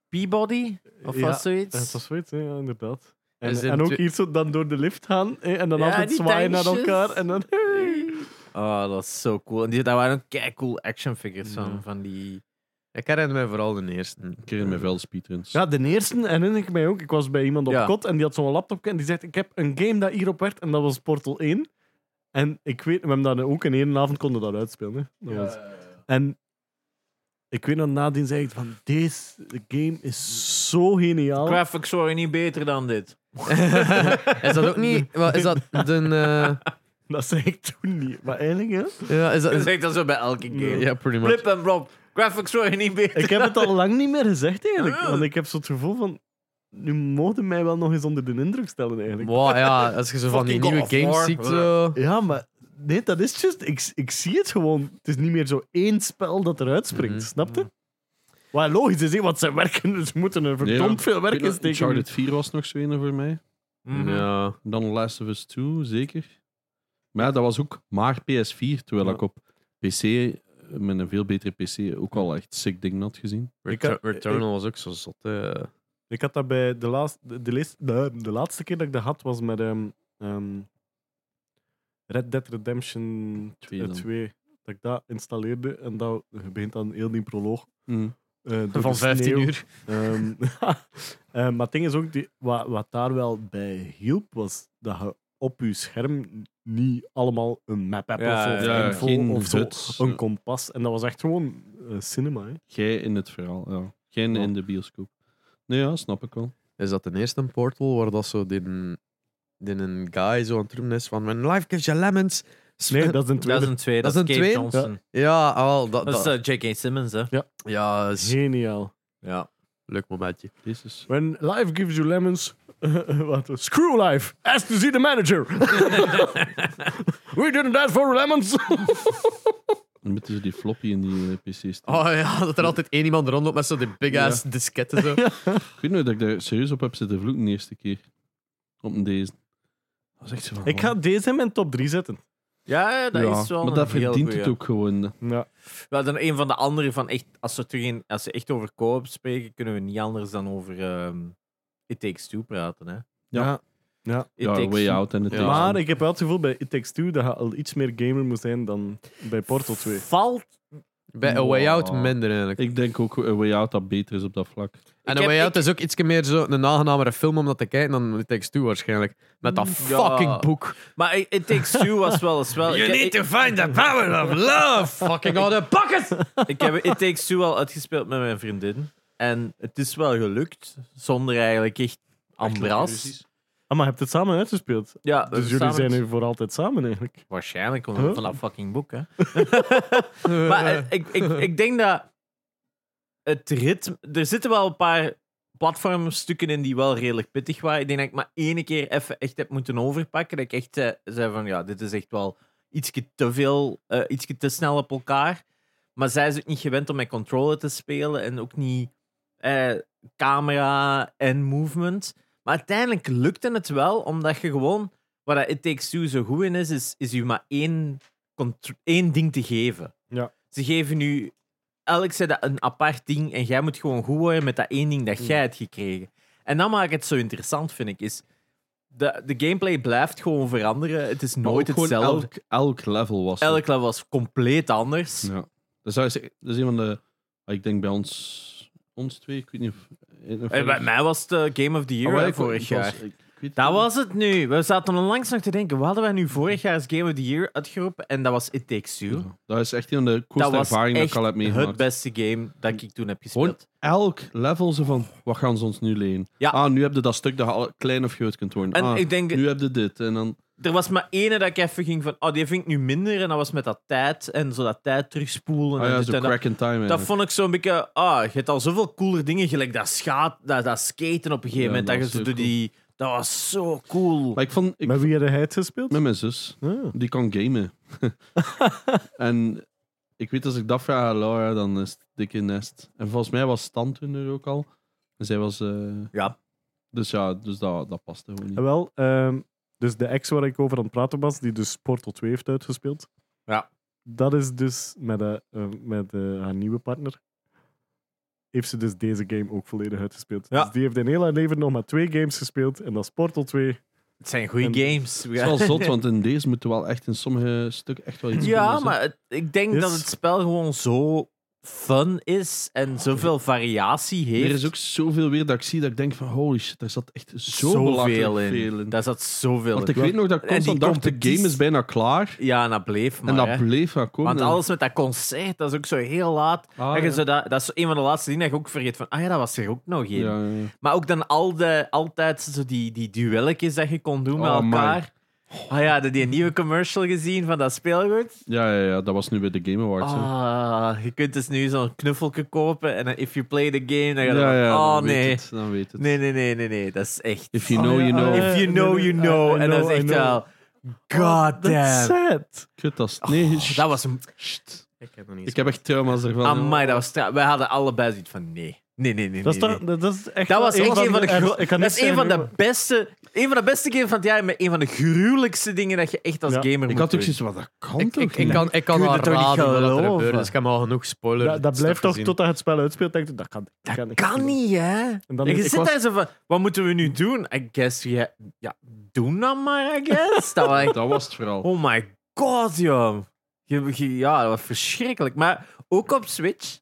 A: Peabody? Of
D: Ja,
A: was zoiets?
D: dat was zoiets, hè, ja, inderdaad. En,
B: Dus in
D: en ook
B: twee-
D: iets zo dan door de lift gaan eh, en dan
A: Ja,
D: altijd
A: die
D: zwaaien naar
A: tandjes.
D: elkaar en dan...
A: Oh, dat was zo cool. En die, daar waren ook kei cool action figures van. van die...
B: Ik herinner mij vooral de eerste.
C: Ik herinner me veel speedruns.
D: Ja, de eerste herinner ik mij ook. Ik was bij iemand op
A: Ja.
D: kot en die had zo'n laptop en die zegt: Ik heb een game dat hierop werd en dat was Portal 1. En ik weet, we hebben dat ook in één avond konden dat uitspelen. Hè. Dat was- En ik weet nog, nadien zei ik: van, Deze game is zo geniaal.
A: Graphics waren niet beter dan dit.
B: is dat ook niet. Wat, is dat de. eh,
D: Dat zei ik toen niet. Maar eigenlijk, hè,
B: ja, is dat.
A: Dat
B: is-
A: is echt zo bij elke game.
B: ja, pretty much.
A: Flip en Rob, graphics waren niet beter.
D: ik heb het al lang niet meer gezegd eigenlijk. Want ik heb zo het gevoel van: Nu mogen mij wel nog eens onder de indruk stellen eigenlijk.
B: Wow, ja, als je zo van die
A: Fucking
B: nieuwe
A: God of
B: games
A: War.
B: ziet. Zo.
D: Ja, maar nee, dat is juist. Ik, ik zie het gewoon. Het is niet meer zo één spel dat eruit springt,
B: Mhm.
D: snap je? Wat logisch is, hè, want ze werken, ze moeten er verdomd
C: Ja.
D: veel werk in steken.
C: Charlotte 4 was nog zo een voor mij.
A: Mhm.
B: Ja.
C: En Dan Last of Us 2, zeker. Maar ja, dat was ook maar PS4, terwijl
D: Ja.
C: ik op PC, eh, met een veel betere PC, ook al echt sick ding had gezien.
D: Ik had-
B: Returnal was ook zo zot. hè.
D: Ik had dat bij de, laatste de, de, lees- de, de laatste keer dat ik dat had, was met ehm, ehm, Red Dead Redemption
C: Twee dan.
D: 2. Dat ik dat installeerde en dat je begint dan heel die proloog.
A: Mhm.
D: eh, door de
B: Van 15
D: sneeuw.
B: uur.
D: Ehm, eh, maar het ding is ook, die, wat, wat daar wel bij hielp, was dat je op je scherm niet allemaal een map hebt
A: Ja,
D: of zo, of
A: ja,
D: een info
C: geen
D: of zo,
C: huts.
D: een kompas. En dat was echt gewoon eh, cinema. Hè.
C: Jij in het verhaal, ja. Jij
D: Ja.
C: in de bioscoop. Nee, ja, snap ik wel.
B: Is dat de eerste portal waar dat zo. Die, die een guy zo aan het roepen is van. When life gives you lemons.
D: Nee, dat is een
A: Dat
D: tweede.
A: is een twee.
B: Dat
A: Dat,
B: is
A: is
B: een
A: Kate
B: twee?
A: Johnson.
B: Ja, ah, wel, dat,
A: Dat is
B: dat-
A: eh, J.K. Simmons, hè.
B: ja, is
D: Geniaal.
A: Ja.
B: leuk momentje.
C: Jezus.
D: When life gives you lemons... eh, wat, screw life! Ask to see the manager! We didn't ask for lemons!
C: Dan moeten ze die floppy in die eh, PC
A: Ah.
C: steken.
B: Oh ja, dat er altijd één iemand rondloopt met zo die big ass disketten. Zo.
C: Ik weet nooit dat ik daar serieus op heb zitten vloeken de eerste keer. Op een deze. Dat was echt zo van,
D: ik ga deze in mijn top 3 zetten.
A: Ja, dat
C: Ja,
A: is wel
C: Maar
A: een
C: dat
A: heel
C: verdient
A: goeie.
C: het ook gewoon. hè.
D: Ja.
A: Ja, dan een van de andere van echt, als we, terug in, als we echt over co-op spreken, kunnen we niet anders dan over ehm, It Takes Two praten. Hè?
C: Ja.
D: Ja.
A: It
C: ja,
A: Takes
C: Way
A: Two.
C: Out en het
B: Ja.
C: Takes Two.
D: Maar ik heb wel het gevoel bij It Takes Two dat je al iets meer gamer moet zijn dan bij Portal 2.
A: Valt.
B: Bij A Way Out
A: Wow.
B: minder eigenlijk.
C: Ik denk ook A Way Out dat beter is op dat vlak.
B: en
A: heb-
B: A Way Out
A: ik-
B: is ook iets meer zo een aangenamere film om dat te kijken dan It Takes Two waarschijnlijk. Met dat
A: Ja.
B: fucking boek.
A: Maar I- It Takes Two was wel eens wel. ik, ik,
B: find the power of love. fucking all the buckets.
A: ik heb It Takes Two al uitgespeeld met mijn vriendin. En het is wel gelukt, zonder eigenlijk echt ambras.
D: Ah, maar je hebt het samen uitgespeeld.
A: Ja, we
D: Dus jullie
A: samen-
D: zijn nu voor altijd samen eigenlijk.
A: Waarschijnlijk, omdat
D: Huh?
A: van dat fucking boek, hè. Maar eh, ik, ik, ik denk dat het ritme... Er zitten wel een paar platformstukken in die wel redelijk pittig waren. Ik denk dat ik maar één keer even echt heb moeten overpakken. Dat ik echt zei, zei van, ja, dit is echt wel ietsje te veel, eh ietsje te snel op elkaar. Maar zij is ook niet gewend om met controller te spelen en ook niet eh, camera en movement. Maar uiteindelijk lukte het wel, omdat je gewoon... Waar dat It Takes Two zo goed in is, is, is je maar één, contr- één ding te geven.
D: Ja.
A: Ze geven nu elk zei dat een apart ding en jij moet gewoon goed worden met dat één ding dat jij hebt gekregen. En dat maakt het zo interessant, vind ik, is... De, de gameplay blijft gewoon veranderen. Het is
C: Maar
A: nooit
C: ook gewoon
A: hetzelfde.
C: elk, elk level was er.
A: Elk level was compleet anders.
C: Ja. Dat is, eigenlijk- dat is een van de... ah, Ik denk bij ons... Ons twee, ik weet niet of... of-
A: Eh, Bij mij was het eh, Game of the
C: Ah,
A: Year
C: wel,
A: hè,
C: ik-
A: vorig
C: ik was-
A: jaar.
C: ik weet-
A: Dat was het nu. We zaten onlangs nog te denken, wat hadden wij nu vorig jaar als Game of the Year uitgeroepen? En dat was It Takes Two.
C: Ja. Dat is echt een van de
A: Dat
C: coolste
A: was
C: ervaringen dat
A: echt
C: ik al heb
A: het
C: meegemaakt.
A: beste game dat ik toen heb gespeeld.
C: Elk level ze van, wat gaan ze ons nu leen?
A: Ja.
C: Ah, nu heb je dat stuk dat je al klein of groot kunt worden.
A: En
C: Ah,
A: ik denk, Oh,
C: nu heb je dit. En dan...
A: er was maar ene dat ik even ging van, oh, die vind ik nu minder. En dat was met dat tijd en zo dat tijd terugspoelen.
C: Ah
A: en
C: ja,
A: dit
C: zo
A: en dat.
C: crack in time.
A: Dat
C: eigenlijk.
A: vond ik zo'n beetje. Ah, je hebt al zoveel coolere dingen. Gelijk dat, schaat, dat, dat skaten op een gegeven
C: Ja,
A: moment.
C: dat
A: Dat, je zo
C: was heel
A: door
C: cool.
A: die. Dat was zo cool.
C: Maar ik vond... Ik,
D: Met wie had hij het gespeeld?
C: Met mijn zus.
D: Ah.
C: Die kan gamen. en ik weet, als ik dat vraag aan Laura, dan is het dik in nest. En volgens mij was Stan toen er ook al. En zij was... eh,
A: Ja.
C: Dus ja, dus dat, dat paste gewoon
D: Ah,
C: niet.
D: Wel, ehm, dus de ex waar ik over aan het praten was, die dus Portal 2 heeft uitgespeeld.
A: Ja.
D: Dat is dus met, eh, eh, met eh, haar nieuwe partner. Heeft ze dus deze game ook volledig uitgespeeld.
A: Ja.
D: Dus die heeft in heel haar leven nog maar twee games gespeeld. En dat is Portal 2.
A: het zijn goede
D: en-
A: games.
C: Het is wel zot, want in deze moeten we wel echt in sommige stukken echt wel iets doen,
A: Ja,
C: dus, hè.
A: maar het- ik denk
D: Yes.
A: dat het spel gewoon zo fun is en zoveel variatie heeft.
C: Er is ook zoveel weer dat ik zie dat ik denk van holy shit, daar zat echt zo belachelijk
A: in.
C: veel in.
A: Daar zat zoveel
C: Want
A: in.
C: ik weet nog dat ik
A: En die
C: constant dacht, de
A: competitie-
C: game is bijna klaar.
A: Ja, en dat bleef maar.
C: en dat
A: hè.
C: bleef maar komen.
A: Want alles met dat concert, dat is ook zo heel laat.
C: Ah,
A: dat, je
C: ja.
A: zo dat, dat is zo een van de laatste dingen dat je ook vergeet van, ah ja, dat was er ook nog één.
C: Ja, ja, ja.
A: Maar ook dan al de, altijd zo die, die duelletjes dat je kon doen met
C: Oh,
A: elkaar. Ah ja, de, die nieuwe commercial gezien van dat speelgoed.
C: Ja, ja, ja, dat was nu bij de Game Awards. hè.
A: Ah, je kunt dus nu zo'n knuffelke kopen en dan if you play the game, dan ga je
C: ja,
A: dan-
C: ja,
A: oh
C: dan weet
A: nee.
C: het, dan weet het.
A: Nee, nee, nee, nee, nee, dat is echt... Oh,
C: If
D: Ah,
C: you know, you know.
A: If you know, you know. en dat is echt wel...
C: Oh,
A: God
D: That's
A: damn.
D: sad.
C: Kut, dat is- nee,
A: Oh,
C: sst,
A: dat was een...
C: sst.
B: Ik heb nog niet
C: Ik heb echt trauma's ervan.
A: Amai, dat was... tra- Wij hadden allebei zoiets van nee. Nee, nee, nee,
D: Dat, is
A: nee,
D: toch-
A: nee.
D: dat, dat is echt
A: Dat
D: wel
A: was echt een van de, gro-
D: ik
A: dat
D: kan
A: is
D: niet
A: een
D: zeggen
A: van de
D: hoe-
A: beste, een van de beste games van het jaar, maar een van de gruwelijkste dingen dat je echt als
D: Ja,
A: gamer
C: Ik
A: moet
C: had ook
A: doen.
C: zoiets van, dat kan
B: Ik,
C: toch
B: ik, ik
C: niet?
B: kan, ik kan
A: Kun je
B: al
A: dat toch niet
B: raden wat er
A: geloven?
B: gebeurt, dus ik heb al genoeg spoiler.
D: Dat, dat
B: stuff
D: blijft toch
B: gezien.
D: totdat je het spel uitspeelt. Denk je, dat kan, dat kan,
A: Dat kan niet, hè?
D: En dan
A: En je
D: ik
A: zit
D: was-
A: daar zo van, wat moeten we nu doen? I guess, we- ja, doen dan maar, I guess. dat was echt-
C: Dat was het vooral.
A: oh my god, joh. Je- je- Ja, dat was verschrikkelijk. Maar ook op Switch.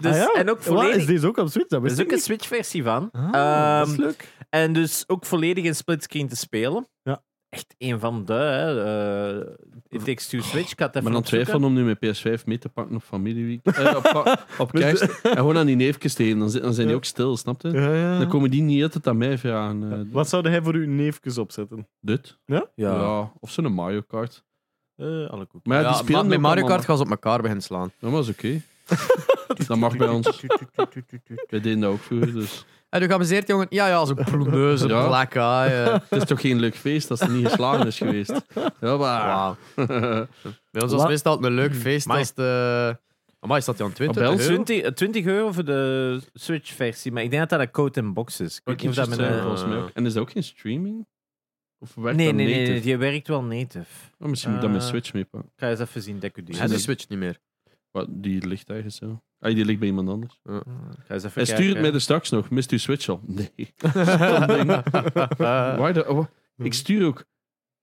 A: dus,
D: Ah ja?
A: En ook
D: Wat,
A: volledig...
D: is deze ook op Switch? Dat
A: Er is
D: wist
A: ook
D: ik
A: een
D: niet.
A: Switch-versie van.
D: Ah, dat is
A: Ehm,
D: leuk.
A: En dus ook volledig in splitscreen te spelen.
D: Ja.
A: Echt een van de. hè, eh It Takes Two Switch. Ik had het even
C: Ik ben aan het
A: opzoeken.
C: twijfelen om nu mijn PS5 mee te pakken op familieweek. eh, op, pa- op kerst. En gewoon aan die neefjes te heen. Dan, zi- dan zijn die ook stil, snap je?
D: Ja, ja.
C: Dan komen die niet altijd aan mij vragen. eh,
D: Wat zou hij voor uw neefjes opzetten?
C: Dit? Ja.
A: Ja.
C: Of zo'n Mario Kart.
A: Eh, alle koek.
C: Maar ja,
B: Ja,
C: die spelen
B: maar met
C: ook
B: Mario
C: allemaal,
B: Kart gaan ze op elkaar beginnen slaan.
C: hè. Dat was oké. dat mag bij ons. Wij deden dat ook vroeger, dus...
B: En u geamuseerd, jongen? Ja, ja, zo'n ploemeuse,
C: Ja.
B: black eye. eh.
C: Het is toch geen leuk feest als er niet geslagen is geweest? Ja, maar...
B: Wauw. Bij ons was
D: La-
B: meestal een leuk feest
A: Amai.
B: als de... Amai, staat die aan 20
C: Ah, bij ons
B: euro?
A: 20, eh, 20 euro voor de Switch-versie. Maar ik denk dat dat een code in box is. Ik weet niet of dat met
B: juist
A: een-
B: zeggen,
C: volgens mij ook. En is dat ook geen streaming? Of werkt
A: Nee,
C: dat
A: nee, nee,
C: native?
A: nee. Je werkt wel native.
C: Oh, misschien moet ik dat
A: Eh.
C: mijn Switch meepakken. dus
A: Ik ga eens even zien, decudeer.
B: Hij doet Switch niet meer.
C: Wat, die ligt ergens zo. Ah, die ligt bij iemand anders.
A: Ga eens even
C: Hij stuurt
A: kijken.
C: mij er straks nog. Mist u Switch al? Nee. Waar de, oh,
A: Hmm.
C: ik stuur ook.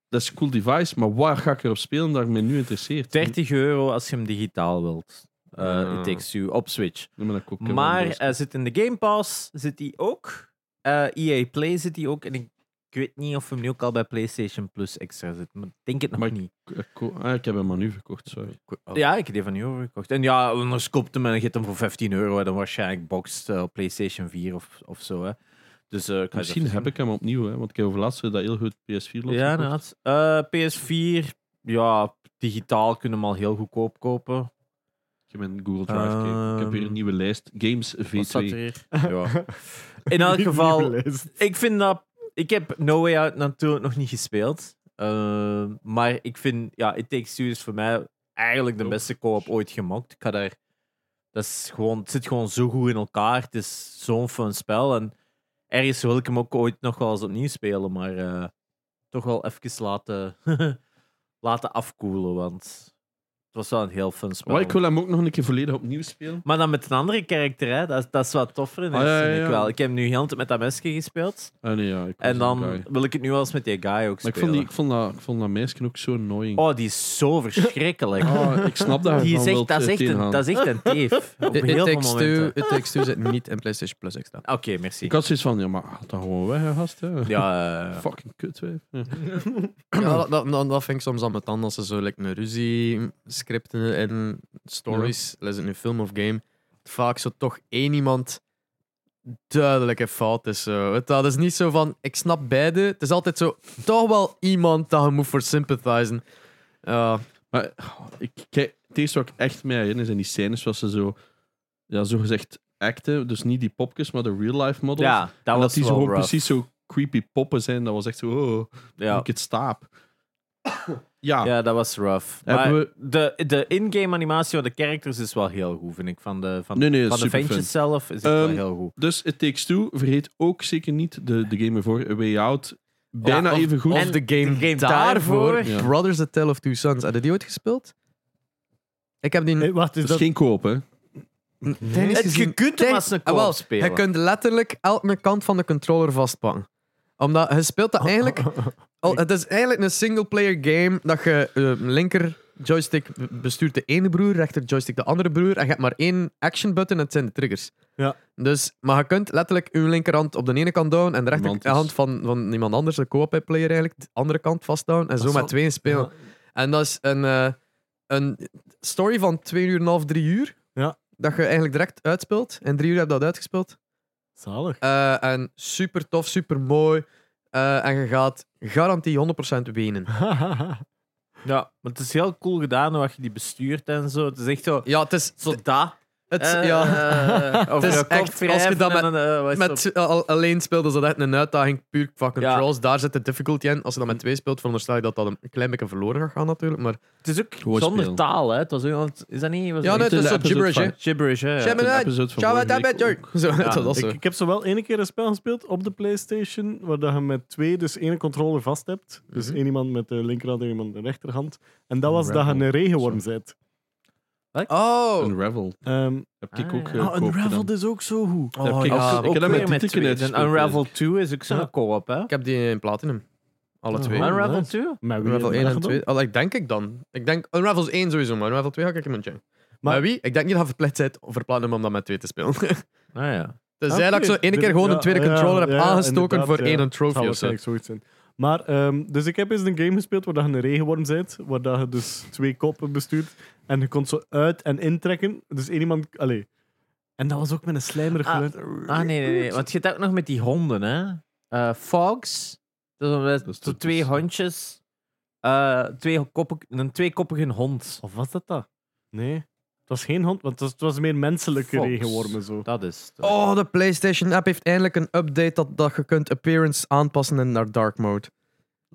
C: Dat is een cool device, maar waar ga ik erop spelen dat ik me nu interesseert?
A: 30 euro als je hem digitaal wilt. Eh
B: Ah.
A: It takes you op Switch.
C: Nee, maar dat kan ik wel
A: Maar
C: anders.
A: hij zit in de Game Pass, zit die ook. Eh EA Play zit die ook. En ik, ik weet niet of hem nu ook al bij PlayStation Plus extra zit. Maar ik denk het nog
C: Maar oh. ik-
A: niet.
C: Ik- ik- ah, ik heb hem maar nu verkocht, sorry.
A: Ja, ik heb die van nu overgekocht. En ja, anders koopt hem en je hebt hem voor 15 euro. En dan waarschijnlijk boxed eh, op PlayStation 4 of, of zo. Hè. Dus, eh, ik ga eens
C: Misschien
A: even
C: heb
A: zien.
C: ik hem opnieuw, hè, want ik heb overlaatst dat heel goed PS4 lot
A: Ja,
C: gekocht.
A: inderdaad. Eh, PS4, ja, digitaal kunnen we hem al heel goedkoop kopen.
C: Ik heb een Google Drive. gekeken. ik heb weer een
A: Ehm,
C: nieuwe lijst. Games V2.
A: Wat staat er hier? Ja. In elk geval, ik vind dat. Ik heb No Way Out natuurlijk nog niet gespeeld. Eh, maar ik vind, ja, It Takes Two is voor mij eigenlijk de beste co-op ooit gemaakt. Ik ga daar. Dat is gewoon, het zit gewoon zo goed in elkaar. Het is zo'n fun spel. En ergens wil ik hem ook ooit nog wel eens opnieuw spelen. Maar eh, toch wel even laten, laten afkoelen. Want het was wel een heel fun spel.
C: Maar ik wil hem ook nog een keer volledig opnieuw spelen.
A: Maar dan met een andere karakter, hè. Dat, dat is wat toffer. in
C: Ah, ja,
A: vind
C: ja,
A: ik
C: ja.
A: wel. Ik heb nu heel de tijd met dat mesje gespeeld.
C: Ah, nee, ja, ik was
A: En dan
C: een guy.
A: wil ik het nu wel eens met die guy ook
C: Maar ik
A: spelen.
C: vond, die, ik, vond dat, ik vond dat meisje ook zo annoying.
A: Oh, die is zo verschrikkelijk.
C: Ah, ik snap dat je
A: die
C: van
A: is echt,
C: wilt,
A: dat, is
C: eh,
A: echt een,
C: tegengaan.
A: dat is echt een teef. Op
B: It,
A: heel
B: it,
A: veel
B: takes two,
A: momenten.
B: it Takes Two zit niet in PlayStation Plus extra.
A: Oké, merci.
C: Ik had zoiets van, ja, maar haal dat gewoon weg, hè, gast. Hè.
A: Ja, eh,
C: Fucking kut, hè. Ja.
B: Ja, dat, dat, dat, dat vind ik soms aan mijn tanden als ze zo like, een ruzie scripten en stories, les in een film of game, vaak zo toch één iemand duidelijke fout is. Zo. Het- Dat is niet zo van, ik snap beide. Het is altijd zo, toch wel iemand dat je moet voor sympathizen. Ja,
C: Maar oh, ik, kijk, het eerste wat ik echt mee herinner zijn die scènes zoals ze zo, ja, zogezegd acten. Dus niet die popjes, maar de real-life models.
A: ja, dat was
C: en dat die zo
A: wel
C: gewoon
A: rough.
C: precies zo creepy poppen zijn. Dat was echt zo, oh,
A: Ja.
C: ik het staap. ja,
A: ja, dat was rough.
C: Ah. Hebben
A: Maar
C: we-
A: de, de in-game animatie van de characters is wel heel goed, vind ik. Van de, van,
C: nee, nee,
A: van de
C: super fun.
A: ventjes zelf is het wel
C: Ehm,
A: heel goed.
C: Dus It Takes Two, vergeet ook zeker niet de, de game ervoor, A Way Out. Bijna
B: of-
C: even goed.
B: Of
A: En
B: de game,
A: de game
B: daarvoor,
A: daarvoor.
C: Ja.
B: Brothers The Tale of Two Sons. Heb je die ooit gespeeld? Ik heb die
D: Hey, wat is
C: dat is
D: dat?
C: geen koop, hè.
B: Dennis
A: Het, Eh, je
B: gezien.
A: kunt hem
B: Kijk,
A: als een
B: ah, wel,
A: co-op spelen.
B: Je kunt letterlijk elke kant van de controller vastpakken. Omdat je speelt
A: Oh,
B: dat eigenlijk. al- Oh, het is eigenlijk een single-player game dat je eh, linker joystick bestuurt de ene broer, rechter joystick de andere broer. En je hebt maar één action button en het zijn de triggers.
D: Ja.
B: Dus, maar je kunt letterlijk je linkerhand op de ene kant doen en de
C: Iemand is-
B: rechterhand van, van iemand anders, de co-op player eigenlijk, de andere kant vasthouden en zo
D: Dat
B: met
D: zal-
B: twee spelen.
D: Ja.
B: En dat is een, eh, een story van twee uur en een half, drie uur.
D: Ja.
B: Dat je eigenlijk direct uitspeelt. In drie uur heb je dat uitgespeeld.
D: Zalig.
B: Eh, en super tof, super mooi. Eh, en je gaat garantie 100% wenen.
A: Ja, maar het is heel cool gedaan hoe je die bestuurt en zo. Het is echt zo,
B: Ja, het is.
A: zo dat.
B: Het,
A: Eh,
B: ja,
A: eh, over
B: Het is
A: je kop
B: echt, als je
A: wrijven
B: dat met-
A: en, eh, wat is
B: met, al- alleen speelt is dat echt een uitdaging puur qua
A: Ja.
B: controls. Daar zit de difficulty in. Als je dat met twee speelt, veronderstel je dat dat een klein beetje verloren gaat gaan, natuurlijk. Maar
A: het is ook
C: Gewoon
A: zonder
C: spelen.
A: taal, hè. Het was ook, want- is dat niet... Was
B: ja, nee,
A: dat
B: het is zo
C: episode
B: gibberish, hè.
C: vijf.
A: Gibberish, hè.
B: Shut me
C: een
B: up.
C: episode van
B: Shut me
C: vorige
B: up,
C: week
B: Jörg. Zo,
A: Ja,
B: dat was
D: Ik,
B: zo.
D: ik heb zo wel één keer een spel gespeeld op de PlayStation, waar dat je met twee, dus één controller vast hebt. Dus
A: Mhm.
D: één iemand met de linkerhand en iemand met de rechterhand. En dat was dat je een regenworm bent.
B: Oh.
C: Een Revel.
D: Ehm
C: Heb ik
A: Ah,
C: ook
A: ja.
C: eh,
A: Oh,
D: oh,
C: koop gedaan.
D: Unraveled is ook zo goed.
C: heb
B: Oh,
C: ik
B: ja.
C: ook- ik heb dat met Tieten
A: twee.
C: uitgespeeld,
A: En Unravel 2 is ook zo'n
D: Ja.
A: co-op, hè.
B: Ik heb die in Platinum. Alle
D: Oh.
B: twee.
D: Maar-
A: Unravel
D: nice.
A: 2?
D: Maar wie
B: Unravel
D: heeft
B: 1 en
D: dat
B: 2.
D: gedaan?
B: Allee, ik denk ik dan. Ik denk Unravel 1 sowieso, maar Unravel 2 ga ik iemand checken. Maar,
D: Maar-
B: wie? Ik denk niet dat je verplicht bent om verplannen om dat met 2 te spelen.
A: Ah, ja.
B: Tenzij dat ik zo
D: Oké.
B: één keer gewoon een tweede
D: Dus Ja, ja,
B: controller heb
D: ja, ja,
B: aangestoken voor
D: inderdaad, ja.
B: één een
D: zal
B: trophy of zo.
D: waarschijnlijk zoiets zijn. Maar, ehm, dus ik heb eens een game gespeeld waar dat je een regenworm bent, waar dat je dus twee koppen bestuurt. En je kon zo uit- en intrekken. Dus één iemand... Allee. En dat was ook met een slijmerig
A: Ah,
D: geluid.
A: Ah, nee, nee, nee. Want je hebt ook nog met die honden, hè. Eh, Fogs. Dat
C: is
A: is zo
C: de-
A: twee hondjes. Eh, twee koppen, een tweekoppige hond.
D: Of was dat dat? Nee. Het was geen hond, want het was, het was meer menselijke
A: Fox.
D: regenwormen zo.
A: Dat is... het.
B: Oh, de PlayStation app heeft eindelijk een update dat, dat je kunt appearance aanpassen en naar dark mode.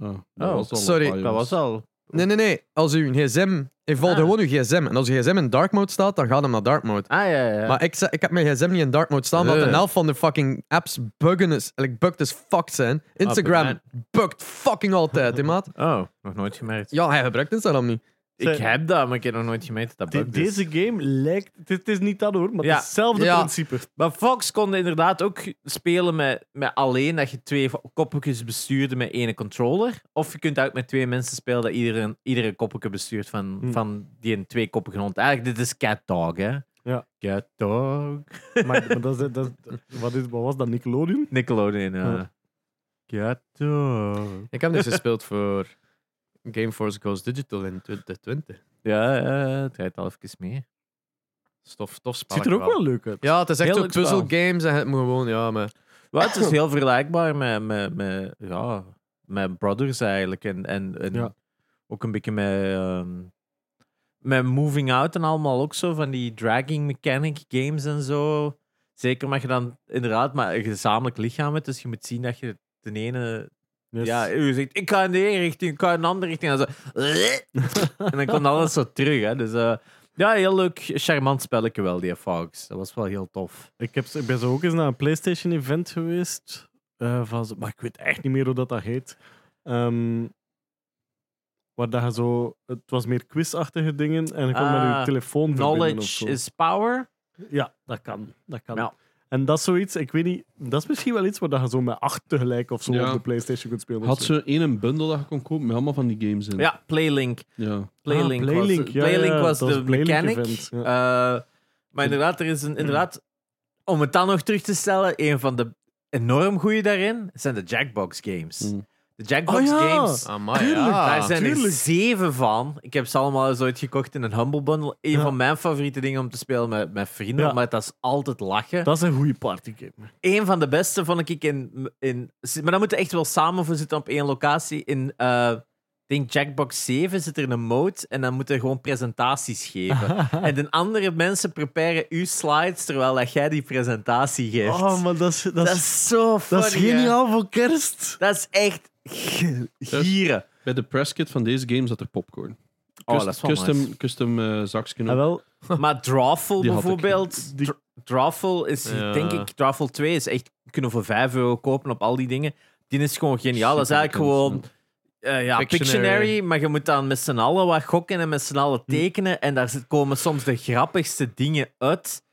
C: Ah, dat
A: Oh,
C: was al een
B: sorry,
C: paar,
A: Dat was
C: jongens.
A: al...
B: Nee, nee, nee. Als je een gsm... Je valt
A: Ah.
B: gewoon je gsm. En als je gsm in dark mode staat, dan gaat hem naar dark mode.
A: Ah, ja, ja.
B: Maar ik, ze- ik heb mijn gsm niet in dark mode staan, want
A: Eh.
B: een helft van de fucking apps buggen is... Like, bugged as fuck zijn. Instagram
A: Ah, bij
B: bugt fucking altijd, hè, maat.
A: Oh, nog nooit gemerkt.
B: Ja, hij gebruikt Instagram niet.
A: Ik heb dat, maar ik heb nog nooit gemeten dat dat
D: De-
A: bug is.
D: deze game lijkt. Het is- het is niet dat hoor, maar het
A: Ja.
D: is hetzelfde
B: Ja.
D: principe.
A: Maar Fox kon inderdaad ook spelen met, met alleen dat je twee koppeltjes bestuurde met één controller. Of je kunt ook met twee mensen spelen dat iedereen, iedere koppeltje bestuurt van,
D: Hm.
A: van die een twee koppige hond. Eigenlijk, dit is Cat Dog, hè?
D: Ja.
A: Cat Dog.
D: Maar, maar dat, is- dat, is- wat, is, wat was dat, Nickelodeon?
A: Nickelodeon, ja. Cat Dog.
B: Ik heb dus gespeeld voor Gameforce Goes Digital in 2020.
A: Ja, ja, het rijdt al even mee.
B: Stof, tof
D: Het
B: spel.
D: ziet er ook wel leuk uit.
B: Ja, het is echt
A: Heel
B: zo
A: leuk spel.
B: puzzle games en het moet gewoon, ja, maar
A: Wel, het is heel vergelijkbaar met, met, met, ja, met Brothers eigenlijk. En, en, en
D: Ja.
A: ook een beetje met, ehm, met Moving Out en allemaal ook zo van die dragging mechanic games en zo. Zeker mag je dan inderdaad maar een gezamenlijk lichaam hebt, dus je moet zien dat je de ene...
D: Yes.
A: Ja, je zegt, ik ga in de ene richting, ik ga in de andere richting. En, zo, en dan komt alles zo terug. Hè. Dus eh, ja, heel leuk, charmant spelletje wel, die Fox. Dat was wel heel tof.
D: Ik, heb, ik ben zo ook eens naar een PlayStation-event geweest. eh, van, zo- maar ik weet echt niet meer hoe dat, dat heet. Ehm, waar dat je zo... Het was meer quizachtige dingen. En je kon met
A: Ah,
D: je telefoon verbinden of zo.
A: Knowledge is power.
D: Ja, dat kan. Dat kan.
A: Ja.
D: En dat is zoiets, ik weet niet... Dat is misschien wel iets waar dat je zo met acht tegelijk of zo
C: Ja.
D: op de PlayStation kunt spelen. of
C: Had
D: zo.
C: ze één een bundel dat je kon kopen met allemaal van die games in.
A: Ja, Playlink.
C: Ja.
A: Playlink,
D: Ah, Playlink,
A: was,
D: ja,
A: Playlink
D: ja,
A: was
D: dat
A: de
D: was Playlink
A: mechanic.
D: event, ja. Hmm.
A: Eh, maar inderdaad, er is een, inderdaad, om het dan nog terug te stellen, een van de enorm goede daarin zijn de Jackbox games.
C: Mm.
A: De Jackbox
D: Hmm. Oh ja.
A: games,
B: amai,
D: Tuurlijk.
A: daar
B: ja.
A: zijn er
D: tuurlijk.
A: zeven van. Ik heb ze allemaal eens ooit gekocht in een Humble Bundle. Een
D: Ja.
A: van mijn favoriete dingen om te spelen met, met vrienden,
D: Ja.
A: maar dat is altijd lachen.
D: Dat is een goede partygame.
A: Een van de beste vond ik in, in. Maar dan moeten we echt wel samen voor zitten op één locatie. In. eh, ik denk Jackbox 7 zit er een mode en dan moeten we gewoon presentaties geven. en de andere mensen preparen uw slides terwijl dat jij die presentatie geeft.
D: Oh, maar dat is, dat
A: dat,
D: is,
A: is zo funny.
D: dat is
A: hè.
D: geniaal voor kerst.
A: Dat is echt g- gieren.
C: Bij de presskit van deze game zat er popcorn.
A: Oh,
C: Cust-
A: dat is wel
C: custom,
A: nice.
C: custom eh, zakjes.
D: Ah, wel,
A: Maar Drawful
C: Die had ik.
A: bijvoorbeeld.
D: Die-
A: Dr- Drawful is,
B: Ja.
A: denk ik, Drawful 2 is echt. Kunnen we voor 5 euro kopen op al die dingen. Die is gewoon geniaal. Dat is eigenlijk
C: Superbekend,
A: gewoon. eh, ja, Pictionary.
B: Pictionary.
A: maar je moet dan met z'n allen wat gokken en met z'n allen tekenen. En daar zit- komen soms de grappigste dingen uit.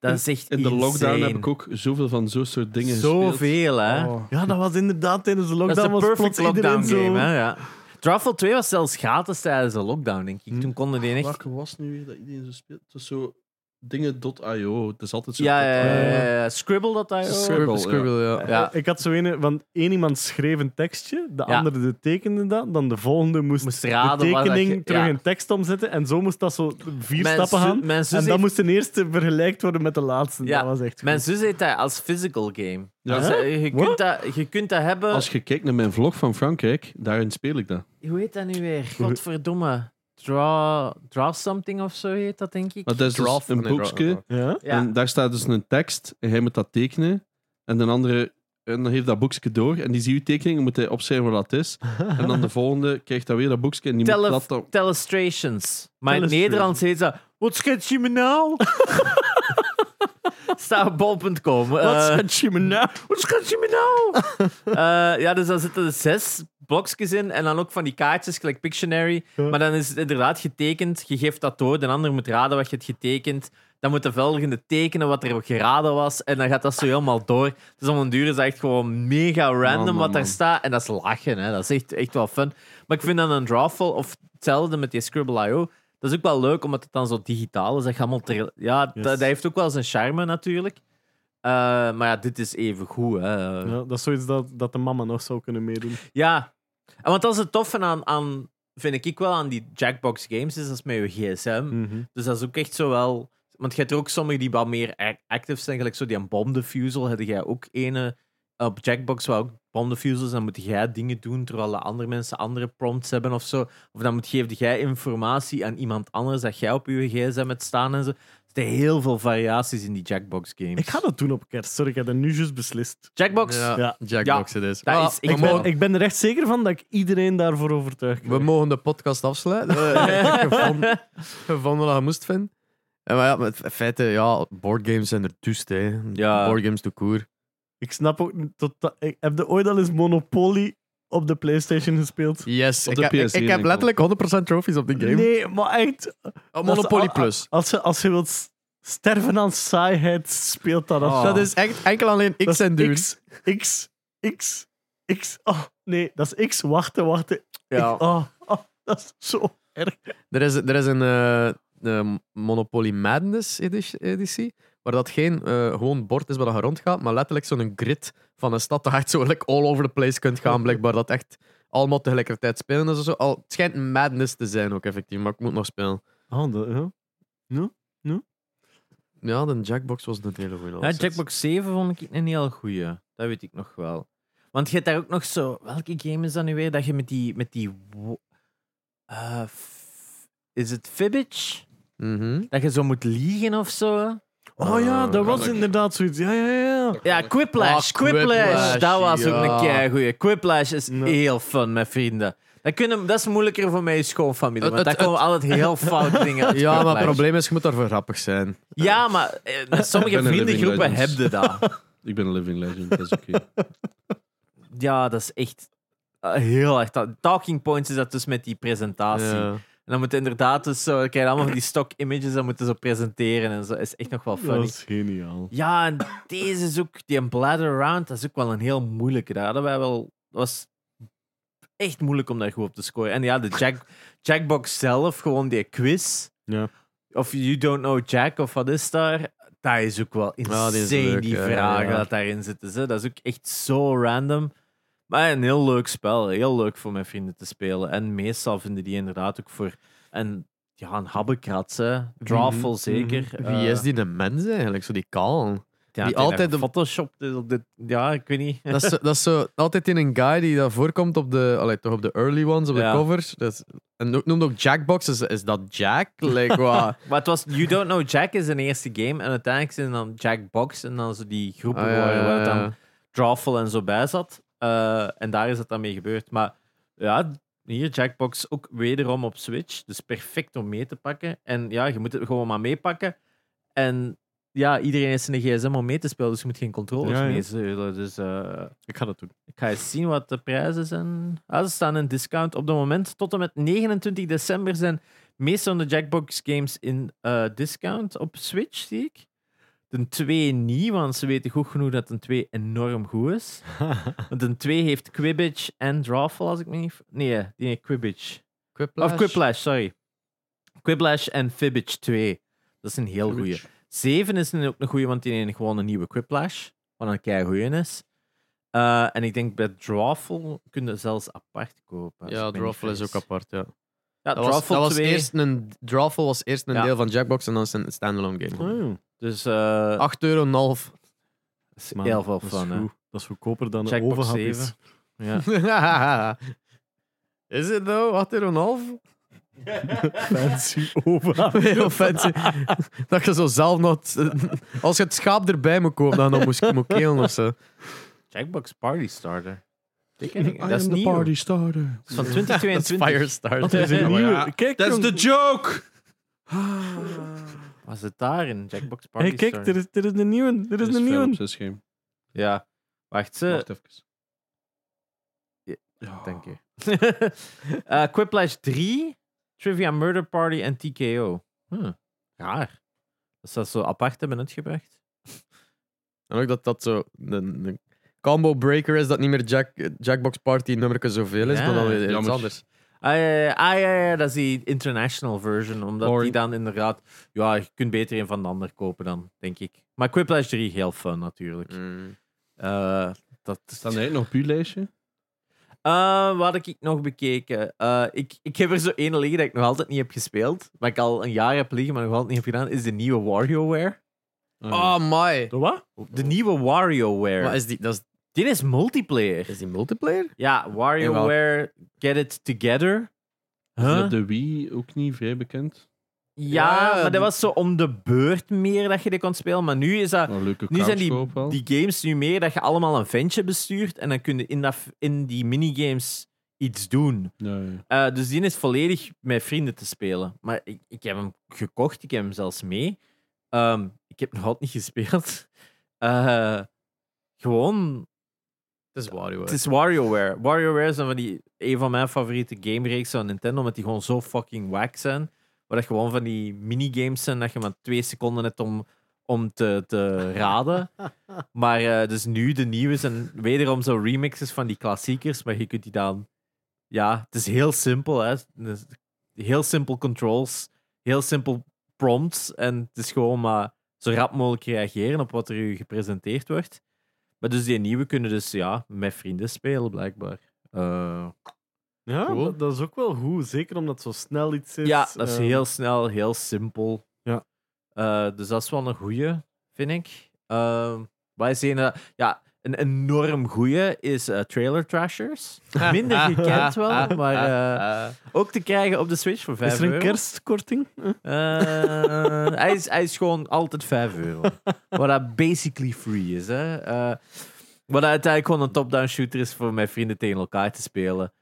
A: Dat is echt
C: In de lockdown
A: insane.
C: heb ik ook zoveel van zo'n soort dingen gespeeld.
A: Zoveel, hè?
D: ja, dat was inderdaad tijdens de
A: Dat
D: Oh. lockdown.
A: is de
D: was
A: perfect
D: plots iedereen
A: lockdown
D: zo-
A: game, hè? Ja. Drawful 2 was zelfs gratis tijdens de lockdown, denk ik. Toen konden die echt.
C: Welke was nu weer dat iedereen zo speelt? Het was zo dingen.io. Het is altijd zo.
A: Ja, ja, ja, ja, ja. Scribble dat daar. ook.
C: Scribble,
B: Scribble, Scribble, ja.
A: Ja.
D: Ik had zo een, want één iemand schreef een tekstje, de
A: Ja.
D: andere de tekende dat, dan de volgende moest,
A: Moest raden
D: de
A: waar dat
D: tekening
A: je-
D: terug
A: ja.
D: in tekst omzetten en zo moest dat zo vier
A: Mijn
D: stappen
A: zo-
D: gaan.
A: mijn zus
D: en dan
A: heeft-
D: moest de eerste vergelijkt worden met de laatste.
A: Ja,
D: Dat was echt goed.
A: Mijn zus heet dat als physical game.
C: Ja.
A: Dus, eh, je, kunt
D: What?
A: dat, je kunt dat hebben.
C: Als je kijkt naar mijn vlog van Frankrijk, daarin speel ik dat.
A: Hoe heet dat nu weer? Godverdomme. Draw, draw something of zo heet dat, denk ik.
C: Maar dat is dus
B: Draw-
C: een
B: nee, draw-
C: boekje.
D: Ja?
A: Ja.
C: En daar staat dus een tekst. En hij moet dat tekenen. En de andere en dan heeft dat boekje door. En die ziet uw tekening. Dan moet hij opschrijven wat dat is. En dan de volgende krijgt dat weer dat boekje. En die
A: Tele-
C: moet dat dan...
A: Telestrations. Maar in het
D: Telestrations.
A: Nederlands heet dat... Wat schets je me nou? Staat op bol.com.
D: Wat
A: Eh,
D: schat je me nou?
A: Wat schat je me nou? Eh, ja, dus daar zitten zes blokjes in en dan ook van die kaartjes, gelijk Pictionary.
D: Ja.
A: Maar dan is het inderdaad getekend. Je geeft dat door, de ander moet raden wat je hebt getekend. Dan moet de volgende tekenen wat er geraden was. En dan gaat dat zo helemaal door. Dus om een duur is dat echt gewoon mega random
C: man,
A: wat daar
C: man.
A: staat. En dat is lachen, hè. dat is echt, echt wel fun. Maar ik vind dan een drawful, of hetzelfde met die Scribble.io, dat is ook wel leuk, omdat het dan zo digitaal is. Dat, je allemaal ter- ja, dat,
D: Yes.
A: dat heeft ook wel zijn charme natuurlijk. Eh, maar ja, dit is even goed. Hè. Ja.
D: Ja, dat is zoiets dat, dat de mama nog zou kunnen meedoen.
A: En want dat is het toffe aan, aan, vind ik wel, aan die Jackbox games, is dat is met je gsm.
D: Hmm. Mhm.
A: Dus dat is ook echt zo wel... Want je hebt er ook sommige die wat meer ac- active zijn, gelijk zo die aan Bomb Defusal, heb jij ook ene op Jackbox waar ook Bomb Defusals, dan moet jij dingen doen terwijl de andere mensen andere prompts hebben of zo. Of dan moet, geef jij informatie aan iemand anders dat jij op je gsm hebt staan en zo. Er zijn heel veel variaties in die Jackbox games.
D: Ik ga dat doen op kerst. Sorry, ik heb dat nu juist beslist.
A: Jackbox?
B: Ja,
D: Ja.
B: Jackbox het is.
A: Dat
B: Maar
A: is-
B: we
A: ik
D: Ik
A: ben-
B: mogen-
D: ben, ik ben er echt zeker van dat ik iedereen daarvoor overtuig
B: We
D: krijg.
B: mogen de podcast afsluiten. ik heb gevonden, gevonden wat je moest vinden. En maar ja, maar in feite, ja, boardgames zijn er dus, hè.
A: Ja.
B: Boardgames to koer.
D: Ik snap ook niet tot... dat- Ik, heb je ooit al eens Monopoly op de PlayStation gespeeld?
B: Yes,
C: Op
B: ik,
C: de
B: heb- ik-
C: PS1
B: ik heb
C: enkel.
B: letterlijk 100% trophies op die game.
D: Nee, maar echt.
B: Oh, Monopoly
D: dat is-
B: Plus.
D: Als je, als je wilt s- sterven aan saaiheid, speelt dat af.
A: Oh.
B: Dat is echt enkel alleen
D: Ah. Dat
B: X
D: is
B: en doen.
D: X, X, X, X. Oh, nee, dat is X. Wachten, wachten.
B: Ja.
D: Oh, oh, dat is zo erg.
B: Er is, er is een eh, de Monopoly Madness edi- editie, waar dat geen eh, gewoon bord is waar dat je rond gaat, maar letterlijk zo'n grid van een stad dat je echt zo like, all over the place kunt gaan, blijkbaar dat echt allemaal tegelijkertijd spelen is. of Zo. Al, het schijnt een madness te zijn ook, effectief, maar ik moet nog spelen.
D: Oh, dat, ja.
B: Ja, de Jackbox was een hele goede
A: Ja, Jackbox 7 vond ik een heel goeie. Dat weet ik nog wel. Want je hebt daar ook nog zo... Welke game is dat nu weer? Dat je met die... Met die wo- Eh, f- is het Fibbage?
B: Mhm.
A: Dat je zo moet liegen of zo?
D: oh ja, dat
B: Ah,
C: kan
D: was
C: ik.
D: inderdaad zoiets. Ja, ja, ja.
A: Ja, Quiplash.
B: Ah, Quiplash,
A: Quiplash. Dat was ook
B: ja.
A: een kei goeie. Quiplash is
D: Ja.
A: heel fun, met vrienden. Dat, kunnen, dat is moeilijker voor mijn schoonfamilie,
B: Het-
A: want daar
B: het-
A: komen altijd heel fout dingen uit
B: Ja, maar het
A: Quiplash.
B: probleem is, je moet daarvoor grappig zijn.
A: Ja, maar eh, met
C: Ik
A: sommige
C: ben een living
A: vriendengroepen
C: legend.
A: hebben dat.
C: Ik ben een living legend, dat is oké.
A: Ja, dat is echt eh, heel erg. ta- Talking points is dat dus met die presentatie.
B: Ja.
A: En dan moet je inderdaad dus zo, kijk, allemaal van die stock images, dan moeten ze presenteren en zo. Is echt nog wel
D: ja. Dat
A: funny.
D: is geniaal.
B: Mm.
A: Ja, en deze is ook, die bladder round, dat is ook wel een heel moeilijke. Daar hadden wij wel, dat was echt moeilijk om daar goed op te scoren. En ja, de jack, Jackbox zelf, gewoon die quiz.
D: Ja.
A: Of You Don't Know Jack, of wat is daar? Dat is ook wel insane,
B: die is
A: die,
B: leuk, ja,
A: vragen
B: ja.
A: dat daarin zitten. Ze. Dat is ook echt zo random. Maar een heel leuk spel. Heel leuk voor mijn vrienden te spelen. En meestal vinden die inderdaad ook voor een, ja, een habbekrats. hè.
B: Mhm,
A: Drawful zeker.
B: Wie
A: Eh,
B: is die de mens eigenlijk? Zo die kaal.
A: ja,
B: Die
A: het is
B: altijd
A: een
B: de-
A: Photoshop. dus op dit- ja, ik weet niet.
B: Dat is, zo- dat is zo, altijd in een guy die dat voorkomt op de, allee, toch op de early ones, op de
A: Ja.
B: covers. Dat is- en ook, noemt ook Jackbox. Is, is dat Jack? Like, Ah, wat?
A: Maar het was You Don't Know Jack is een eerste game. En uiteindelijk zijn dan Jackbox. En dan zo die groepen
B: Ah, ja,
A: waar, waar
B: ja,
A: het
B: ja.
A: Oh, dan Drawful en zo bij zat. Eh, en daar is het dan mee gebeurd. Maar ja, hier Jackbox ook wederom op Switch. Dus perfect om mee te pakken. En ja, je moet het gewoon maar meepakken. En ja, iedereen heeft zijn gsm om mee te spelen. Dus je moet geen controllers
D: Ja, ja.
A: meezeulen. Dus eh,
D: Ik ga dat doen.
A: ik ga eens zien wat de prijzen zijn. Ah, ze staan in discount op het moment. Tot en met 29 december zijn meest van de Jackbox games in eh, discount op Switch, zie ik. De 2 niet, want ze weten goed genoeg dat een 2 enorm goed is. Want een 2 heeft Quibbage en Drawful, als ik me niet... ver- Nee, die heeft Quibbage.
B: Quiplash?
A: Of Quiplash, sorry. Quiplash en Fibbage 2. Dat is een heel goeie. 7 is een- ook een goeie, want die heeft gewoon een nieuwe Quiplash. Wat een kei goeie is. Eh, en ik denk bij Drawful kun je zelfs apart kopen. als
B: Ja,
A: ik me niet
B: Drawful is ook
A: vergis.
B: apart, ja.
A: Ja,
B: Dat was,
A: Drawful
B: dat was
A: 2.
B: eerst een, Drawful was eerst een
A: Ja.
B: deel van Jackbox en dan is het een standalone game.
D: Oh, ja.
A: Dus eh
B: 8 euro en een half.
A: is
D: Maar
A: heel veel
D: dat is
A: fun. hè.
D: goed. Dat is goedkoper dan de
A: Jackbox
D: overhap is.
A: 7. Ja.
B: Is het nou? 8 euro en een half?
D: Fancy overhap.
B: Heel fancy. dat je zo zelf nog... Als je het schaap erbij moet kopen, dan nog moest moet kelen of zo.
A: Jackbox Party Starter. Die ken ik niet.
C: I
A: Dat is
C: am the
A: nieuw.
C: party starter.
A: Dat is van
B: Dat is
A: 2022.
D: Dat
B: Firestarter.
D: is een nieuwe.
C: ja.
D: Kijk,
C: Dat is
D: jong.
C: de joke!
A: Was het daar in Jackbox Party
D: hey, kijk,
A: Starter?
D: er is, er is een nieuwe. Er is
C: Dit
D: een
C: Philips'
D: nieuwe.
C: scherm.
A: Ja. Wacht, ze,
C: Wacht even.
A: Ja,
C: Ja.
A: Dank je. Eh, Quiplash 3, Trivia Murder Party en TKO. Hm, raar. Dus dat zo apart hebben uitgebracht.
B: En ook dat dat zo een, een combo breaker is, dat niet meer Jack, Jackbox Party nummerke zoveel is,
A: Ja,
B: maar dan weer iets
C: jammer.
B: anders.
A: Ah ja, ja, ja. ah, ja, ja, dat is die international version. Omdat die
C: Boring.
A: dan inderdaad... Ja, je kunt beter een van de ander kopen dan, denk ik. Maar Quiplash 3, heel fun natuurlijk. Eh, Hm. dat
C: Staan er nog op uw lijstje?
A: Eh, wat heb ik nog bekeken? Eh, ik, ik heb er zo één liggen dat ik nog altijd niet heb gespeeld. Wat ik al een jaar heb liggen, maar nog altijd niet heb gedaan. Is de nieuwe WarioWare.
C: Ah,
B: Oh my.
D: De wat?
A: De nieuwe WarioWare.
B: Maar is die, dat is,
A: Dit is multiplayer.
B: is die multiplayer?
A: Ja, WarioWare, Get It Together.
C: Is
A: Huh?
C: dat de Wii ook niet vrij bekend?
A: Ja,
B: Ja,
A: maar dat
B: die-
A: was zo om de beurt meer dat je dit kon spelen. Maar nu is dat...
C: Maar Oh, leuke
A: Nu zijn die,
C: couchkoop wel.
A: die games nu meer dat je allemaal een ventje bestuurt en dan kun je in, dat, in die minigames iets doen.
C: Ja, ja.
A: Eh, dus die is volledig met vrienden te spelen. Maar ik, ik heb hem gekocht, ik heb hem zelfs mee. Ehm, ik heb nog altijd niet gespeeld. Eh, gewoon
B: Het is WarioWare.
A: Het is WarioWare. WarioWare is een van, die, een van mijn favoriete gamereeksen van Nintendo, omdat die gewoon zo fucking wack zijn. Waar dat gewoon van die minigames zijn dat je maar twee seconden hebt om, om te, te raden. Maar eh, dus nu de nieuwe zijn wederom zo remixes van die klassiekers, maar je kunt die dan... Ja, het is heel simpel. Hè. Dus Heel simpel controls, heel simpel prompts. En het is gewoon maar zo rap mogelijk reageren op wat er u gepresenteerd wordt. Maar dus die nieuwe kunnen dus ja, met vrienden spelen, blijkbaar. Eh,
D: Ja,
B: Cool.
D: dat, dat is ook wel goed. Zeker omdat het zo snel iets is.
A: ja, dat is
D: eh,
A: heel snel, heel simpel.
D: Ja.
A: Eh, dus dat is wel een goeie, vind ik. Eh, wij zien eh, ja, een enorm goeie is eh, Trailer Trashers. Minder gekend wel, maar eh, ook te krijgen op de Switch voor 5
D: Is er een
A: euro.
D: kerstkorting? Eh,
A: Eh, hij, is, hij is gewoon altijd 5 euro. Wat dat basically free is. Hè? Eh, wat dat uiteindelijk gewoon een top-down shooter is voor mijn vrienden tegen elkaar te spelen.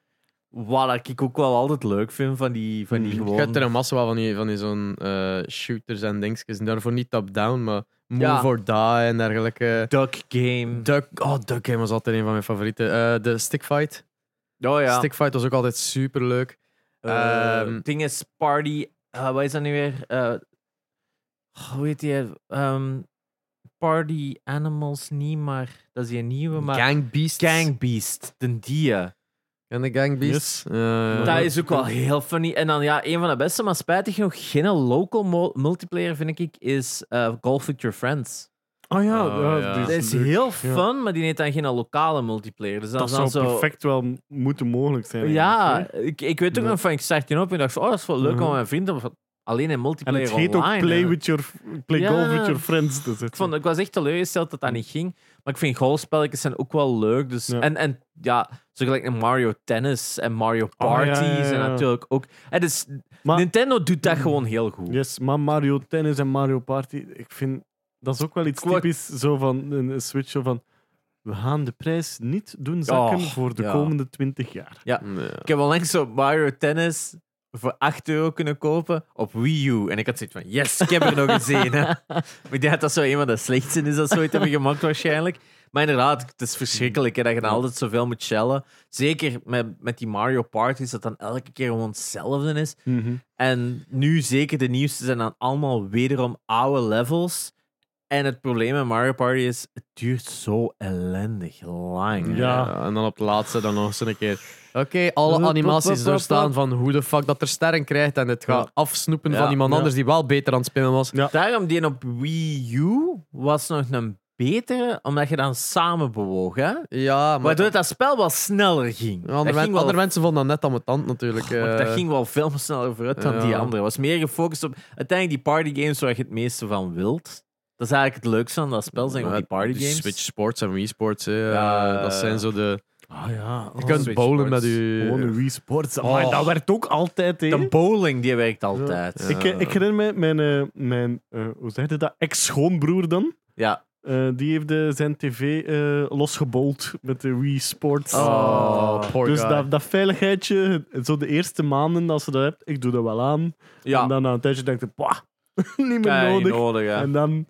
A: Wat dat ik ook wel altijd leuk vind van die, van die
B: Mm, Je
A: gewoon...
B: hebt er een massa wel van die, van die zo'n eh, shooters en dingetjes. En daarvoor niet top-down, maar move
A: Ja.
B: or die en dergelijke.
A: Duck game.
B: Duck, oh, Duck Game was altijd een van mijn favorieten. Eh, de Stickfight.
A: oh ja.
B: Stickfight was ook altijd super leuk.
A: Eh,
B: Ehm.
A: ding is Party. eh, wat is dat nu weer? Eh, hoe heet die? Ehm, party Animals niet, maar dat is die nieuwe. Maar...
B: Gang Beasts.
A: Gang Beast. Den die.
B: En de Gang Beasts. Eh,
A: Dat is ook wel heel funny. En dan ja, een van de beste, maar spijtig genoeg geen local mo- multiplayer, vind ik, is eh, Golf with Your Friends.
D: Ah ja,
B: Oh,
D: ja,
B: ja.
D: die
A: Dat is
D: leuk.
A: heel
D: Ja.
A: fun, maar die heeft dan geen lokale multiplayer. Dus dat,
D: Dat
A: is dan
D: zou
A: zo...
D: perfect wel m- moeten mogelijk zijn. eigenlijk,
A: Ja,
D: hè.
A: ik, ik weet ook
D: Ja.
A: nog van, ik start je op en ik dacht van, oh, dat is wel leuk om
D: Mhm.
A: mijn vrienden... van, Alleen in
D: En
A: multiplayer
D: het heet
A: online.
D: ook play,
A: hè.
D: with your, play
A: Ja.
D: golf with your friends. Dus
A: ik, vond, ik was echt teleurgesteld dat dat niet ging. Maar ik vind golfspelletjes zijn ook wel leuk. Dus,
D: Ja.
A: En, en ja, zo gelijk een Mario Tennis en Mario Parties.
D: Ah, ja, ja, ja.
A: En natuurlijk ook... Het is,
D: Maar-
A: Nintendo doet dat gewoon heel goed.
D: Yes, maar Mario Tennis en Mario Party, ik vind dat is ook wel iets
A: Ik word-
D: typisch zo van een een Switch zo van we gaan de prijs niet doen zakken
A: Och,
D: voor de
A: Oh, ja.
D: komende 20 jaar.
B: Nee.
A: Ik heb onlangs zo Mario Tennis voor 8 euro kunnen kopen op Wii U. En ik had zoiets van, yes, ik heb er nog eens een. hè. Maar ik denk dat dat zo een van de slechtste is dat ze ooit hebben gemaakt waarschijnlijk. Maar inderdaad, het is verschrikkelijk hè, dat je dan altijd zoveel moet shellen. Zeker met, met die Mario Parties, dat dan elke keer gewoon hetzelfde is. En nu zeker de nieuwste zijn dan allemaal wederom oude levels. En het probleem met Mario Party is, het duurt zo ellendig lang. hè.
D: Ja.
B: en dan op het laatste dan nog eens een keer. Ah. Oké, alle
D: Hup, hup,
B: animaties
D: hup, hup,
B: doorstaan
D: hup.
B: van hoe de fuck dat er sterren krijgt en het gaat
D: Ja.
B: afsnoepen
A: Ja.
B: van iemand
D: Ja.
B: anders die wel beter aan het spelen was.
D: Ja.
A: Daarom die op Wii U was nog een betere, omdat je dan samen bewoog. Hè?
B: Ja, maar
A: Waardoor dat spel wel sneller ging.
B: andere, men-
A: dat, ging wel,
B: andere mensen vonden dat net aan mijn tand natuurlijk. eh.
A: want dat ging wel veel sneller vooruit dan
B: Ja.
A: die andere. was meer gefocust op uiteindelijk die partygames waar je het meeste van wilt. Dat is eigenlijk het leukste aan dat spel, zijn
B: Ja,
A: gewoon die partygames.
B: Switch Sports en Wii Sports, hè, eh,
A: Ja.
B: dat zijn zo de...
A: Ah ja.
B: Je
D: oh.
B: kunt bowlen met
D: Gewoon een
B: je...
D: Wii Sports.
B: Oh.
D: Maar dat werkt ook altijd, hè.
A: De bowling, die werkt altijd.
B: Ja.
A: Ja.
D: Ik, eh, ik herinner me mijn, eh, mijn eh, hoe zeg je dat, ex-schoonbroer dan. Eh, die heeft eh, zijn tv eh losgebold met de Wii Sports.
A: eh,
B: Oh, poor
D: dus
B: guy.
D: dat, dat veiligheidje, zo de eerste maanden als ze dat hebt, ik doe dat wel aan.
A: Ja.
D: En dan na een tijdje denk je, "Pah, niet meer
A: Kei
D: nodig.
A: nodig, hè.
D: En dan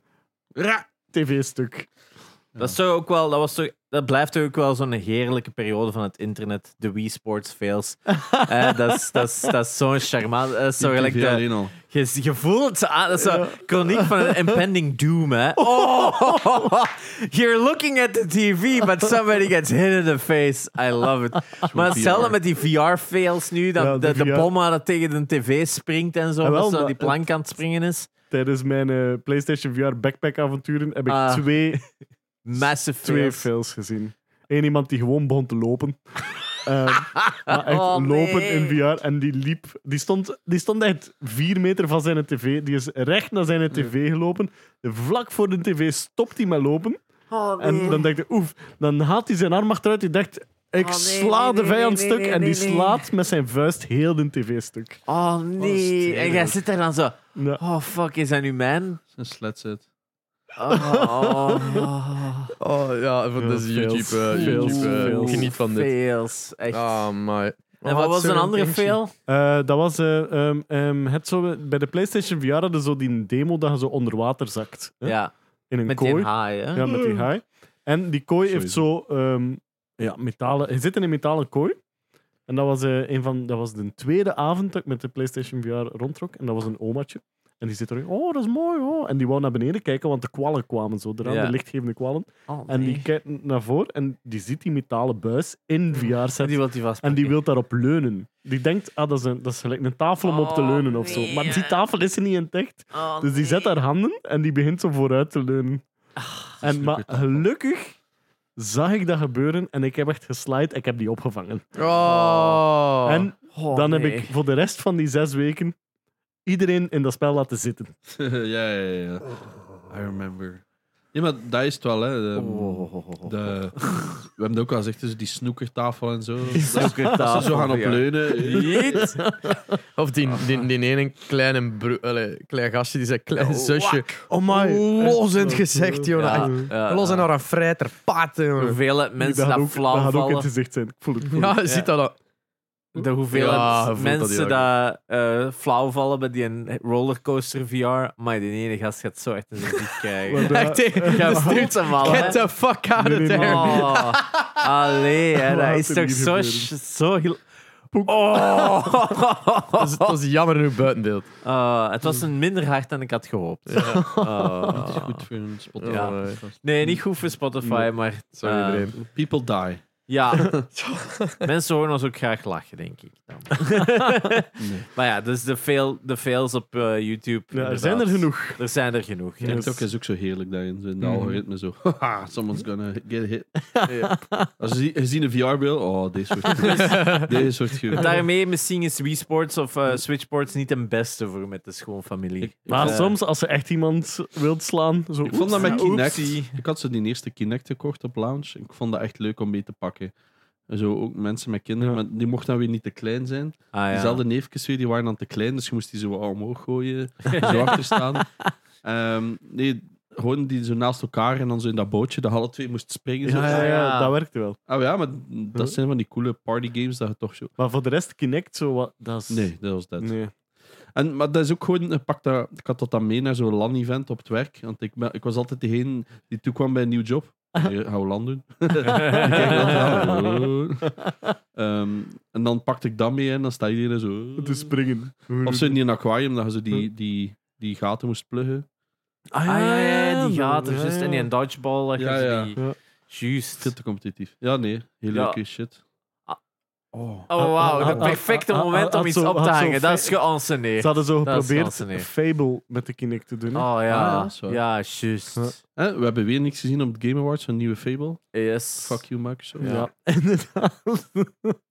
A: Ra.
D: tv-stuk.
A: Dat, is toch ook wel, dat, was toch, dat blijft toch ook wel zo'n heerlijke periode van het internet. De Wii Sports fails. Eh, dat is- dat is- dat is zo'n charmant. eh, zo gelijk
C: TV
A: de,
C: alleen al.
A: je, je voelt het zo aan. Dat is zo'n chroniek van een impending doom. Hè. Oh, you're looking at the TV, but somebody gets hit in the face. I love it. Maar hetzelfde
C: VR.
A: met die VR-fails nu. Dat
D: Ja,
A: de,
D: die
A: de
D: VR.
A: bomma dat tegen de tv springt en zo.
D: Ah, wel,
A: dat zo
D: maar
A: die
D: het-
A: plank aan het springen is.
D: Tijdens mijn eh, PlayStation VR backpack-avonturen heb ik
A: Ah.
D: twee,
A: Massive
D: twee
A: fails.
D: fails gezien. Eén iemand die gewoon begon te lopen. Ehm, maar echt
A: Oh,
D: lopen
A: nee.
D: in VR. En die liep... Die stond, die stond echt vier meter van zijn tv. Die is recht naar zijn tv gelopen. Vlak voor de tv stopt hij met lopen.
A: Oh,
D: En dan denkt hij, oef, dan haalt hij zijn arm achteruit. Hij denkt, ik
A: Oh, nee,
D: sla
A: nee,
D: de
A: nee,
D: vijand
A: nee,
D: stuk.
A: nee,
D: en die
A: nee, nee.
D: slaat met zijn vuist heel de tv-stuk.
A: Oh nee. en jij
C: stevig.
A: zit daar dan zo.
D: Ja.
A: Oh fuck, is dat nu mijn?
C: Een sletset.
A: Oh, oh.
B: Oh ja, van
D: Ja,
B: dus
D: fails.
B: YouTube.
D: Fails,
B: eh, YouTube eh,
D: fails.
B: Geniet van dit.
A: Fails, echt.
B: Ah, maar...
A: en wat was een andere fail?
D: Eh, dat was... eh, ehm, ehm, het zo, bij de PlayStation VR hadden zo die demo dat je zo onder water zakt. hè,
A: Ja,
D: In een
A: met die
D: kooi.
A: haai, hè?
D: ja, met die haai. En die kooi heeft zo... ehm, ja, metalen. Je zit in een metalen kooi. En dat was, eh, een van, dat was de tweede avond dat ik met de PlayStation VR rondtrok. En dat was een omaatje. En die zit er, oh, dat is mooi. Oh. En die wou naar beneden kijken, want de kwallen kwamen zo eraan,
A: Ja.
D: de lichtgevende kwallen.
A: Oh,
D: En die kijkt naar voren en die ziet die metalen buis in VR-set.
A: wil die vast.
D: En die wil daarop leunen. Die denkt, ah, dat is, een, dat is gelijk een tafel om op te
A: Oh,
D: leunen of zo.
A: nee.
D: Maar die tafel is er niet in het echt.
A: Oh,
D: Dus die zet haar handen en die begint zo vooruit te leunen. en, maar gelukkig zag ik dat gebeuren en ik heb echt geslide. Ik heb die opgevangen.
B: Oh.
D: En dan heb ik voor de rest van die zes weken iedereen in dat spel laten zitten.
C: ja, ja, ja. I remember. Ja, maar dat is het wel, hè. De,
A: Oh,
C: de- we hebben het ook al gezegd, dus die snoekertafel en zo. Dat
A: Ah,
C: ze zo gaan opleunen.
A: Jeet.
B: Of die, die, die ene kleine bro- allee, klein gastje, die zijn klein zusje. Oh my, los in het gezicht,
A: Ja,
B: jongen.
A: ja,
B: Los
A: ja.
B: en naar een vrijter paard, jongen.
A: Hoeveel mensen dat,
D: dat gaat ook, dat
A: flauw
D: gaat ook in
A: vallen.
D: het gezicht zijn. Ik voel het. ik voel
B: Ja,
D: het.
B: je ziet dat dan.
A: De hoeveel
B: Ja, je voelt dat
A: mensen dat, eh, flauw vallen bij die een rollercoaster VR. Maar die ene gast gaat zo echt in zijn ziek
D: Maar
A: krijgen.
D: dat-
B: Echt, eh,
A: Ik ga
B: dat is niet-
A: voeten vallen.
B: Get the fuck out
D: Nee,
B: of
D: nee, nee.
B: there.
A: Oh. Allee, hè,
D: Wat
A: dat is
D: er
A: toch
D: hier
A: zo...
D: gebeurd?
A: sch- zo heel... Oh.
B: Dat is- Dat is jammer nu buitenbeeld.
A: Eh, het was een minder hard dan ik had gehoopt. Eh,
C: Dat is goed voor een Spotify.
A: Ja. nee, niet goed voor Spotify, maar...
B: Sorry,
A: eh,
B: iedereen.
C: People die.
A: Ja, mensen horen ons ook graag lachen, denk ik. Dan. Maar ja, dus de, fail, de fails op eh, YouTube.
D: Ja, er
A: inderdaad.
D: zijn er genoeg.
A: Er zijn er genoeg. ja.
D: Yes.
C: TikTok is ook zo heerlijk daarin. Zo in de
B: Mhm.
C: algoritme zo. Haha, someone's gonna get hit. Als je, zie- je ziet een VR-beeld, oh, deze wordt Deze wordt goed.
A: Daarmee misschien is Wii Sports of eh, Switch Sports niet een beste voor met de schoonfamilie.
C: Ik-
D: Maar
A: Eh,
D: soms, als ze echt iemand wilt slaan... Zo,
C: Ik vond dat met
A: Ja,
C: Kinect.
A: oepsie.
C: Ik had zo die eerste Kinect gekocht op launch. Ik vond dat echt leuk om mee te pakken. En Zo ook mensen met kinderen,
D: Ja.
C: maar die mochten dan weer niet te klein zijn.
A: Ah, ja.
C: Diezelfde neefjes weer, die waren dan te klein, dus je moest die zo wat omhoog gooien, zo achter staan. Ehm, nee, gewoon die zo naast elkaar en dan zo in dat bootje, dat alle twee moest springen. zo.
D: Ja, ja,
A: Ja.
D: ja, dat werkte wel.
C: Oh ja, maar dat zijn van die coole partygames dat je toch zo...
D: Maar voor de rest, Kinect, zo wat... Dat is...
C: Nee, dat was dat.
D: Nee.
C: En, maar dat is ook gewoon, ik, pak dat, ik had dat dan mee naar zo'n LAN-event op het werk. Want ik, ben- ik was altijd degene die toekwam bij een nieuw job. Nee, Gaan we LAN doen? Ik kijk dan zo, Ehm, en dan pakte ik dat mee en dan sta iedereen zo... "Oh."
D: Te springen.
C: Of zo in een aquarium, dat je zo die, die, die gaten moest pluggen.
A: Ah ja, ja, ja, die gaat er
D: Ja,
A: juist
D: ja.
A: in die dodgeball. dat je
C: Ja, ja.
A: Die...
D: Ja.
A: Juist.
C: Veel te competitief. Ja, nee. Heel
A: Ja.
C: leuke shit.
A: Ah.
C: Oh.
A: Oh, wauw.
D: Had-
A: Het
D: had-
A: perfecte
D: had- had-
A: moment om
D: had
A: iets
D: zo-
A: op te
D: had zo
A: hangen. Dat
D: fe-
A: is geanceneerd.
D: Ze hadden zo
A: Dat is
D: geprobeerd
A: fascinerend.
D: Fable met de Kinect te doen. hè.
A: Oh
C: ja,
A: ja.
C: dat is waar.
A: ja, juist.
D: Ja.
C: Eh, we hebben weer niks gezien op de Game Awards, een nieuwe Fable.
A: Yes.
C: Fuck you, Microsoft.
A: Ja.
D: Ja, inderdaad.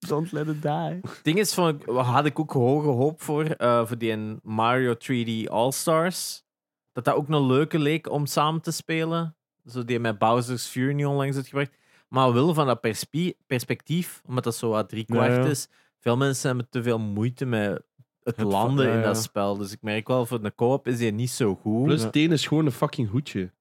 D: Don't let it die.
A: Het ding is, van, had ik ook hoge hoop voor, eh, voor die een Mario 3D All-Stars. Dat dat ook een leuke leek om samen te spelen. Zo die met Bowser's Fury niet onlangs had gebracht. Maar wel van dat perspi- perspectief, omdat dat zo wat drie
D: Ja,
A: kwart
D: ja.
A: is. Veel mensen hebben te veel moeite met het
D: Het-
A: landen
D: ja,
A: in dat
D: ja.
A: spel. Dus ik merk wel, voor de co-op is die niet zo goed.
C: Plus,
D: Ja.
C: het ene is gewoon een fucking hoedje.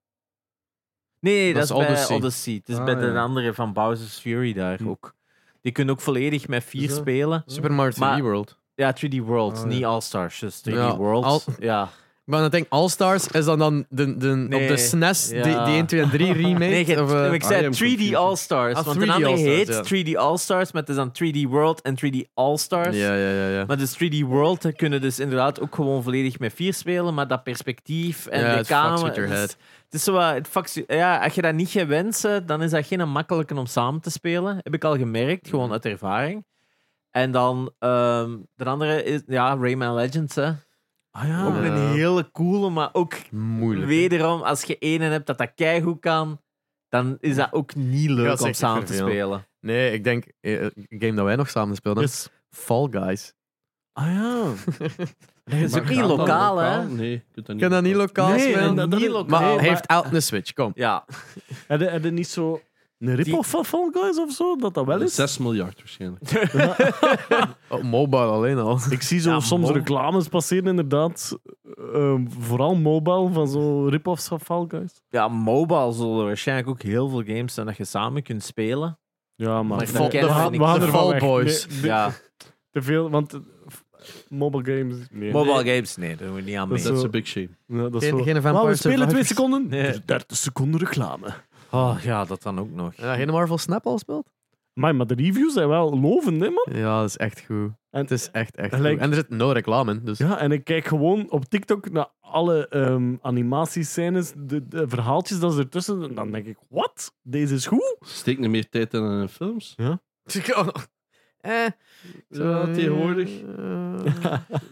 A: Nee, nee,
B: Dat
A: dat,
B: is
A: is bij
B: Odyssey.
A: Odyssey. Het is
C: Ah,
A: bij de
C: ja.
A: andere van Bowser's Fury daar
D: Hm.
A: ook. Die kunnen ook volledig met vier
C: Is dat-
A: spelen.
B: Super Mario 3D
A: Maar-
B: World.
A: Ja, 3D World,
B: Ah, ja.
A: niet All-Stars, dus 3D
B: Ja,
A: World.
B: al-
A: Ja.
B: Ik ben aan het denken, All Stars is dan, dan de, de, op
A: Nee,
B: de SNES, die,
A: ja.
B: die 1, 2 en 3 remake?
A: Nee, je-
B: of, eh,
A: ik
C: I am
A: zei 3D
C: confused.
A: All-Stars,
B: Ah,
A: want
B: 3D
A: een andere
B: All-Stars,
A: heet
B: ja.
A: 3D All-Stars, maar het is dan 3D World en 3D All-Stars.
B: ja, ja, ja. ja.
A: Maar dus 3D World eh, kunnen dus inderdaad ook gewoon volledig met vier spelen, maar dat perspectief en
B: Ja,
A: de
B: het fucks
A: camera...
B: with
A: het
B: your
A: is-
B: head.
A: Het is zo wat- het fucks you- ja, als je dat niet gewend bent, dan is dat geen makkelijke om samen te spelen. Heb ik al
B: Mhm.
A: gemerkt, gewoon uit ervaring. En dan, ehm, de andere is, ja, Rayman Legends, hè.
D: Ah
A: Ook
B: Ja.
A: een hele coole, maar ook
B: Moeilijk.
A: Wederom, als je ene hebt dat dat keigoed kan, dan is dat ook niet
B: Ja,
A: leuk om
B: zeker
A: samen te
B: vervelend.
A: spelen.
B: Nee, ik denk, eh, een game dat wij nog samen speelden,
D: Yes.
B: Fall Guys.
D: Ah ja.
A: Dat is
C: Maar
A: ook niet
C: gaat dat
A: lokaal, hè?
C: Nee, je kunt dat
B: Ik
C: niet.
B: kan dat niet lokaal
D: Nee,
B: spelen.
D: en dat- dat-
A: Niet lokaal.
B: maar
D: nee,
B: hij
D: maar-
B: heeft elk een Switch, kom.
A: Ja,
D: Heb je- heb je niet zo... Een rip-off van Fall Guys of zo? Dat dat wel is?
C: 6 miljard waarschijnlijk.
B: Oh, mobile alleen al.
D: Ik zie zo
A: Ja,
D: soms
A: mo-
D: reclames passeren, inderdaad. Ehm, vooral mobile, van zo rip-offs van Fall Guys.
A: ja mobile zullen er waarschijnlijk ook heel veel games zijn dat je samen kunt spelen.
D: Ja,
A: Maar
D: maar...
A: dat
D: we
A: kennen we
D: gaan-
A: niet.
D: we gaan
B: De
D: ervan
B: Fall
D: weg.
B: Boys.
D: Nee,
A: Ja,
D: Te veel, want... eh, f- Mobile games... Nee.
A: mobile games, nee, daar doen we niet aan
D: Dat
A: mee.
D: is
C: That's
D: zo.
C: a big shame.
D: Ja, dat is
B: Geen,
D: wel-
B: geen
D: Maar
B: Vampire
D: we spelen twee
B: Survivors.
D: seconden.
A: Nee.
D: 30 seconden reclame.
A: Oh ja, dat dan ook nog.
B: Ja, geen Marvel Snap al speelt?
D: Maar, maar de reviews zijn wel lovend, hè, man.
B: Ja, dat is echt goed.
D: En-
B: het is echt, echt
D: Gelijk-
B: goed. En er zit nul reclame in, dus...
D: Ja, en ik kijk gewoon op TikTok naar alle ehm animatiescènes, de, de verhaaltjes dat ze ertussen doen. Dan denk ik, wat? Deze is goed?
C: Steek niet meer tijd in aan films.
B: Dus Eh,
C: Ja, tegenwoordig.
B: Eh,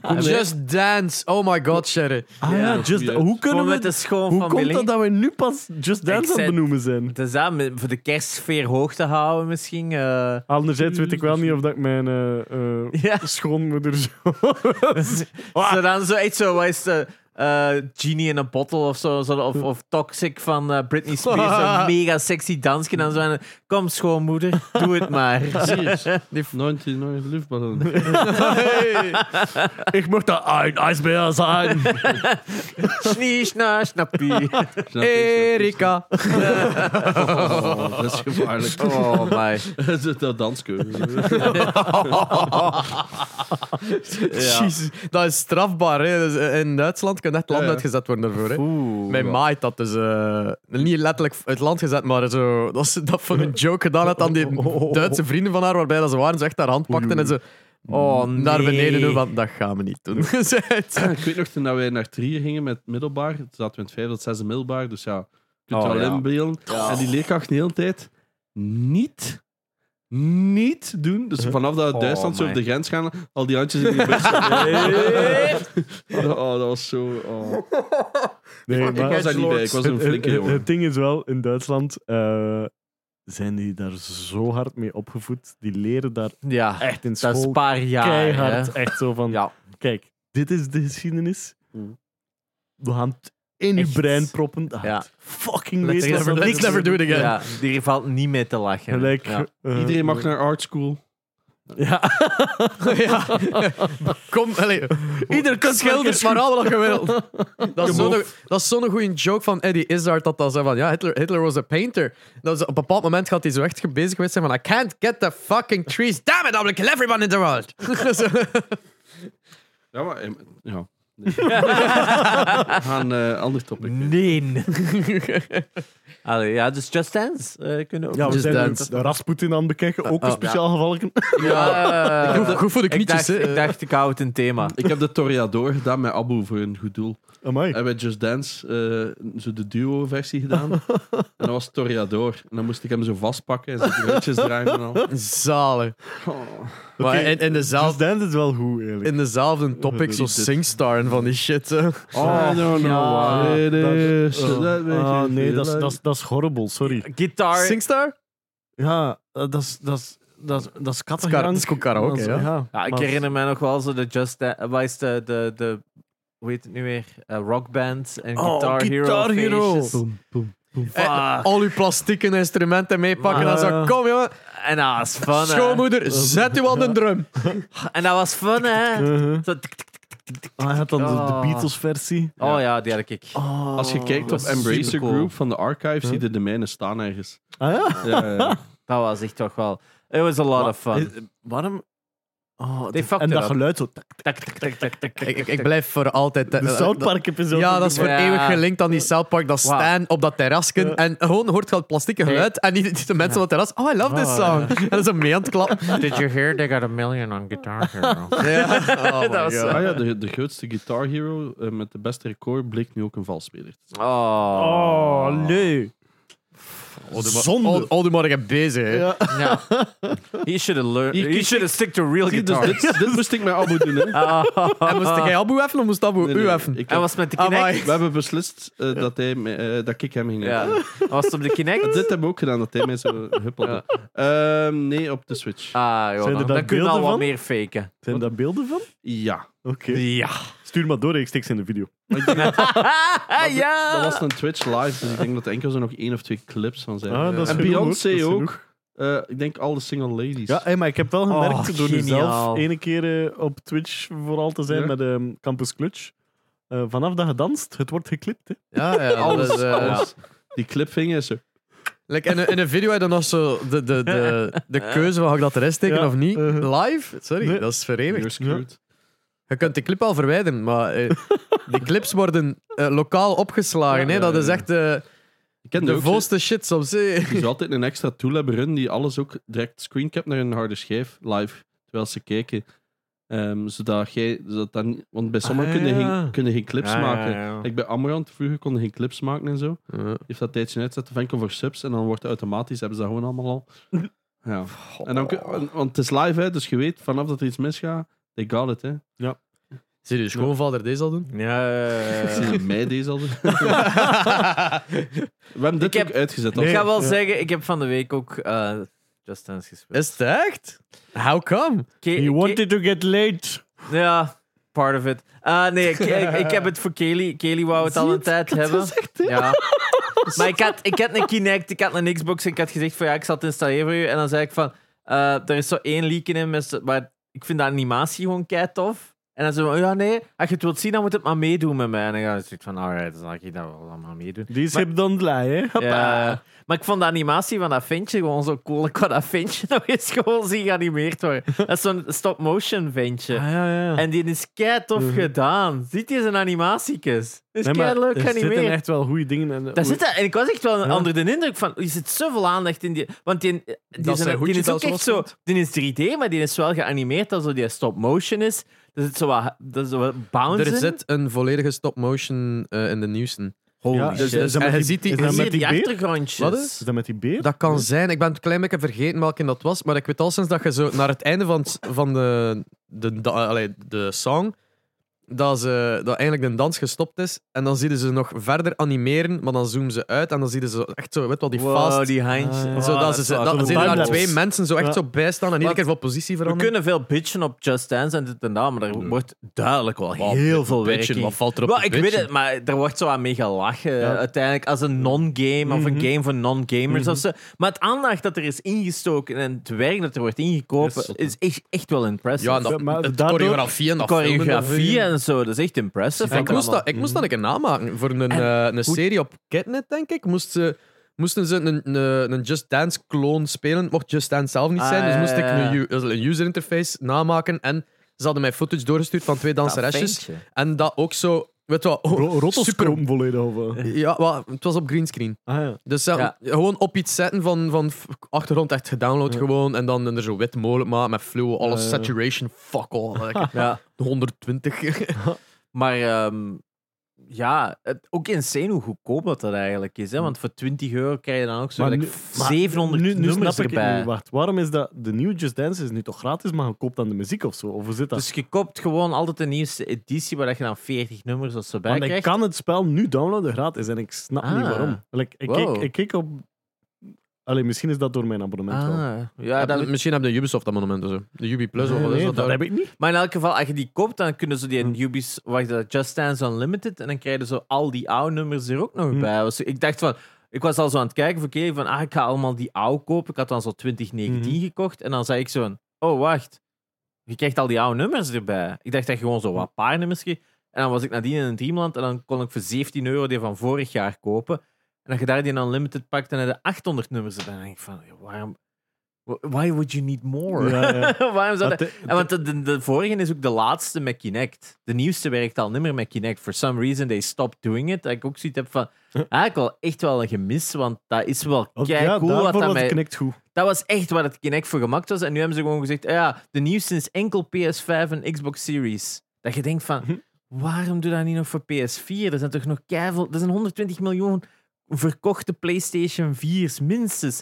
C: Kom,
B: Just Dance. Oh my god, Sherry.
D: Ah
C: Ja,
D: ja,
C: goeie.
D: Just, hoe kunnen
A: Gewoon
D: we...
A: met de schoon
D: Hoe
A: familie.
D: komt het dat we nu pas Just Dance aan
A: zei-
D: het benoemen zijn?
A: Het is dat, met- voor de kerstsfeer hoog te houden misschien. eh.
D: Anderzijds weet ik wel niet of dat ik mijn eh, eh,
A: ja.
D: schoonmoeder zo...
A: Zo dan zo echt zo, wat is de eh, Genie in a Bottle of zo, zo of, of Toxic van eh, Britney Spears. Zo'n mega sexy dansje en zo. En, kom schoonmoeder, doe het maar.
C: Precies. 99 luchtballon.
D: ik mocht dat een ijsbeer zijn.
A: Schnie, schna, snappie.
B: Erika.
C: Oh, dat is gevaarlijk.
A: Oh my.
C: Dat is dat danskeuze.
A: Ja.
B: Jezus, dat is strafbaar. Hè. Dus, eh, in Duitsland kan echt land
C: Ja, ja.
B: uitgezet worden daarvoor. Hè.
A: Oeh.
B: Mijn ma had dat dus eh, niet letterlijk uit land gezet, maar zo, dat ze dat voor een joke gedaan had aan die Duitse vrienden van haar, waarbij dat ze waren, ze echt haar hand pakten en ze
A: Oh, nee.
B: naar beneden doen, want dat gaan we niet doen. Ze had-
C: ik weet nog, toen wij naar Trier gingen met middelbaar, toen zaten we in het vijfde tot zesde middelbaar, dus ja, je kunt
A: Oh,
C: wel
A: ja.
C: inbeelden. En die leerkracht de hele tijd niet, niet doen. Dus vanaf dat
A: Oh,
C: Duitsland zo
A: my.
C: op de grens gaan, al die handjes in die bus. oh, dat was zo... Oh.
D: Nee,
C: Ik was daar niet bij, ik was een
D: het, het-
C: flinke
D: het-
C: jongen.
D: het ding is wel, in Duitsland eh, zijn die daar zo hard mee opgevoed. Die leren daar
A: Ja,
D: echt in
A: dat is
D: school
A: een paar jaar.
D: keihard.
A: hè.
D: Echt zo van,
A: Ja.
D: kijk, dit is de geschiedenis.
B: Mm.
C: Hmm.
D: We gaan het in je
A: Echt.
D: brein proppen. Dat
A: Ja.
D: gaat Fucking
B: Let's
D: meestal
B: never-
D: van-
B: let's never do it again.
A: Ja, die valt niet mee te lachen.
D: Gelijk,
A: Ja.
D: eh,
C: Iedereen mag naar art school.
D: Ja.
B: ja. Kom, allee,
A: Ieder kan
B: schilders maar al wat je wilt. Dat is
C: Kom
B: zo'n dat is zo'n goede joke van Eddie Izzard dat dat zei van ja, Hitler, Hitler was a painter. Dat is, op een bepaald moment gaat hij zo echt bezig geweest zijn van I can't get the fucking trees. Damn it, I will kill everyone in the world. Zo.
C: Ja, maar... eh, Ja. Nee. We gaan eh ander topic.
A: Nee. Allee, ja, dus Just Dance eh, kunnen we ook
D: Ja, we
B: Just
D: zijn
B: Dance.
D: de Rasputin aan het bekijken. Ook een
A: oh,
D: speciaal geval.
A: Ja, eh,
B: Goed- Goed voor de
A: ik,
B: knietjes,
A: dacht,
B: hè.
A: ik dacht, ik hou het een thema.
C: Ik heb de Toreador gedaan met Abu voor een goed doel.
D: Amai.
C: Hebben we Just Dance, eh, zo de duo-versie gedaan. en dat was Toreador. En dan moest ik hem zo vastpakken en zijn rondjes draaien en al.
B: Zalig.
C: Oh.
B: Maar in, in
D: Just
B: dezelfde,
D: Dance is wel goed, eerlijk.
B: in dezelfde topic, zo
C: Dit-
B: singstar en van die shit. hè.
C: I
A: Oh,
C: don't know
A: Ja,
C: what it
D: dat-
C: is.
D: eh,
C: Dat weet
D: ah,
C: ik
D: nee,
C: niet.
D: dat is- dat is- dat is horrible, sorry.
A: Guitar.
B: Singstar?
D: Ja, eh, dat is- dat is- dat is- dat is kattengejank.
B: Kar- dat is goed karaoke,
D: Dat is-
B: ja.
A: ja, Ah, ik
D: maar-
A: herinner me nog wel zo de Just Dance. eh, Wat is de, de, de hoe heet het nu weer? Eh, rockband en
D: Oh,
A: Guitar Hero.
D: Guitar Hero.
A: feestjes.
B: Eh,
A: Fuck.
B: al uw plastieken instrumenten meepakken en zo.
D: Maar-
B: Kom jongen,
A: En dat was fun. hè.
B: schoonmoeder, zet u aan de drum.
A: En dat was fun, hè?
D: Uh-huh.
A: Zo tik, tik, tik.
D: Ah, hij had dan de- de
A: Ah.
D: Beatles-versie.
A: Oh ja, die had ik.
D: Oh.
C: Als je kijkt op
A: dat is
C: Embracer
A: supercool.
C: Group van de archive, zie je de mijne staan ergens.
D: Ah ja?
C: Ja, ja, ja.
A: Dat was echt toch wel. It was a lot of fun.
D: Eh, Waarom? Oh,
A: They fucked
D: en
A: it
D: dat
A: up.
D: geluid zo. tak,
A: Tak, tak, tak, tak, tak, tak,
B: Ik, ik,
A: tak,
B: ik blijf voor altijd... eh,
A: Eh,
D: De South Park episode.
B: Ja, dat is voor
A: Ja.
B: eeuwig gelinkt aan die South Park. Dat
A: Wauw.
B: staan op dat terrasken.
D: Ja.
B: En gewoon hoort je het plastieke geluid. En niet niet de mensen op het terras. Oh, I love this song. En dan zo mee aan het klappen.
A: tak. Did you hear they got a million on Guitar Hero?
B: Ja. Oh my
A: Dat was,
B: God.
C: Ah ja, de, de grootste Guitar Hero eh, met de beste record bleek nu ook een valsspeler.
A: Oh,
D: Oh, nee.
B: Oh, doe maar-
D: zonde.
B: oh, oh, doe maar je bezig. hè.
D: Ja.
A: No. he should have learned.
C: Hier,
A: He
C: kijk,
A: should have stick to real
C: Zie, dus
A: guitar.
C: dit, dit moest ik met Abu doen. Hè.
B: En moest jij Abu heffen of moest Abu
C: Ah, Nee,
B: u
C: nee,
B: heffen?
C: ik
A: Hij
C: heb-
A: was met de
B: Amai.
A: Kinect.
C: We hebben beslist eh, dat, hij, me- eh, dat ik hem ging
A: Ja,
C: doen.
A: hij was op de Kinect.
C: Dit hebben we ook gedaan, dat hij mij zo huppelde. Ehm, nee, op de Switch.
A: Ah, joh,
D: Zijn er
A: dan,
D: daar
A: dan kun je al
D: beelden
A: wat
D: van?
A: meer faken.
D: Zijn daar beelden van?
C: Ja.
D: Oké.
A: Ja.
D: Stuur maar door, ik steek ze in de video.
A: ja.
C: Dat was een Twitch live, dus ik denk dat er enkel zo nog één of twee clips van zijn.
D: Ah, dat is
C: en
D: genoeg, hoor.
C: Beyoncé
D: Dat is
C: ook.
D: genoeg.
C: Eh, ik denk alle single ladies.
D: Ja, hey, maar ik heb wel gemerkt
A: Oh,
D: door nu
A: geniaal.
D: zelf ene keer eh, op Twitch vooral te zijn
C: Ja.
D: met ehm, Campus Clutch. Eh, vanaf dat je danst, het wordt geklipt. Hè.
B: Ja, ja.
C: alles.
B: dat is, eh,
C: alles. Die clipvinger is er.
B: Like in, een, in een video heb je dan nog zo de, de, de, de keuze van ga ik dat erin steken
D: Ja,
B: of niet.
D: eh.
B: Live? Sorry,
D: Nee.
B: dat is
C: You're
B: verewigd.
C: screwed.
B: Je kunt de clip al verwijderen, maar eh, die clips worden eh, lokaal opgeslagen. hè. Dat is echt... eh,
C: Ik ken
B: De
C: ook,
B: volste shit op zee.
C: ze- Er is altijd een extra tool hebben hun die alles ook direct screencapt naar een harde schijf live. Terwijl ze kijken. Ehm, zodat jij, zodat dan, want bij sommigen
B: Ah,
C: kunnen,
B: ja.
C: geen, kunnen geen clips
A: Ja, ja,
C: maken.
A: ja.
C: Like bij Amrand vroeger konden geen clips maken en zo. Heeft dat tijdje uitzet, dan voor subs en dan wordt het automatisch, hebben ze dat gewoon allemaal al. Ja. En dan, kun- want- want het is live, hè, dus je weet vanaf dat er iets misgaat, they got it. Hè.
B: Serieus, schoonvader deze al doen?
A: Ja, ja, ja, ja.
C: Zie je mij deze al? We hebben dit
A: Ik
C: ook
A: heb-
C: uitgezet.
A: Ik
C: al.
A: ga wel
D: Ja.
A: zeggen, ik heb van de week ook eh Just Dance gespeeld.
B: Is het echt? How come?
A: Ke-
D: You
A: ke-
D: wanted to get late.
A: Ja, part of it. Ah, nee, ik, ik, ik heb het voor Kelly. Kelly wou het al een tijd hebben. ja. Maar ik had, ik had een Kinect, ik had een Xbox en ik had gezegd van ja, ik zal het installeren voor je. En dan zei ik van, eh, er is zo één leak in, met zo- maar ik vind de animatie gewoon kei tof. En dan zei hij, ja nee, als je het wilt zien, dan moet het maar meedoen met mij. En dan had ik zoiets van, alright, dan zal ik dat wel allemaal meedoen.
D: Die is hip dan blij, hè?
A: Ja, maar ik vond de animatie van dat ventje gewoon zo cool. Ik wou dat ventje nog eens gewoon zien geanimeerd worden. Dat is zo'n stop-motion
D: Ah,
A: ventje.
B: ja, ja.
A: En die is kei tof
D: Mhm.
A: gedaan. Ziet je zijn animatiekes? Dat is
D: Nee, maar
A: kei leuk
D: er zitten
A: geanimeerd.
D: echt wel goede dingen. eh, En,
A: Daar zit dat, en ik was echt wel
D: Ja.
A: onder de indruk van, er zit zoveel aandacht in die... Want die, die,
B: zijn
A: zijn- die
B: hoedjes
A: is ook
B: dat zo
A: echt zo... Die is 3D, maar die is wel geanimeerd als die stop-motion is. Dat is zo wat, dat is zo wat bounce
B: Er zit een volledige stop-motion eh, in de nieuwsten.
A: Holy
D: Ja,
A: shit.
D: dus-
A: Dus,
D: dus-
B: en
D: met
B: je
D: die-
B: ziet die...
D: is
A: en
D: dat
A: zie
D: met
A: je
D: die
A: die
D: beer?
A: achtergrondjes.
B: Wat
D: Is dat met die beer?
B: Dat kan zijn. Ik ben het een klein beetje vergeten welke dat was. Maar ik weet al sinds dat je zo naar het einde van, het- van de, de, da- allee, de song. Dat, ze, dat eigenlijk de dans gestopt is. En dan zien ze nog verder animeren. Maar dan zoomen ze uit. En dan zien ze zo echt zo. Weet wel, die
A: Wow,
B: fast.
A: die handjes.
D: Ah, ja.
A: Wow,
B: zodat
A: dat
B: ze,
A: is
B: ze-
A: wel-
B: dat,
D: zo'n
B: zien er daar
D: timelapse.
B: twee mensen zo echt
D: Ja.
B: zo bij staan. En iedere
A: Want
B: keer van positie
A: We
B: veranderen.
A: kunnen veel bitchen op Just Dance en dit en dat, maar er
C: Nee.
A: wordt duidelijk wel
B: Wat
A: heel veel werk
B: bitchen,
A: in
B: Wat valt er op
A: Wel,
B: te
A: ik weet
B: bitchen?
A: het, maar er wordt zo aan mee gelachen.
D: Ja.
A: Uiteindelijk als een non-game of een
D: Mhm.
A: game voor non-gamers
D: Mhm.
A: of zo. Maar het aandacht dat er is ingestoken en het werk dat er wordt
C: Dat is
A: ingekopen
C: zot,
A: is echt, echt wel impressive.
B: Ja, en
D: Ja,
B: dat,
D: maar
B: het
D: daardoor-
B: choreografie en
A: de
B: dat filmen, dat
A: choreografie en zo, dat is echt
B: Ja,
A: impressive.
B: ik, moest dat, ik moest dat een keer namaken voor een, eh, een serie op Catnet, denk ik. Moest ze, moesten ze een, eh, een, een Just Dance clone spelen. Mocht Just Dance zelf niet
A: Ah,
B: zijn, dus
A: ja,
B: moest ik
A: ja,
B: een, u- een user interface namaken. En ze hadden mij footage doorgestuurd van twee danseresjes. En dat ook zo, weet je wat, oh,
D: Ro- Rotters
B: super-
D: kropen volledig over.
B: Ja, wel, het was op greenscreen.
D: Ah, ja.
B: Dus ja,
A: Ja.
B: gewoon op iets zetten van, van f- achtergrond, echt gedownload
D: Ja.
B: gewoon. En dan er zo wit mogelijk maken met fluo, alles
D: Ja, ja.
B: saturation, fuck all. like,
A: Ja,
B: 120.
A: maar ehm, ja, het, ook insane hoe goedkoop dat, dat eigenlijk is. Hè? Want voor 20 euro krijg je dan ook zo
D: Maar
A: like,
D: nu- maar
A: 700
D: nu, nu
A: nummers
D: snap ik het
A: erbij.
D: niet. Wacht, waarom is dat... De nieuwe Just Dance is nu toch gratis, maar gekoopt aan de muziek of zo? Of hoe zit dat?
A: Dus je koopt gewoon altijd de nieuwste editie waar dat je dan 40 nummers of zo bij
D: Want ik
A: krijgt.
D: kan het spel nu downloaden gratis en ik snap
A: Ah.
D: niet waarom. Like, ik,
A: Wow.
D: keek, ik keek op... Allee, misschien is dat door mijn abonnement wel.
A: Ah, ja,
B: Ja,
A: dat,
B: dat- misschien hebben de Ubisoft dat moment of zo. De Ubi Plus of
D: Nee,
B: wat is
D: nee,
B: dat?
D: dat
B: daar?
D: heb ik niet.
A: Maar in elk geval, als je die koopt, dan kunnen ze die
D: Hm.
A: in Ubis, wacht, dat Just Dance Unlimited, en dan krijg je zo al die oude nummers er ook nog
D: Hmm.
A: bij. Dus ik dacht van, ik was al zo aan het kijken, voor Kelly, van, ah, ik ga allemaal die oude kopen. Ik had dan zo 2019
D: Hm.
A: gekocht, en dan zei ik zo van, oh, wacht, je krijgt al die oude nummers erbij. Ik dacht dat je gewoon
D: Hm.
A: zo wat paar nummers kreeg. En dan was ik nadien in een Dreamland, en dan kon ik voor 17 euro die van vorig jaar kopen. En als je daar die Unlimited pakt, dan heb je 800 nummers erbij. En dan denk ik van, waarom... Why would you need more?
D: Ja, ja.
A: waarom zou dat...
D: Dat-
A: En want de, de, de vorige is ook de laatste met Kinect. De nieuwste werkt al niet meer met Kinect. For some reason, they stopped doing it. Dat ik ook zoiets heb van... Ah, ik wel echt wel een gemis, want dat is wel
D: Want
A: kei
D: Oh, ja,
A: cool.
D: daarvoor
A: Wat dat,
D: was
A: mij-
D: het Kinect goed.
A: dat was echt waar het Kinect voor gemaakt was. En nu hebben ze gewoon gezegd... ah ja, de nieuwste is enkel PS5 en Xbox Series. Dat je denkt van...
D: Hm.
A: Waarom doe dat niet nog voor PS4? Er zijn toch nog keiveel... Er zijn 120 miljoen verkochte PlayStation 4's, minstens.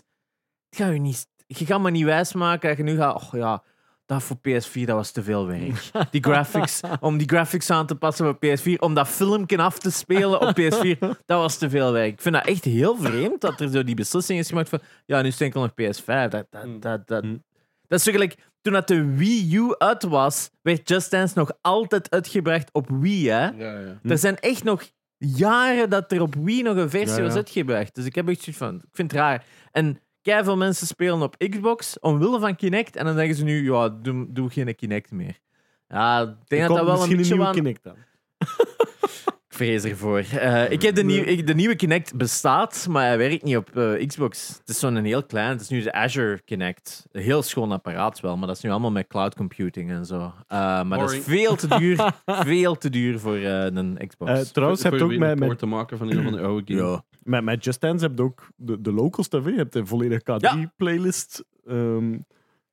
A: Het gaat u niet... Je gaat me niet wijsmaken dat je nu gaat... Oh ja, dat voor PS4, dat was te veel werk. Die graphics, om die graphics aan te passen voor PS4, om dat filmpje af te spelen op PS4, dat was te veel werk. Ik vind dat echt heel vreemd dat er zo die beslissing is gemaakt van... Ja, nu is het enkel nog PS5. Dat, dat, dat, dat.
D: Hmm.
A: dat is zo gelijk... Toen dat de Wii U uit was, werd Just Dance nog altijd uitgebracht op Wii, hè?
C: Ja, ja.
D: Hm.
A: Er zijn echt nog jaren dat er op Wii nog een versie
D: Ja, ja.
A: was uitgebracht. Dus ik heb echt zoiets van, ik vind het raar. En veel mensen spelen op Xbox omwille van Kinect. En dan zeggen ze nu, ja, doe, doe geen Kinect meer. Ja, ik denk
D: Er
A: dat
D: komt
A: dat wel een
D: misschien
A: beetje
D: nieuwe
A: aan...
D: Kinect aan.
A: Ik vrees ervoor. Eh, ik heb de, nieuw, ik- de nieuwe Kinect bestaat, maar hij werkt niet op eh, Xbox. Het is zo'n heel klein, het is nu de Azure Kinect. Een heel schoon apparaat wel, maar dat is nu allemaal met cloud computing en zo. Eh, maar dat is
C: Boring.
A: veel te duur, veel te duur voor eh, een Xbox.
D: Eh, trouwens, je hebt ook
C: een
D: met...
C: poort
D: met
C: te maken van een van de oude games.
A: ja.
D: Met, met Just Dance heb je ook de, de local stuff. hè. Je hebt een volledige K3-playlist. Ehm,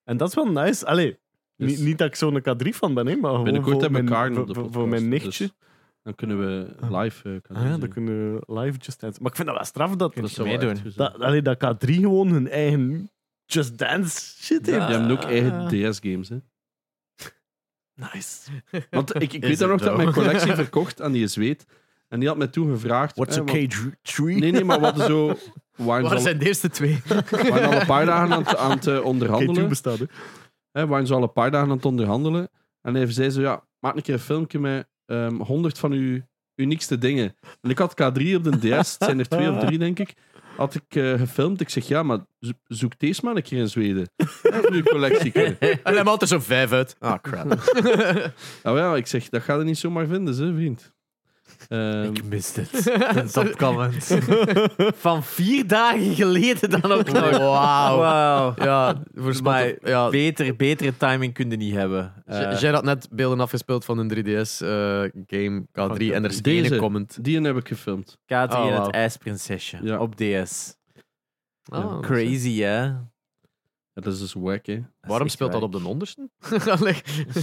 D: en dat is wel nice. Allee,
C: Dus-
D: niet, niet dat ik zo'n K3 van ben, hè, maar gewoon
C: Binnenkort
D: voor
C: hebben we
D: mijn-
C: Kaarten op de
D: voor-
C: podcast.
D: Voor mijn nichtje.
C: dus dan kunnen we live... eh, kan
D: Ah ja,
C: doen.
D: dan kunnen we live Just Dance. Maar ik vind dat wel straf dat,
A: Kun
D: dat,
A: je
C: zou wel
A: meedoen.
C: echt gezellig
D: dat, allee, dat K3 gewoon hun eigen Just Dance shit heeft. Ah,
A: Ja.
C: Die hebben ook eigen DS-games, hè.
D: Nice.
C: Want ik, ik
B: Is
C: weet dan
B: het
C: nog dat
B: zo?
C: mijn collectie verkocht aan die zweet. En die had mij toen gevraagd...
D: What's
C: hè,
D: a
C: wat-
D: K3?
C: Nee, nee, maar wat zo... Waar
B: Waar
C: ze
B: zijn de eerste twee?
C: al, waren al een paar dagen aan het, aan het eh,
D: K3
C: onderhandelen.
D: bestaat, hè.
C: Hè, waren ze al een paar dagen aan het onderhandelen. En hij zei zo, ja, maak een keer een filmpje met ehm 100 van uw uniekste dingen. En ik had K3 op de DS, het zijn er twee of drie, denk ik. Had ik eh, gefilmd. Ik zeg, ja, maar zo- zoek deze maar een keer in Zweden. Dat is nu collectie.
B: En hij maalt er zo vijf uit. Ah, crap.
C: Nou ja, ik zeg, dat ga je niet zomaar vinden, hè, vriend. Ehm,
A: Ik mis dit. Een topcomment. Van vier dagen geleden dan ook nog.
B: Wauw.
A: Wauw.
B: Ja, voor Spotify.
A: Maar-
B: Ja,
A: Beter, betere timing kun je niet hebben. Eh,
B: J- Jij had net beelden afgespeeld van een 3DS-game K3 en er is
C: Deze.
B: één comment.
C: die heb ik gefilmd.
A: K3
B: Oh,
A: en
B: wauw. Oh,
A: het IJsprinsesje
C: Ja.
A: op DS.
B: Ah, dat is-
A: Crazy, hè? Dat
C: Ja, dat is dus wack, hè.
A: is
B: Waarom
A: echt
B: speelt dat
A: wack.
B: op de onderste? Allee, dat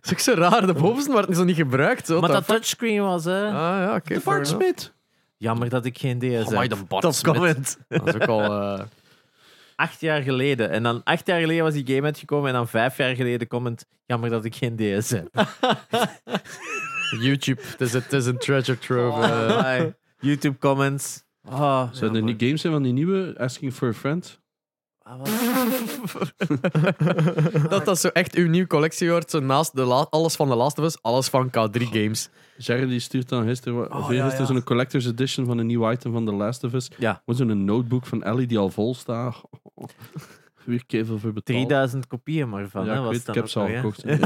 B: is ook zo raar. De bovenste wordt zo niet gebruikt. Zo.
A: Maar dat touchscreen was, hè?
B: Ah ja, oké.
C: De
B: fair enough.
C: Bartsmit.
A: Jammer dat ik geen DS
B: Oh, my,
A: heb.
B: de Bart Smit.
A: Topcomment.
B: Dat is ook al... eh,
A: Acht jaar geleden. En dan acht jaar geleden was die game uitgekomen. En dan vijf jaar geleden comment. Jammer dat ik geen DS heb.
B: YouTube. Het is, het is een treasure trove. eh.
A: Oh, my. YouTube comments. Oh,
C: Zijn er niet games zijn van die nieuwe Asking for a Friend?
A: ah, wat-
B: dat dat zo echt uw nieuwe collectie wordt. Zo naast de la- alles van de Last of Us, alles van K3 games.
C: Jerry die stuurt dan gisteren, wa- of
A: Oh, ja,
C: eergisteren
A: ja.
C: zo'n collector's edition van een nieuw item van The Last of Us.
A: Ja.
C: Gewoon zo'n notebook van Ellie die al vol staat. Oh, weer kevel voor betaald.
A: 3000 kopieën maar van.
C: ja,
A: hè,
C: ik,
A: was
C: weet,
A: dan
C: ik heb
A: ook
C: ze al
A: nog, hè.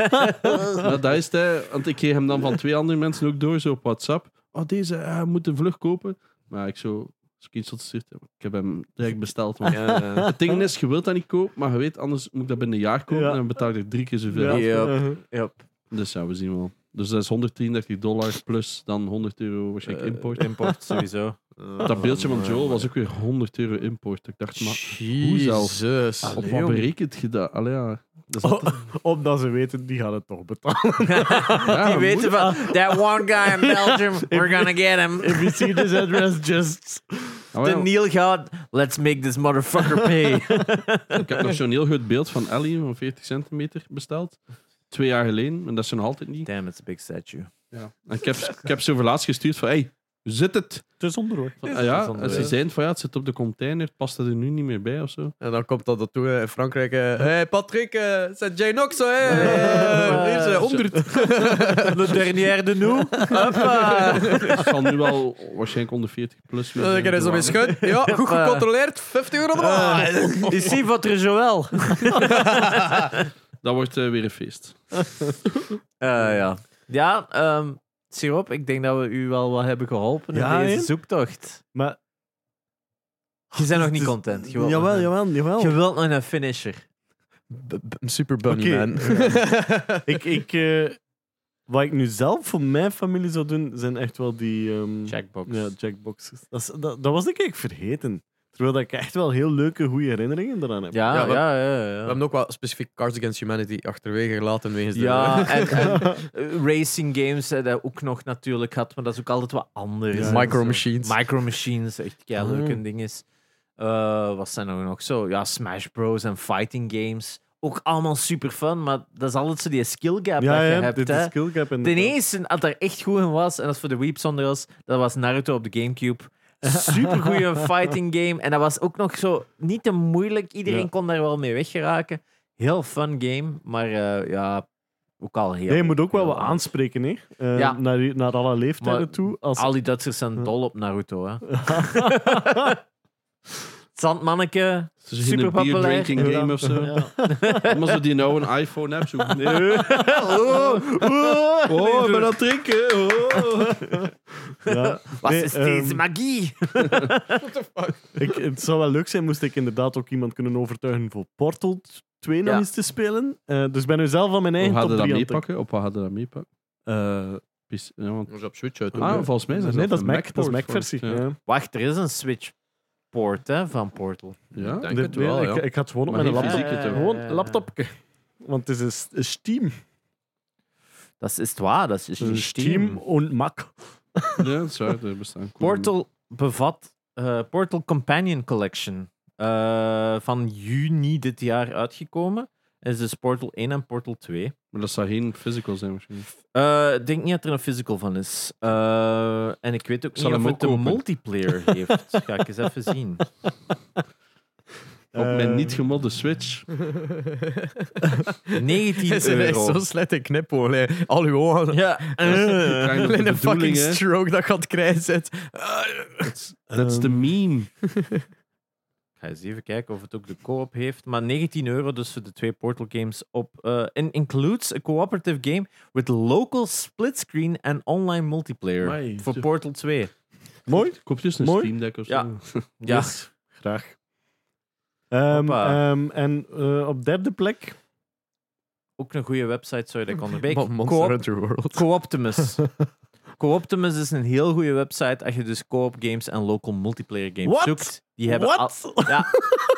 C: gekocht. maar dat is het, hè. want ik geef hem dan van twee andere mensen ook door, zo op WhatsApp. Oh, deze eh, moet een vlug kopen. Maar ik zo screenshot stuurt, ja, maar ik heb hem direct besteld. want- Het ding is, je wilt dat niet kopen, maar je weet, anders moet ik dat binnen een jaar kopen
D: Ja.
C: en dan betaal ik er drie keer zoveel.
D: Ja.
A: Ja.
D: Eh,
A: Yep.
C: Dus ja, we zien wel. Dus dat is 133 dollar plus dan 100 euro waarschijnlijk
A: Eh,
C: import.
A: import, sowieso.
C: Dat beeldje van Joel was ook weer 100 euro import. Ik dacht, maar hoe zelfs?
B: Jezus.
C: op wat berekent je dat? Allee, ja.
A: Ah,
C: Dat is altijd-
D: Omdat ze weten, die gaan het toch betalen.
C: Ja,
A: Die weten
C: Ah, moeilijk.
A: van, that one guy in Belgium, we're gonna get him.
D: If you see this address, just...
C: Ah,
A: De
C: wel,
A: Neil gaat, let's make this motherfucker pay.
C: Ik heb nog zo'n heel goed beeld van Ellie van 40 centimeter besteld. Twee jaar geleden, en dat is ze nog altijd niet.
A: Damn, it's a big statue.
C: En ik heb, ik heb ze voor laatst gestuurd van, hey, hoe zit het?
D: Het is onder, hoor.
C: Van,
A: Is
C: ah ja,
A: het zonder
C: en ze
A: weer?
C: zeiden van, ja, het zit op de container, het past dat er nu niet meer bij of zo.
B: En dan komt dat toe eh, in Frankrijk. Hé, hey Patrick, eh c'est Jay Noxo, hè?
A: Eh,
B: Hier is eh, 100.
A: Le dernier de nous. Hoppa.
C: Het zal nu wel waarschijnlijk onder 40 plus weer
B: Dan
C: zijn.
B: kan hij Eh, zo mee schuin. Ja, goed
A: Eh.
B: gecontroleerd. 50 euro erbij.
A: Ici, votre Joël.
C: Dat wordt eh, weer een feest.
A: Eh, ja, ja ehm, Siroop, ik denk dat we u wel wat hebben geholpen
D: Ja,
A: in deze
D: hè?
A: zoektocht.
D: Maar...
A: Je bent nog niet content. Je wilt,
D: Jawel,
A: nog,
D: jawel, jawel.
A: je wilt nog een finisher.
B: Een super bunny,
D: Oké.
B: man.
D: ik, ik, eh, wat ik nu zelf voor mijn familie zou doen, zijn echt wel die... ehm,
A: Jackbox.
D: Ja, jackboxes. Dat, is- dat, dat was ik eigenlijk vergeten. Terwijl dat ik echt wel heel leuke, goede herinneringen eraan heb.
A: Ja,
B: Ja,
A: ja,
B: we-
A: ja. ja,
B: We hebben ook wel specifiek Cards Against Humanity achterwege gelaten. Wegens
A: Ja,
B: de,
A: en, en, eh, racing games eh, dat ook nog natuurlijk had, maar dat is ook altijd wat anders. Dus, eh,
D: Ja.
B: Micro Machines.
A: Micro Machines, echt ja, leuk een
B: Ah.
A: ding is. Eh, wat zijn er nog zo? Ja, Smash Bros. en fighting games. Ook allemaal super fun, maar dat is altijd zo die skill gap
D: ja,
A: dat je
D: ja,
A: hebt.
D: dit
A: hè.
D: is skill gap.
A: De eerste dat er echt goed in was, en dat is voor de Weeps onder ons, dat was Naruto op de Gamecube. Supergoeie fighting game. En dat was ook nog zo niet te moeilijk. Iedereen
D: Ja.
A: kon daar wel mee weggeraken. Heel fun game, maar eh, ja, ook al heel...
D: Nee, je moet ook wel
A: heel
D: wat
A: oud.
D: aanspreken, hè? Eh,
A: Ja.
D: naar, die- naar alle leeftijden
A: Maar
D: toe. Als...
A: Al die Duitsers zijn dol op Naruto, hè. Het Zandmanneke.
C: Het is geen
A: Super
C: beer drinking
A: populair.
C: game of zo.
A: Ja.
C: Maar zo die nou een iPhone hebt. Zo.
D: Nee.
A: Oh, oh.
C: Oh, ik ben aan het drinken. Oh.
D: ja.
A: Wat
D: Nee,
A: is
D: ehm,
A: deze magie?
D: Ik, het zou wel leuk zijn moest ik inderdaad ook iemand kunnen overtuigen voor Portal 2 nog
A: Ja.
D: eens te spelen. Eh, dus ik ben nu zelf van mijn
C: Hoe
D: eigen
C: hadden
D: top
C: dat
D: 3 aan het
C: meepakken? Op wat hadden dat meepakken?
D: Eh,
C: PC. Ja, want,
B: Dat is op Switch uit.
C: ah,
B: ook, hè.
C: volgens mij
D: Nee,
C: zijn
D: dat is Mac. Dat is Mac-versie.
C: Ja.
D: Ja.
A: Wacht, er is een Switch-port hè, van Portal.
C: Ja?
B: Ik denk
D: De-
B: het wel,
D: nee,
B: ja.
D: ik, ik had gewoon op
C: Maar
D: mijn
C: geen
D: laptop.
C: fysieke toch?
D: Gewoon
A: Eh.
D: een laptopje. Want het is een s- een Steam.
A: Dat is waar, dat is
D: Een
A: een
D: Steam
A: Steam.
D: en Mac.
C: ja, dat is waar. Er bestaan coole-
A: Portal bevat eh, Portal Companion Collection. eh, van juni dit jaar uitgekomen. is dus Portal 1 en Portal 2.
C: Maar dat zou geen physical zijn waarschijnlijk.
A: Eh, Ik denk niet dat er een physical van is. Eh, en ik weet ook
C: zal
A: niet of
C: hem
A: het
C: ook
A: een
C: kopen.
A: multiplayer heeft. Ga ik eens even zien.
C: Op mijn
D: Eh,
C: niet gemodde Switch.
A: 19
B: Ze heeft
A: euro.
B: zo'n slechte knipoog. hè. Al uw ogen.
A: Ja,
B: Eh.
C: krijg je nog de
B: Een fucking
C: bedoeling, hè.
B: stroke dat gaat krijgen. zit.
C: Dat is de
D: ehm,
C: meme.
A: Ik ga eens even kijken of het ook de co-op heeft. Maar 19 euro dus voor de twee Portal games op. eh and includes a cooperative game with local split screen en online multiplayer.
C: Amai.
A: Voor Portal 2.
D: Mooi.
C: Koop dus een
D: Mooi.
C: Steam Deck of zo.
A: Ja. Ja.
D: Yes, graag. Ehm,
A: Hoppa.
D: ehm, en eh, op derde plek.
A: Ook een goede website, zou je dat kunnen
B: Mo-
A: bedenken.
B: Monster
A: Co-op-
B: Hunter World.
A: Co-optimus. Co-optimus is een heel goede website als je dus co-op games en local multiplayer games
B: What?
A: zoekt. Die hebben al-
B: Wat?
A: Ja,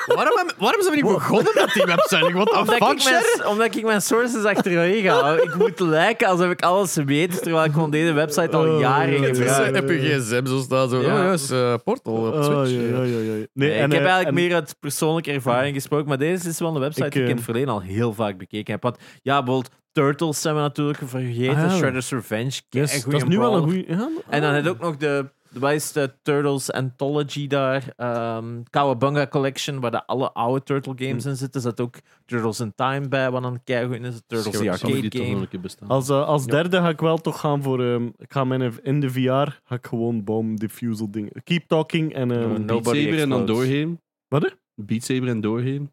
B: Waarom, waarom zijn we niet begonnen met die website? Wat de
A: omdat,
B: fuck,
A: ik mijn,
B: Sharon?
A: omdat ik mijn sources achterin ga. Ik moet lijken alsof ik alles weet, terwijl ik gewoon deze website al
D: Oh,
A: jaren
D: ja, ja,
B: Het is
A: gebruik.
B: eh, op je gsm zo staat. Zo.
A: Ja.
B: Oh, juist, eh, Portal op
D: Oh,
B: Switch.
D: ja, ja, ja, ja.
A: Nee,
D: Nee,
A: ik
D: en,
A: heb
D: eh,
A: eigenlijk
D: en-
A: meer uit persoonlijke ervaring gesproken, maar deze is wel een website
D: Ik,
A: die ik in
D: eh,
A: het verleden al heel vaak bekeken heb. Want ja, bijvoorbeeld Turtles zijn we natuurlijk vergeten,
D: Ah, ja.
A: Shredder's Revenge,
D: Yes,
A: kei-
D: dat
A: goeie
D: is nu wel een
A: brawler.
D: goede. Ja,
A: En dan heb je ook nog de, de wat is de Turtles Anthology daar, ehm Kawabunga Collection, waar de alle oude Turtle games
C: Mm.
A: in zitten. Zat ook Turtles in Time bij, wat dan keigoed is, Turtles the
C: Zou die
A: Arcade
C: toch wel
A: Game.
C: een keer bestaan.
D: als, eh, als derde ga ik wel toch gaan voor. ehm, ik ga mijn, in de VR ga ik gewoon bomb diffusal dingen. Keep talking en. ehm,
A: Ja,
C: Beat
A: Nobody
C: Saber en dan
A: Explodes.
C: doorheen.
D: Wat er?
C: Beat Saber en doorheen.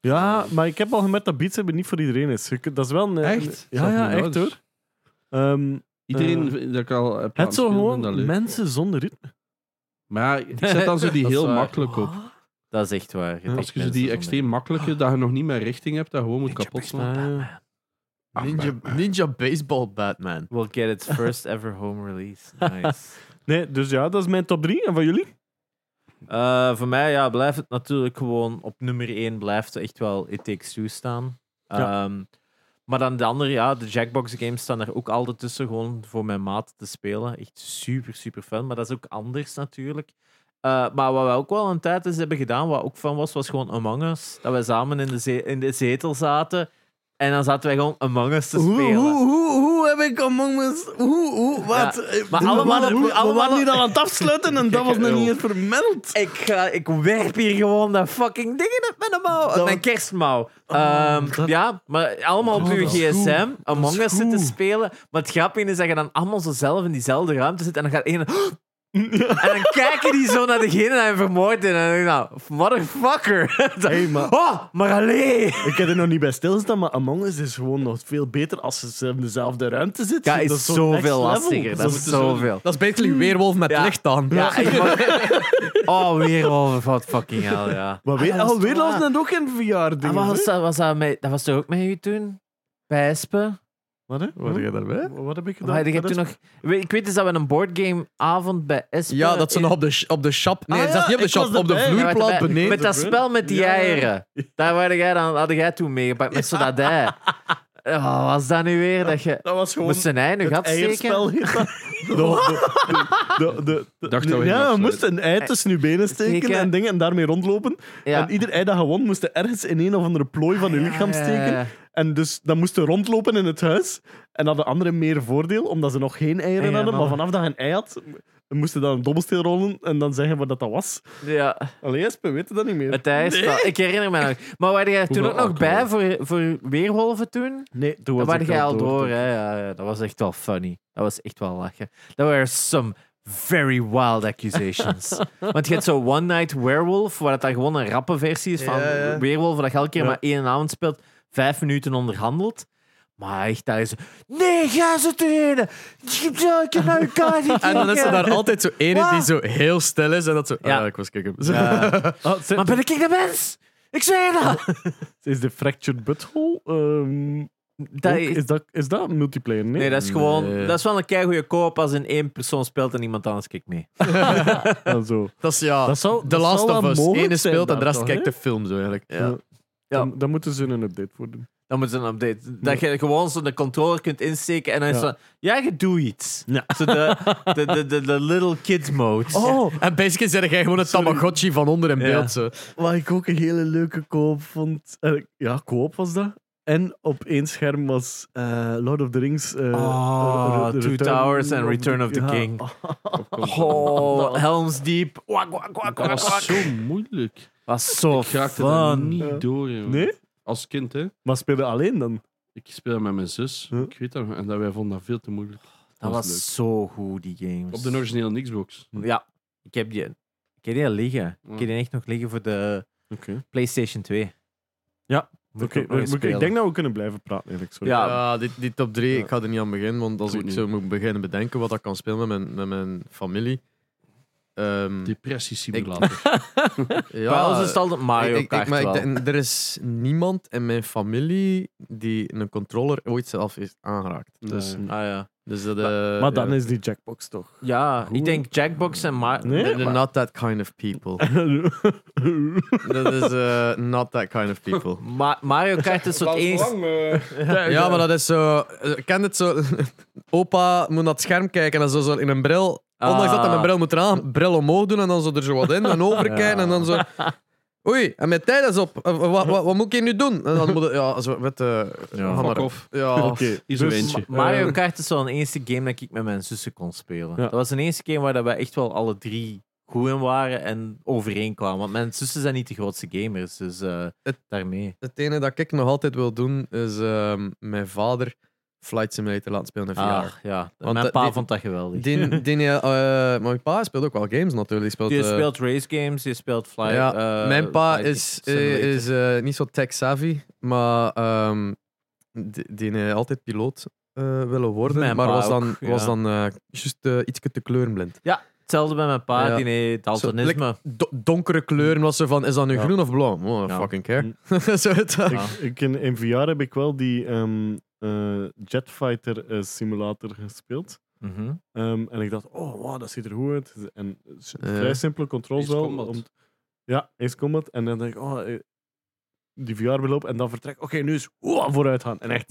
D: Ja, maar ik heb al gemerkt dat Beats hebben niet voor iedereen is. Je kunt- Dat is wel een.
C: Echt?
D: Eh, Ja,
C: Zelfs
D: ja,
C: mijn
D: echt
C: ouders.
D: hoor. Ehm,
C: Iedereen dat ik al heb
D: het zo
C: aanspelen, dat
D: gewoon
C: leuk.
D: mensen zonder ritme.
C: Maar ja, ik zet dan zo die
A: Dat is
C: heel
A: waar. Oh.
C: makkelijk op.
A: Dat is echt waar. Je
C: Als
A: denkt
C: je zo
A: mensen
C: die
A: zonder-
C: extreem makkelijke, dat je nog niet meer richting hebt, dat gewoon moet
A: Ninja
C: kapot
A: Baseball
C: slaan.
A: Batman.
B: Ninja, Ninja Baseball Batman.
A: We'll get its first ever home release. Nice.
D: Nee, dus ja, dat is mijn top 3. En van jullie?
A: Eh, voor mij ja, blijft het natuurlijk gewoon op nummer 1 blijft echt wel It Takes Two staan.
D: Ja.
A: Ehm, maar dan de andere, ja, de Jackbox games staan er ook altijd tussen, gewoon voor mijn maat te spelen. Echt super, super fun. Maar dat is ook anders natuurlijk. Eh, maar wat wij ook wel een tijd eens hebben gedaan, wat ook fun was, was gewoon Among Us. Dat wij samen in de, ze- in de zetel zaten. En dan zaten wij gewoon Among Us te spelen.
B: hoe, hoe heb ik Among Us... Hoe, hoe,
A: maar allemaal- we allemaal-
B: al aan het afsluiten en dat was nog niet eens vermeld.
A: Ik, ga, ik werp hier gewoon dat fucking ding in met mijn mouw. mijn kerstmouw. Ehm, ja, maar allemaal op
C: Oh,
A: uw
C: dat is
A: gsm.
C: Dat
A: Among
C: is
A: Us zitten
C: goed.
A: spelen. Maar het grappige is dat je dan allemaal zo zelf in diezelfde ruimte zit. En dan gaat één... En dan kijken die zo naar degene die hem vermoord heeft. En dan denk ik, nou, motherfucker.
D: Hey, maar-
A: Oh, maar alleen.
D: Ik heb er nog niet bij stilgestaan, maar Among Us is gewoon nog veel beter als ze in dezelfde ruimte zitten.
A: Ja,
D: Dat
A: is
D: zo'n next
A: zoveel
D: level.
A: lastiger. Dat is zoveel.
B: Dat is basically Weerwolf met
A: Ja.
B: licht aan.
A: Ja, ik mag- Oh, weer over wat fucking hell, ja.
D: Maar weet,
A: Ah, dat is
D: oh, weer
A: toch
D: was dat ook geen
A: Ah,
D: VR-ding.
A: wat was dat, was dat, met, dat was toch ook met u toen? Bij Espen?
D: Wat, hè?
B: Wat je daarbij?
D: Wat heb ik gedaan?
A: Maar ik, heb
D: Wat
A: toen
D: is-
A: nog, We- ik weet dus dat we een boardgameavond bij Espen...
B: Ja, dat ze nog op de, sh- op de shop... Nee,
D: Ah,
B: dat is niet op
D: ja,
B: de
D: ik was
B: shop, op de
D: erbij.
A: Ja,
B: vloerplaat
A: met-
B: beneden.
A: Met dat spel met die
D: Ja, ja.
A: eieren. Daar waren jij dan, had jij toen meegepakt, met zo'n dij. Oh, was dat nu weer dat je...
D: Dat was gewoon
A: Moest een ei in je gat
D: eierspel.
A: steken?
D: heet dat. De- de- de- de- de-
C: Dacht dat we
D: ja,
C: gingen
D: we moesten een ei tussen uw benen steken
A: Steken.
D: en dingen en daarmee rondlopen.
A: Ja.
D: En ieder ei dat gewoon moest je ergens in een of andere plooi van uw lichaam
A: ja, ja,
D: steken.
A: ja.
D: En dus dan moesten we rondlopen in het huis. En hadden anderen meer voordeel, omdat ze nog geen eieren
A: Ja,
D: hadden. Maar
A: maar-
D: vanaf dat je een ei had, moesten dan een dobbelsteen rollen en dan zeggen wat dat dat was.
A: Ja,
D: Allee, Espen, weten dat niet meer.
A: het ijsspel. Ik herinner me nog. Maar waren jij toen ook
C: Hoeveel
A: nog bij voor, voor Weerwolven toen?
D: nee, toen
A: Daar
D: was
A: waren
D: ik
A: jij al door,
D: toen.
A: hè. Ja, ja, dat was echt wel funny. Dat was echt wel lachen. Dat waren some very wild accusations. Want je hebt zo One Night Werewolf, waar het dan gewoon een rappe versie is van
B: Ja, ja.
A: Werewolf, dat je elke keer
D: Ja.
A: maar één avond speelt, vijf minuten onderhandelt. Maar echt, daar is... Nee, ga ze te reden! Ik heb naar elkaar niet
B: En dan is er
A: kijken.
B: daar altijd zo ene die zo heel stil is en dat zo...
A: Ja.
B: Ja, ik was kijken.
D: Ah, ze-
A: Maar ben ik de mens? Ik zei dat!
D: Is de fractured butthole? ehm,
A: Dat
D: Ook?
A: is,
D: is, dat, is dat multiplayer? Nee.
A: nee, dat is gewoon...
B: Nee.
A: Dat is wel een keigoeie koop als in één persoon speelt en iemand anders kijkt mee.
D: Ah, zo.
B: Dat is ja.
D: Dat zou-
B: The
D: dat
B: Last
D: zou
B: of
D: wel
B: Us.
D: mogelijk
B: Ene
D: zijn
B: speelt en
D: dan
B: de rest
D: toch,
B: kijkt
D: hè?
B: de films eigenlijk.
A: Ja. Ja.
D: Dan, dan moeten ze een update voor doen.
A: Dan moeten ze een update. Dat je gewoon zo'n controller kunt insteken en dan is
D: Ja.
A: van... Ja, je doet iets.
D: Ja.
A: Zo de, de, de, de, de little kid mode.
D: Oh,
B: En basically zeg jij gewoon een Tamagotchi van onder in
A: Ja.
B: beeld. Zo.
D: Wat ik ook een hele leuke koop vond. Eh, ja, koop was dat. En op één scherm was eh, Lord of the Rings. eh,
A: Oh,
D: eh, Re-
A: Two
D: Return
A: Towers en
D: of
A: Return of the
D: Ja.
A: King.
D: dat
A: Oh,
D: was-
A: Helms Deep. Wak, wak, wak, wak,
C: Dat was
A: wak.
C: zo moeilijk.
A: Was zo
C: ik raakte daar
A: fun.
D: Ja.
C: niet door, jongen.
D: Nee?
C: Als kind, hè.
D: Maar speelde alleen dan?
C: Ik speelde met mijn zus.
D: Huh?
C: Ik weet dat. nog, En dat, wij vonden dat veel te moeilijk.
A: Dat
C: was leuk.
A: was zo goed, die games.
C: Op de originele Xbox.
A: Ja, ik heb die, ik heb die al liggen. Ik heb die echt nog liggen voor de
D: Oké.
A: PlayStation 2.
D: Ja,
A: Moet ik
D: Oké,
A: ook nog eens
D: maar ik- ik
A: spelen.
D: denk dat we kunnen blijven praten, eigenlijk. Sorry.
A: Ja.
B: Ja, die, die top 3,
D: Ja.
B: ik ga er niet aan beginnen, want als
C: Doe
B: ik
C: het
B: zo moet beginnen bedenken wat ik kan spelen met mijn, met mijn familie. Ehm,
C: Depressiesimulator.
B: ja, eh,
A: Bij ons is het altijd
B: ik-
A: Mario
B: ik- ik-
A: Kart
B: maar ik
A: wel.
B: denk- er is niemand in mijn familie die een controller ooit zelf heeft aangeraakt. Dus,
C: Nee.
A: Ah, ja,
B: dus dat, eh,
D: maar dan
B: ja.
D: is die Jackbox toch.
A: ja
D: Goed.
A: ik denk Jackbox en Mario...
D: Nee?
B: They're not that kind of people. Dat is eh, not that kind of people.
A: Ma- Mario Kart is wat eens...
B: Ja, maar dat is zo. eh, Ken het zo? Opa moet naar het scherm kijken en zo, zo in een bril.
A: Ah.
B: Ondanks dat hij een bril moet eraan, bril omhoog doen en dan zo er zo wat in en overkijken en dan zo. Oei, en mijn tijd is op. Eh, wa- wa- wa- wat moet ik hier nu doen? En dan moet het, ja, zo met de.
A: Ja.
B: ga maar
C: Fuck
B: op.
C: off.
B: Ja.
D: Oké,
C: Is
D: dus-
C: er eentje.
A: Ma- Mario Kart is wel een eerste game dat ik met mijn zussen kon spelen.
D: Ja.
A: Dat was een eerste game waar dat we echt wel alle drie goed in waren en overeen kwamen. Want mijn zussen zijn niet de grootste gamers, dus eh,
B: Het-
A: daarmee.
B: Het ene dat ik nog altijd wil doen is ehm, mijn vader Flight Simulator laten spelen in VR.
A: Ah, ja.
B: Want eh,
A: mijn
B: dat-
A: pa
B: die-
A: vond dat geweldig. Die,
B: Die, die, eh, maar mijn pa speelt ook wel games natuurlijk. Die speelt, eh,
A: speelt race games, die speelt fly.
B: Ja,
A: eh,
B: Mijn pa
A: flight
B: is, eh,
A: simulator.
B: is eh, niet zo tech-savvy, maar ehm, die, die heeft altijd piloot eh, willen worden.
A: Mijn
B: maar
A: pa
B: was dan,
A: ook, ja.
B: was dan eh, juist eh, ietsje te kleurenblind.
A: Hetzelfde bij mijn pa,
B: Ja.
A: die heeft daltonisme.
B: Do- donkere kleuren was ze van, is dat nu
D: Ja.
B: groen of blauw? Oh, I
A: Ja.
B: fucking care. zo, het,
A: Ja.
D: Ik, ik in, in VR heb ik wel die ehm, eh, Jetfighter eh, simulator gespeeld.
A: Mhm.
D: Ehm, en ik dacht, oh, wow, dat ziet er goed uit. En s-
B: Ja.
D: vrij simpele controls
C: Ace
D: wel.
C: Combat.
D: t- ja, Ace Combat. En dan denk ik, oh, eh, die VR belopen en dan vertrek. Oké, nu is wow, vooruit gaan. En echt,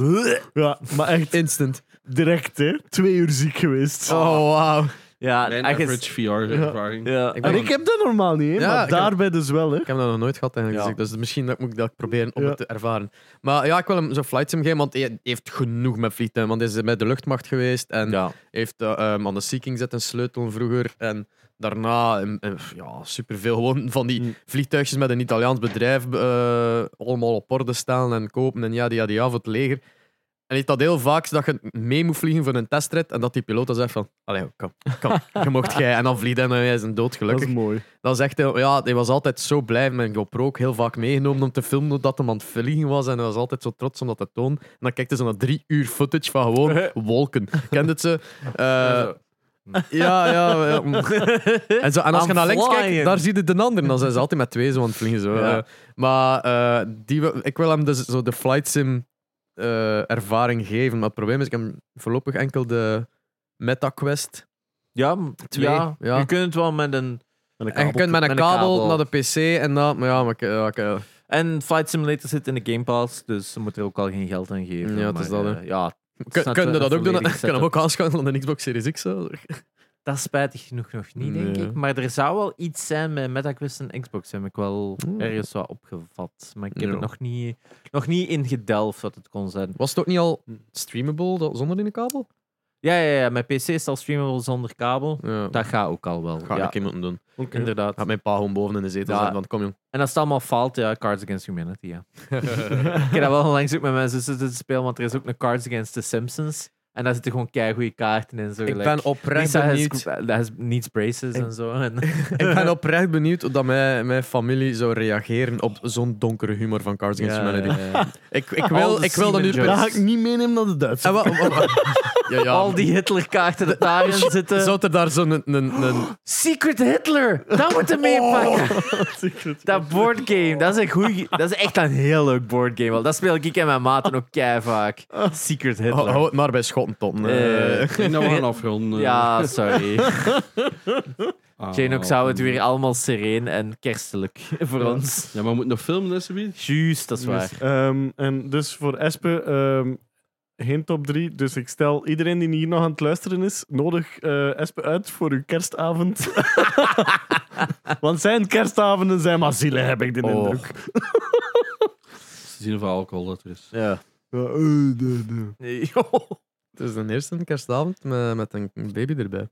D: ja, maar echt
B: Instant.
D: direct, hè. Twee uur ziek geweest.
B: Oh, wauw.
A: Ja,
C: Mijn
A: echt-
C: average VR-ervaring.
A: Ja.
B: Eh, Ik
D: En
B: ben-
D: ik heb dat normaal niet, hè,
B: Ja,
D: maar
B: ik heb-
D: daarbij dus wel, hè.
B: Ik heb dat nog nooit gehad eigenlijk,
A: Ja.
B: dus ik- dus misschien dat moet ik dat proberen om
D: Ja.
B: het te ervaren. Maar ja, ik wil hem zo'n flight sim geven, want hij heeft genoeg met vliegtuigen. Want hij is met de luchtmacht geweest en
A: Ja.
B: heeft eh, ehm, aan de Seeking zet een sleutel vroeger. En daarna em, em, ja, superveel gewoon van die
D: Mm.
B: vliegtuigjes met een Italiaans bedrijf eh, allemaal op orde stellen en kopen en ja, die, ja, die, ja, voor het leger. En heeft dat heel vaak dat je mee moet vliegen voor een testrit en dat die piloot dan zegt van, allee, kom, kom, je mocht jij. En dan vliegt hij en hij is een dood
D: Dat
B: gelukkig.
D: is mooi.
B: Dat is echt, heel- ja, hij was altijd zo blij met GoPro ook heel vaak meegenomen om te filmen dat hem aan het vliegen was. En hij was altijd zo trots om dat te tonen. En dan kijkt hij zo naar drie uur footage van gewoon wolken. Kent het ze? Eh, ja, ja. ja. En, zo, en als je
A: I'm
B: naar links
A: flying.
B: kijkt, daar zie je de ander. Dan zijn ze altijd met twee zo aan het vliegen. Zo.
A: Ja.
B: Eh, maar eh, die, wil- ik wil hem dus zo de flight sim eh, ervaring geven. Maar het probleem is, ik heb voorlopig enkel de MetaQuest.
A: Ja, m-
B: Twee,
A: ja.
B: ja.
A: je kunt het wel met een...
D: En ik
B: En je kunt met een,
A: met een
B: kabel,
A: kabel.
B: naar de PC en dat. Maar ja, maar ik- ja, ik- eh,
A: En Flight Simulator zit in de Game Pass, dus ze moeten er ook al geen geld aan geven.
B: Ja, het
A: maar,
B: is dat, hè.
A: eh, ja,
B: Kun-
A: Snap
B: Kunnen
A: je?
B: we dat ook doen?
A: Volledig
B: Kunnen we hem ook aanschuiven aan de Xbox Series X? Zo?
A: dat is spijtig genoeg nog niet, denk
B: Nee.
A: ik. Maar er zou wel iets zijn met MetaQuest en Xbox, heb ik wel
B: Hmm.
A: ergens wat opgevat. Maar ik heb
B: Ja.
A: het nog niet, nog niet ingedelft wat het kon zijn.
B: Was het ook niet al
A: Hm.
B: streamable dat- zonder in de kabel?
A: Ja, ja, ja, mijn PC is al streamable zonder kabel.
B: Ja.
A: Dat gaat ook al wel.
B: ga
A: ja,
B: ik in moeten doen.
A: inderdaad.
B: Had mijn pa gewoon boven in de zetel
A: Ja.
B: zitten van kom jong.
A: En als het allemaal faalt, ja, Cards Against Humanity, ja. ik heb dat wel langs ook met mijn zussen te spelen, want er is ook een Cards Against the Simpsons. En daar zitten gewoon goede kaarten in. Zo,
B: Ik
A: gelijk.
B: ben oprecht
A: Lisa has,
B: benieuwd.
A: dat has needs braces
B: Ik-
A: en zo. En,
B: Ik ben oprecht benieuwd hoe dat mijn, mijn familie zou reageren op zo'n donkere humor van Cards Against Humanity.
A: Ja, ja, ja.
B: Ik, ik
A: Al
B: wil,
A: de
B: ik wil dat nu
A: semen
B: per- Eh,
D: Dat ga ik niet meenemen naar de Duitse.
B: En wa- wa- wa- Ja, ja.
A: Al die Hitlerkaarten dat daarin zitten.
B: Zou er daar zo'n... Een, een, een...
A: Secret Hitler! Dat moet je
B: Oh.
A: meepakken!
D: Secret.
A: Dat boardgame, dat is een goeie, dat is echt een heel leuk boardgame. wel. Dat speel ik en mijn maten ook kei vaak. Secret Hitler.
B: Hou het maar bij Schottenton.
A: Eh,
B: eh.
C: Ik denk dat we gaan
B: oh.
C: afronden.
A: Ja, sorry.
C: Ah,
A: Jane,
B: Oh,
A: ook zou het weer allemaal sereen en kerstelijk voor ons.
C: Ja, maar we moeten nog filmen, hè, Sabine?
A: Juist, dat is waar.
D: Ehm, en dus voor Espe, ehm, geen top 3. Dus ik stel iedereen die hier nog aan het luisteren is, nodig eh Espe uit voor uw kerstavond. Want zijn kerstavonden zijn maar zielen, heb ik de
A: Oh.
D: indruk.
C: Ze zien of alcohol dat er is.
A: Ja.
D: eh,
A: Nee.
B: Het is de eerste kerstavond met, met een baby erbij.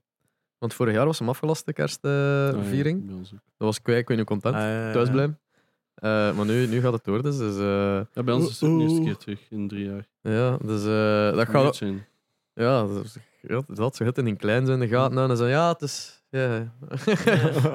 B: Want vorig jaar was hem afgelast, de
A: Eh,
B: kerstviering.
C: Ah, ja, bij ons ook.
B: Dat was kwijt, ik weet niet hoe content. Thuis blijven. Eh, maar nu, nu gaat het door, dus... dus eh,
C: Ja, bij ons is het de eerste keer terug in drie jaar.
B: ja, dus eh, dat
C: Weird
B: gaat...
C: zijn.
B: Ja, dus- ja, dat ze het in een klein zijn, de gaten aan en zeggen, ja, het is... Ja,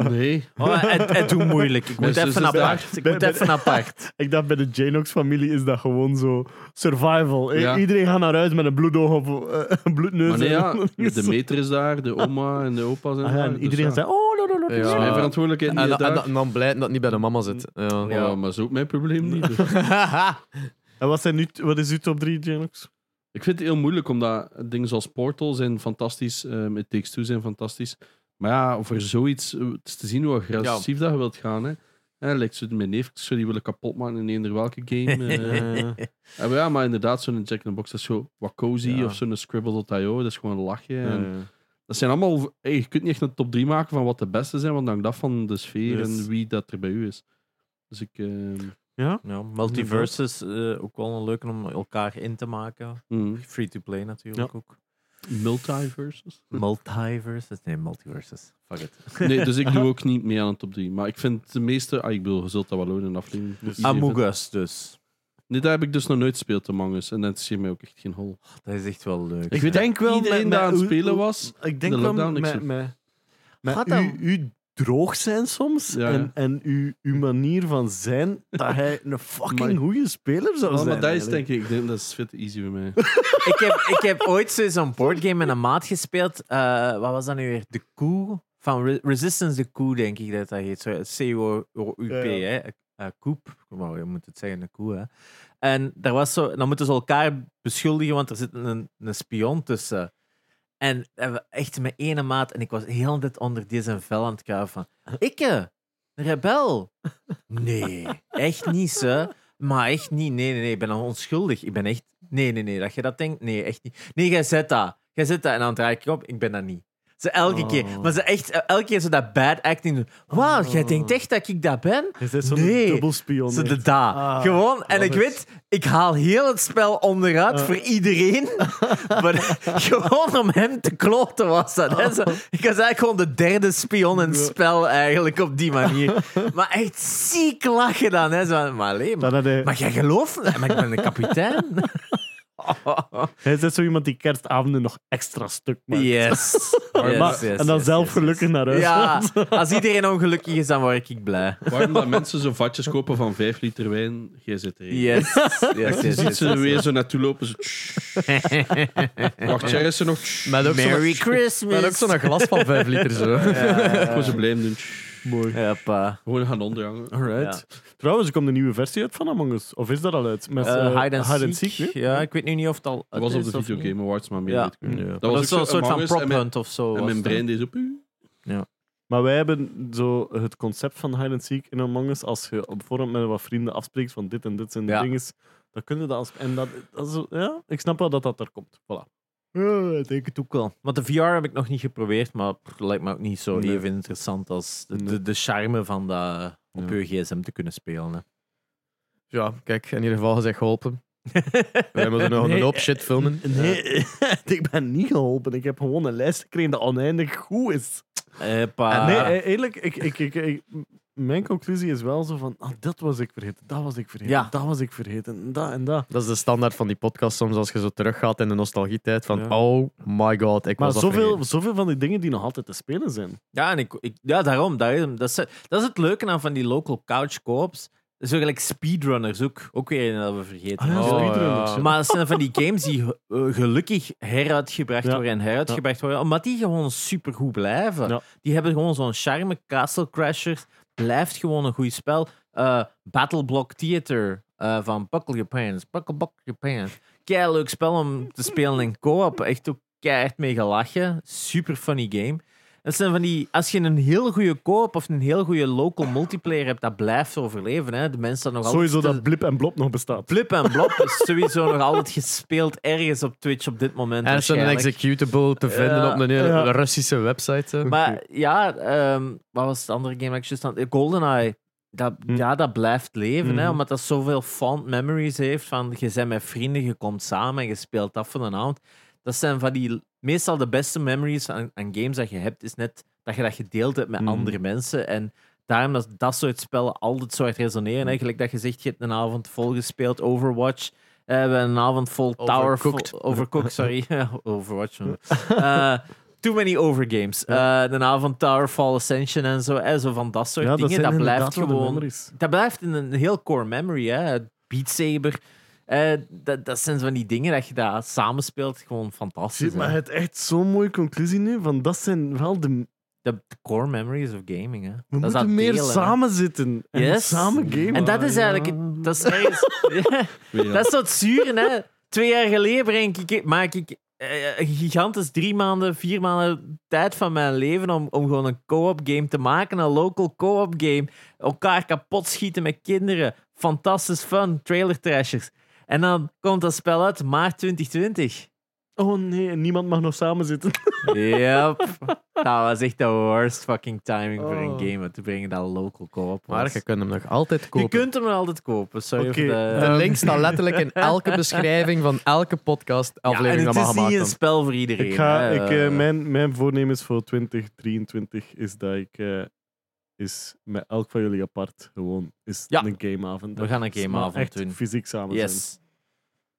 C: Nee.
A: Oh, en, en doe moeilijk. Ik moet dus-
C: Mijn zus
A: even
C: is
A: apart. Ik moet
D: Bij-
A: even apart.
D: Ik dacht bij de Janox-familie is dat gewoon zo survival. I-
C: Ja.
D: Iedereen gaat naar huis met een bloedoog of eh, een bloedneus.
C: Maar nee,
D: en-
C: ja, de meter is daar, de oma en de opa zijn
D: Ah,
C: daar.
D: ja, en
C: dus
D: iedereen
C: ja.
D: zei, oh, lo, lo, lo, lo.
B: Ja.
C: Dat is mijn verantwoordelijkheid niet
B: En,
C: hè,
B: en,
C: daar.
B: en dan blij dat het niet bij de mama zit. Ja.
C: Ja, maar dat is ook mijn probleem niet. dus.
D: En wat, zijn nu, wat is uw top 3, Janox?
C: Ik vind het heel moeilijk, omdat dingen zoals Portal zijn fantastisch, ehm It Takes Two zijn fantastisch. Maar ja, voor zoiets, eh, het is te zien hoe agressief dat je wilt gaan. Hè. Eh, lijkt zo mijn neef, ik zou die willen kapot maken in eender welke game. eh. Eh, maar ja, maar inderdaad, zo'n Jack in the Box, dat is zo wat cozy,
B: Ja.
C: of zo'n Scribble.io, dat is gewoon een lachje. en Dat zijn allemaal, hey, je kunt niet echt een top 3 maken van wat de beste zijn, want dan hangt af van de sfeer
D: Yes.
C: en wie dat er bij u is. Dus ik... ehm,
D: Ja?
A: Ja, multiverses, eh, ook wel een leuke om elkaar in te maken.
C: mm,
D: Hmm.
A: Free-to-play natuurlijk ook.
C: multiverses?
A: Multiverses? Nee, multiverses. Fuck it.
C: Nee, dus ik doe ook niet mee aan een top 3. Maar ik vind de meeste... Ah, ik bedoel, je zult dat wel horen in een aflevering. Iedereen vindt-
A: Among Us dus.
C: Nee, daar heb ik dus nog nooit gespeeld, Among Us. En dat zie je mij ook echt geen hol.
A: Dat is echt wel leuk.
C: Ik weet denk wel iedereen
D: met-
C: dat aan het
D: hoe-
C: spelen
D: hoe-
C: was. Oh,
D: Ik denk
C: de
D: wel
C: lockdown, ik
D: met,
C: zeg-
D: met, met
A: Gaat dat-
D: u, u droog zijn soms
C: Ja, ja.
D: en, en u, uw manier van zijn dat hij een
C: Amai.
D: fucking goede speler zou
C: Ah,
D: zijn.
C: maar dat is
D: eigenlijk.
C: denk ik... ik denk, dat is fit easy bij mij.
A: ik, heb, ik heb ooit zo- zo'n boardgame met een maat gespeeld. Eh, wat was dat nu weer? De Koe? Van Re- Resistance de Koe, denk ik dat dat heet. Zo, C-O-U-P,
D: Ja, ja.
A: hè? Eh, koep. Maar je moet het zeggen, een koe, hè? En daar was zo, dan moeten ze elkaar beschuldigen, want er zit een, een spion tussen. En eh, we- echt mijn ene maat, en ik was heel dit onder deze vel aan het kuiven van... Ikke, een rebel. Nee, echt niet, hè? Maar echt niet. Nee, nee, nee. Ik ben al onschuldig. Ik ben echt... Nee, nee, nee. Dat je dat denkt? Nee, echt niet. Nee, jij zet dat. Jij zet dat. En dan draai ik op. Ik ben dat niet. Ze elke
D: Oh.
A: keer. Maar ze echt... Elke keer zo dat bad acting doen. Wauw, jij
D: Oh.
A: denkt echt dat ik dat ben?
D: Hij is zo'n
A: Nee.
D: dubbelspion.
A: Zo
D: hè.
A: de da.
D: Ah,
A: Gewoon. En
D: love
A: ik
D: it.
A: weet, ik haal heel het spel onderuit
D: Ah.
A: voor iedereen. maar gewoon om hem te kloten was dat. hè. Zo, ik was eigenlijk gewoon de derde spion in het
D: Ja.
A: spel eigenlijk op die manier. maar echt ziek lachen dan. Hè. Zo, maar alleen maar.
D: Dat eh, had hij,
A: Maar jij gelooft me? Maar ik ben de kapitein.
D: hij is zo iemand die kerstavonden nog extra stuk maakt.
A: Yes. Yes,
D: Maar-
A: yes,
D: en dan
A: yes,
D: zelf
A: yes,
D: gelukkig naar
A: yes.
D: huis.
A: Ja, als iedereen ongelukkig is, dan word ik blij.
C: Waarom dat mensen zo vatjes kopen van 5 liter wijn? Jij zit er één.
A: Yes. yes,
C: Je
A: yes,
C: ziet
A: yes,
C: ze
A: yes.
C: weer zo naartoe lopen. Zo, tsch. Wacht, jij is er nog. tsch.
B: Met ook zo'n-
A: Merry Christmas.
B: met ook zo'n glas van 5 liter zo.
C: Gewoon zo blijven doen. tsch.
D: Mooi.
A: Hoppa.
C: Gewoon gaan onderhangen.
A: Ah, Alright.
D: Trouwens, er komt een nieuwe versie uit van Among Us. Of is dat al uit? Met
A: Eh,
D: eh,
A: hide and
D: and
A: seek.
D: Seek, nee?
A: Ja, ik weet nu niet of het al.
C: Dat
A: uit
C: was op
A: is
C: de
A: of niet.
C: Videogame Awards, maar meer
A: Ja.
C: weet ik niet.
B: Ja.
A: Dat was
C: ook
A: zo'n
C: zo
A: soort van
C: Among Us en
A: prop
C: mijn-
A: hunt of zo.
C: En
A: was
C: mijn
A: dat.
C: brein deed op.
D: Maar wij hebben zo het concept van hide and seek in Among Us. Als je op voorhand met wat vrienden afspreekt van dit en dit zijn de
A: Ja.
D: dingen, dan kunnen dat als... En dat, dat is, ja, ik snap wel dat dat er komt. Voilà.
A: Ja, ik denk het ook wel. Want de VR heb ik nog niet geprobeerd, maar pff, lijkt me ook niet zo
D: Nee.
A: even interessant als de, de,
D: Nee.
A: de charme van dat op
D: Ja.
A: je gsm te kunnen spelen. hè.
B: Ja, kijk, in ieder geval gezegd geholpen. Wij moeten nog
D: Nee,
B: een hoop shit filmen.
D: Nee, ik ben niet geholpen. Ik heb gewoon een lijst gekregen dat oneindig goed is.
B: Ah.
A: Hoppa.
D: Nee, eh, eerlijk, ik, ik, ik, ik- mijn conclusie is wel zo van... ah, dat was ik vergeten, dat was ik vergeten,
A: Ja.
D: dat was ik vergeten, dat en dat.
B: Dat is de standaard van die podcast soms, als je zo teruggaat in de nostalgietijd van
D: Ja.
B: oh my god, ik
D: Maar
B: was dat
D: zoveel,
B: vergeten.
D: zoveel van die dingen die nog altijd te spelen zijn.
A: Ja, en ik, ik, ja daarom. daarom dat, is, dat is het leuke aan van die local couch co-ops. Zo gelijk speedrunners ook. Ook weer een dat we vergeten.
D: Ah, ja,
A: Oh,
B: ja.
D: speedrunners,
A: Maar het zijn van die games die eh, gelukkig heruitgebracht
D: Ja.
A: worden en heruitgebracht worden, omdat die gewoon supergoed blijven.
D: Ja.
A: Die hebben gewoon zo'n charme. Castle Crashers blijft gewoon een goed spel. Eh, Battle Block Theater eh, van Buckle Your Pants. Buckle, buckle your pants. Kei leuk spel om te spelen in co-op. Echt ook keihard mee gelachen. Super funny game. Dat zijn van die, als je een heel goede co-op of een heel goede local multiplayer hebt, dat blijft overleven. Hè? De mensen dat nog altijd
D: Sowieso
A: te-
D: dat blip en blop nog bestaat.
A: Blip en Blop is sowieso nog altijd gespeeld ergens op Twitch op dit moment.
B: Er is een
A: waarschijnlijk.
B: executable te vinden
A: Ja.
B: op een hele
D: Ja.
B: Russische website. hè.
A: Maar ja, ehm, wat was het andere game dat ik juist aan... GoldenEye. Dat,
D: Hm.
A: Ja, dat blijft leven, hè,
D: Mhm.
A: omdat dat zoveel fond memories heeft van je bent met vrienden, je komt samen en je speelt af van een avond. Dat zijn van die... Meestal de beste memories aan, aan games dat je hebt, is net dat je dat gedeeld hebt met
D: Mhm.
A: andere mensen. En daarom dat dat soort spellen altijd zo hard resoneren.
D: Mhm.
A: Eigenlijk dat je zegt, je hebt een avond vol gespeeld, Overwatch... Eh, We hebben een avond vol Tower... vol-
B: Overcooked.
A: overcooked, sorry. Ja, Overwatch. man. Eh, Too many overgames. Eh de avond Tower Fall Ascension en zo. En zo van dat soort
D: Ja,
A: dingen.
D: zijn
A: Dat
D: inderdaad
A: blijft
D: wel de
A: gewoon.
D: memories.
A: Dat blijft in een heel core memory. Hè. Beat Saber. Eh, dat, dat zijn van die dingen dat je daar samenspeelt. Gewoon fantastisch.
D: Shit, maar
A: hè.
D: het echt zo'n mooie conclusie nu. Van dat zijn wel de.
A: De, de core memories of gaming. Hè.
D: We
A: dat is dat
D: moeten meer
A: delen, hè.
D: samen zitten en
A: Yes.
D: samen gamen.
A: En dat is eigenlijk. Dat is ergens.
C: Weer.
A: Dat is dat zuren, hè. Twee jaar geleden breng ik, maak ik eh, een gigantisch drie maanden, vier maanden tijd van mijn leven om, om gewoon een co-op game te maken. Een local co-op game. Elkaar kapot schieten met kinderen. Fantastisch fun. Trailer trashers. En dan komt dat spel uit maart 2020.
D: Oh nee, en niemand mag nog samen zitten.
A: Yep. dat was echt de worst fucking timing voor
D: Oh.
A: een game om te brengen dat local co-op was.
B: Maar je kunt hem nog altijd
A: Je
B: kopen.
A: kunt hem altijd kopen. Sorry
D: Oké,
A: voor de...
D: eh,
B: De link staat letterlijk in elke beschrijving van elke
A: en
B: podcast-aflevering
A: het
B: dat
A: is
B: we
A: niet
B: gemaakt
A: een
B: hebben.
A: spel voor iedereen.
D: Ik ga,
A: hè.
D: ik, eh, mijn, mijn voornemens voor 2023 is dat ik eh, is met elk van jullie apart gewoon is
A: Ja.
D: een gameavond.
A: We gaan een
D: Dus
A: gameavond
D: maar echt
A: doen.
D: Fysiek samen zijn.
A: Yes.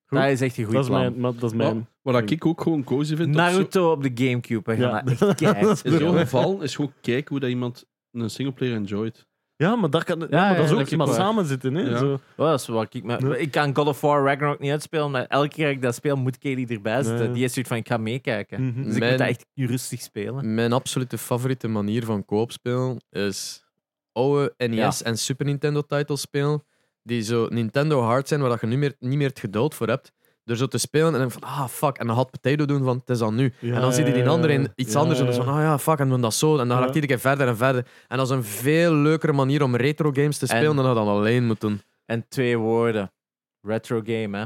D: Goed.
A: Dat is echt een goed
D: Dat is
A: plan. Oh.
D: mijn. maar Dat is mijn.
C: Wat ik ook gewoon cozy vind. op zo-
A: Naruto op de Gamecube. Hè.
D: Ja.
A: Ja. Echt keihard
C: in zo'n
A: spelen.
C: geval is gewoon kijken hoe dat iemand een singleplayer enjoyt.
D: Ja, maar dat kan. Ja,
A: ja,
D: maar dat is
A: dat
D: ook
A: is
D: maar
A: waar.
D: samen zitten, hè?
C: Ja.
D: Zo.
A: Oh, dat is wel kiek, maar-
D: Nee.
A: Ik kan God of War Ragnarok niet uitspelen, maar elke keer dat ik dat speel, moet Kelly erbij zitten.
D: Nee.
A: Die is zoiets van, ik ga meekijken.
D: Mhm.
A: Dus ik
B: Mijn-
A: moet dat echt rustig spelen.
B: Mijn absolute favoriete manier van koop spelen is oude NES en Super Nintendo-titles spelen, die zo Nintendo hard zijn, waar dat je nu meer, niet meer het geduld voor hebt. Door zo te spelen en dan van, ah fuck, en dan had Potato doen van, het is al nu.
D: Ja,
B: en dan ziet hij die
D: ja,
B: andere
D: ja,
B: in iets
D: ja,
B: anders en dan
D: ja.
B: zo van, ah ja, fuck, en dan dat zo. En dan
D: Ja.
B: raakt iedere keer verder en verder. En dat is een veel leukere manier om retro games te
A: En-
B: spelen dan dat je dan alleen moet doen.
A: En twee woorden. Retro game, hè.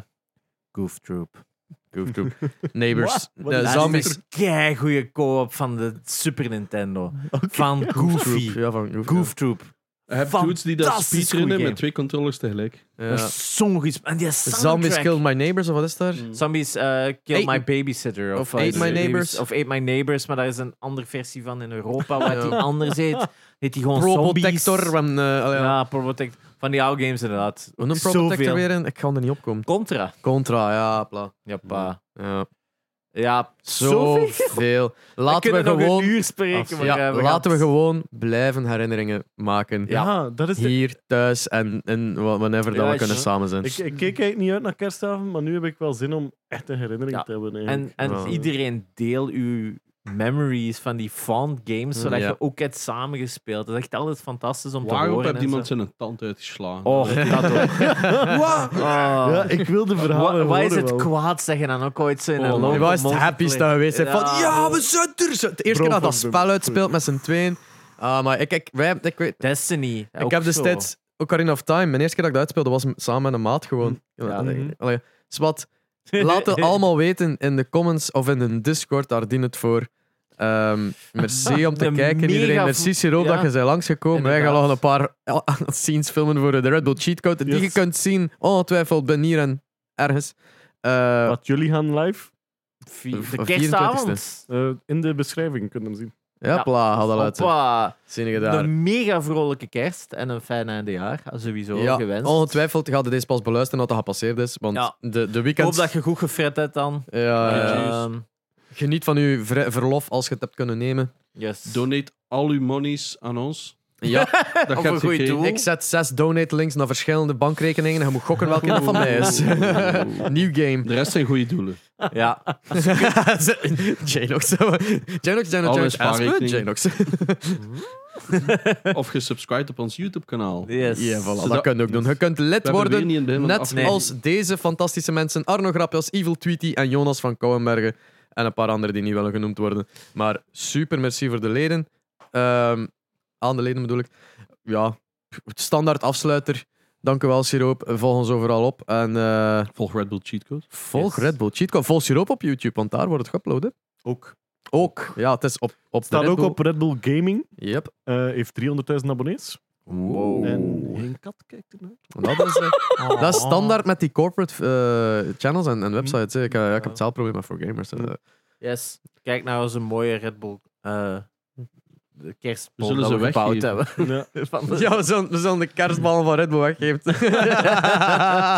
A: Goof Troop.
B: Goof Troop. Neighbors.
D: Wat? Wat
B: De
D: is dat?
B: zombies.
A: Kei goede co-op van de Super Nintendo.
D: Oké.
A: Van
B: Goof
A: Goofy.
B: Troop, Ja, van Goof Troop.
A: Goof Troop.
C: Hij hebt dudes die dat
A: Fantastisch
C: speedrunnen
A: goeie
C: met
A: game.
C: twee controllers tegelijk.
A: Dat
B: Ja.
A: is Zo'n goed spel. En die
B: Zombies
A: soundtrack.
B: Kill My Neighbors, of wat is daar?
A: Zombies eh, Kill
B: Ate-
A: My Babysitter. Of,
B: of
A: eh,
B: Ate
A: de
B: My
A: baby's-
B: Neighbors.
A: Of Ate My Neighbors, maar daar is een andere versie van in Europa waar
B: Ja.
A: die anders heet. Heet die gewoon
B: Probotector.
A: Zombies.
B: Van, eh, allee, ja.
A: Ja, Probotector. Van die oude games inderdaad.
B: Hoe noemt
A: Zoveel.
B: Probotector weer in? Ik ga er niet op komen.
A: Contra.
B: Contra, ja, pla.
A: Ja, pa.
B: Ja.
A: Ja, zoveel.
B: Zoveel.
A: We
B: Laten we,
A: kunnen nog een
B: gewoon...
A: uur spreken. Maar
B: Ja,
A: eh, we
B: laten we
A: gaan-
B: gewoon blijven herinneringen maken.
D: Ja, dat is. De...
B: Hier, thuis en, en wa- wannever dat we
A: Juist.
B: kunnen samen zijn.
D: Ik,
A: Dus
D: ik keek eigenlijk niet uit naar kerstavond, maar nu heb ik wel zin om echt een herinnering
A: Ja.
D: te hebben.
A: En,
D: eigenlijk. Ah.
A: en
B: Ja.
A: iedereen deel uw memories van die fond games, zodat
B: Ja.
A: je ook hebt samengespeeld. Dat is echt altijd fantastisch om te
C: Waarop
A: horen.
C: heeft
A: en
C: iemand
A: zo.
C: zijn tand uitgeslagen?
A: Oh, dat ook. Oh.
D: ja, ik wil de
A: Wa-
D: verhalen.
A: Wat is
D: horen
A: het
D: wel.
A: kwaad zeggen dan ook ooit zo in
D: Oh,
A: een
D: man.
A: local
B: Hij was het
A: multiplayer?
B: happiest dat geweest zijn.
A: Ja.
B: Van, ja, we zijn er. Zo- De eerste keer dat dat
D: van-
B: spel uitspeelt met z'n tweeën. Ah, maar ik, ik, wij, ik, weet,
A: Destiny.
B: ik heb destijds Ocarina of Time. Mijn eerste keer dat ik dat uitspeelde was m- samen met een maat gewoon. Ja,
A: mhm.
B: allee, allee. Dus wat, laat het allemaal weten in de comments of in de Discord. Daar dient het voor. Ehm, merci om te
A: De
B: kijken,
A: mega
B: iedereen.
A: v-
B: Merci, Siro,
A: ja.
B: dat je bent langsgekomen. Wij gaan nog
A: Inderdaad.
B: een paar eh, scenes filmen voor de Red Bull Cheat Code. Die je
D: Yes.
B: kunt zien, ongetwijfeld, ben hier en ergens. Eh,
D: Wat jullie gaan live
A: De
B: 24e.
A: kerstavond.
D: eh, in de beschrijving kunnen we zien.
B: ja,
A: Ja.
B: pla, had al uit.
A: Hoppa.
B: Zin gedaan.
A: Een mega vrolijke kerst en een fijn eindejaar. Sowieso
B: Ja,
A: gewenst.
B: ongetwijfeld gaat deze pas beluisteren nadat dat gepasseerd is. Want
A: Ja.
B: de, de
A: Ik hoop
B: weekend... eh,
A: dat je goed gefret hebt dan.
B: Ja, ja.
C: Jezus.
A: Ehm,
B: Geniet van uw vri- verlof als je het hebt kunnen nemen.
A: yes.
C: Donate al uw monies aan ons.
B: Ja,
C: Dat
A: Eh, Of
C: gaat
A: een goed
C: oké.
A: doel.
B: ik zet zes donate links naar verschillende bankrekeningen en je moet gokken welke dat van mij is. Nieuw game.
C: De rest zijn goede doelen.
A: Ja,
B: Janox. Janox, Janox,
C: Alle
B: Janox. Aspen,
C: spaarrekening.
B: Janox.
C: Of gesubscribed op ons YouTube-kanaal.
A: yes.
B: Ja,
C: Ze
B: voilà, dat
C: dat-
B: kun je ook doen. Je kunt lid worden
C: niet in het begin van de
B: Net
C: aflevering.
B: als deze fantastische mensen: Arno Grappels, Evil Tweety en Jonas van Kouwenbergen. En een paar anderen die niet willen genoemd worden. Maar super merci voor de leden. Ehm, aan de leden bedoel ik. Ja, standaard afsluiter. Dank u wel, Siroop. Volg ons overal op. En eh,
C: Volg Red Bull Cheat Code.
B: volg
A: Yes.
B: Red Bull Cheat Code. Volg Siroop op YouTube, want daar wordt het geüpload. hè.
D: Ook.
B: Ook. Ja, het is op, op de
D: Staat
B: Red
D: ook
B: Bull.
D: op Red Bull Gaming.
B: Yep.
D: eh, heeft 300.000 abonnees.
A: Wow.
D: En geen kat kijkt ernaar.
B: Dat is, eh,
A: Ah.
B: dat is standaard met die corporate eh, channels en, en websites. hè. Ik, eh, ja, ik heb hetzelfde probleem maar voor gamers. eh.
A: Yes. Kijk nou eens een mooie Red Bull eh de kerstbol
C: Zullen
A: dat
C: ze
A: we gebouwd hebben.
C: weggeven?
D: Ja.
A: Van de-
B: Ja, we zullen, we zullen de kerstballen van Red Bull weggeven.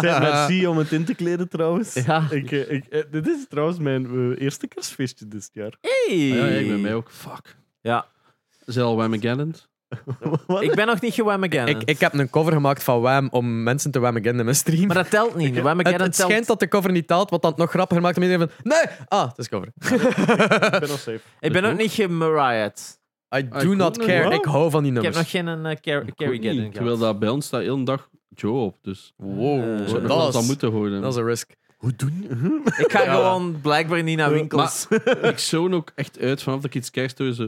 D: Zeg, merci om het in te kleden trouwens.
A: Ja.
D: Ik, eh, ik, eh, dit is trouwens mijn eh, eerste kerstfeestje dit jaar.
A: Hey.
C: Ah ja, ja, ik ben mij ook. Fuck.
A: Ja.
C: Is het al Whamageddon?
D: Wat?
A: Ik ben nog niet gewammageddon.
B: ik, ik heb een cover gemaakt van Wham om mensen te whamageddenen in mijn stream.
A: Maar dat telt niet. De
B: het,
A: whamageddon
B: het
A: telt.
B: schijnt dat de cover niet taalt, wat dan het nog grappiger maakt. om iedereen van, nee! Ah, het is cover.
D: Ik ben al safe.
A: Ik ben ook niet gemariat.
B: I
C: Ah,
B: do
C: ik
B: not
C: ook
B: care.
D: niet.
B: Ik hou van die
A: Ik heb
B: nummers.
A: nog geen eh, car- carry
C: Goed
A: getting
C: niet, Terwijl
A: gehad.
C: dat bij ons staat heel de dag Joe op. Dus
B: Wow.
A: Eh,
C: we zouden
B: dat
C: dat
B: is-
C: dan moeten horen.
B: Dat is een risk.
D: Hoe doen
A: Ik ga
B: Ja.
A: gewoon blijkbaar niet naar
D: Eh,
A: winkels.
C: ik zoon ook echt uit vanaf dat ik iets krijg thuis. eh,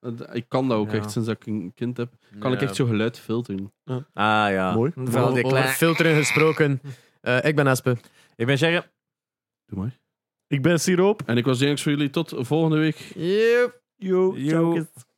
C: dat- Ik kan dat ook
A: Ja.
C: echt sinds dat ik een kind heb. Kan ik echt zo geluid filteren.
A: ah ja.
D: Mooi.
A: Vooral die
B: Over- over
A: kleine-
B: filteren gesproken. Eh, ik ben Espe.
A: Ik ben Jerry.
C: Doe maar.
D: Ik ben Siroop.
C: En ik was Jenks voor jullie. Tot volgende week.
B: Yep.
D: Yo,
A: Yo.
D: ciao, kids.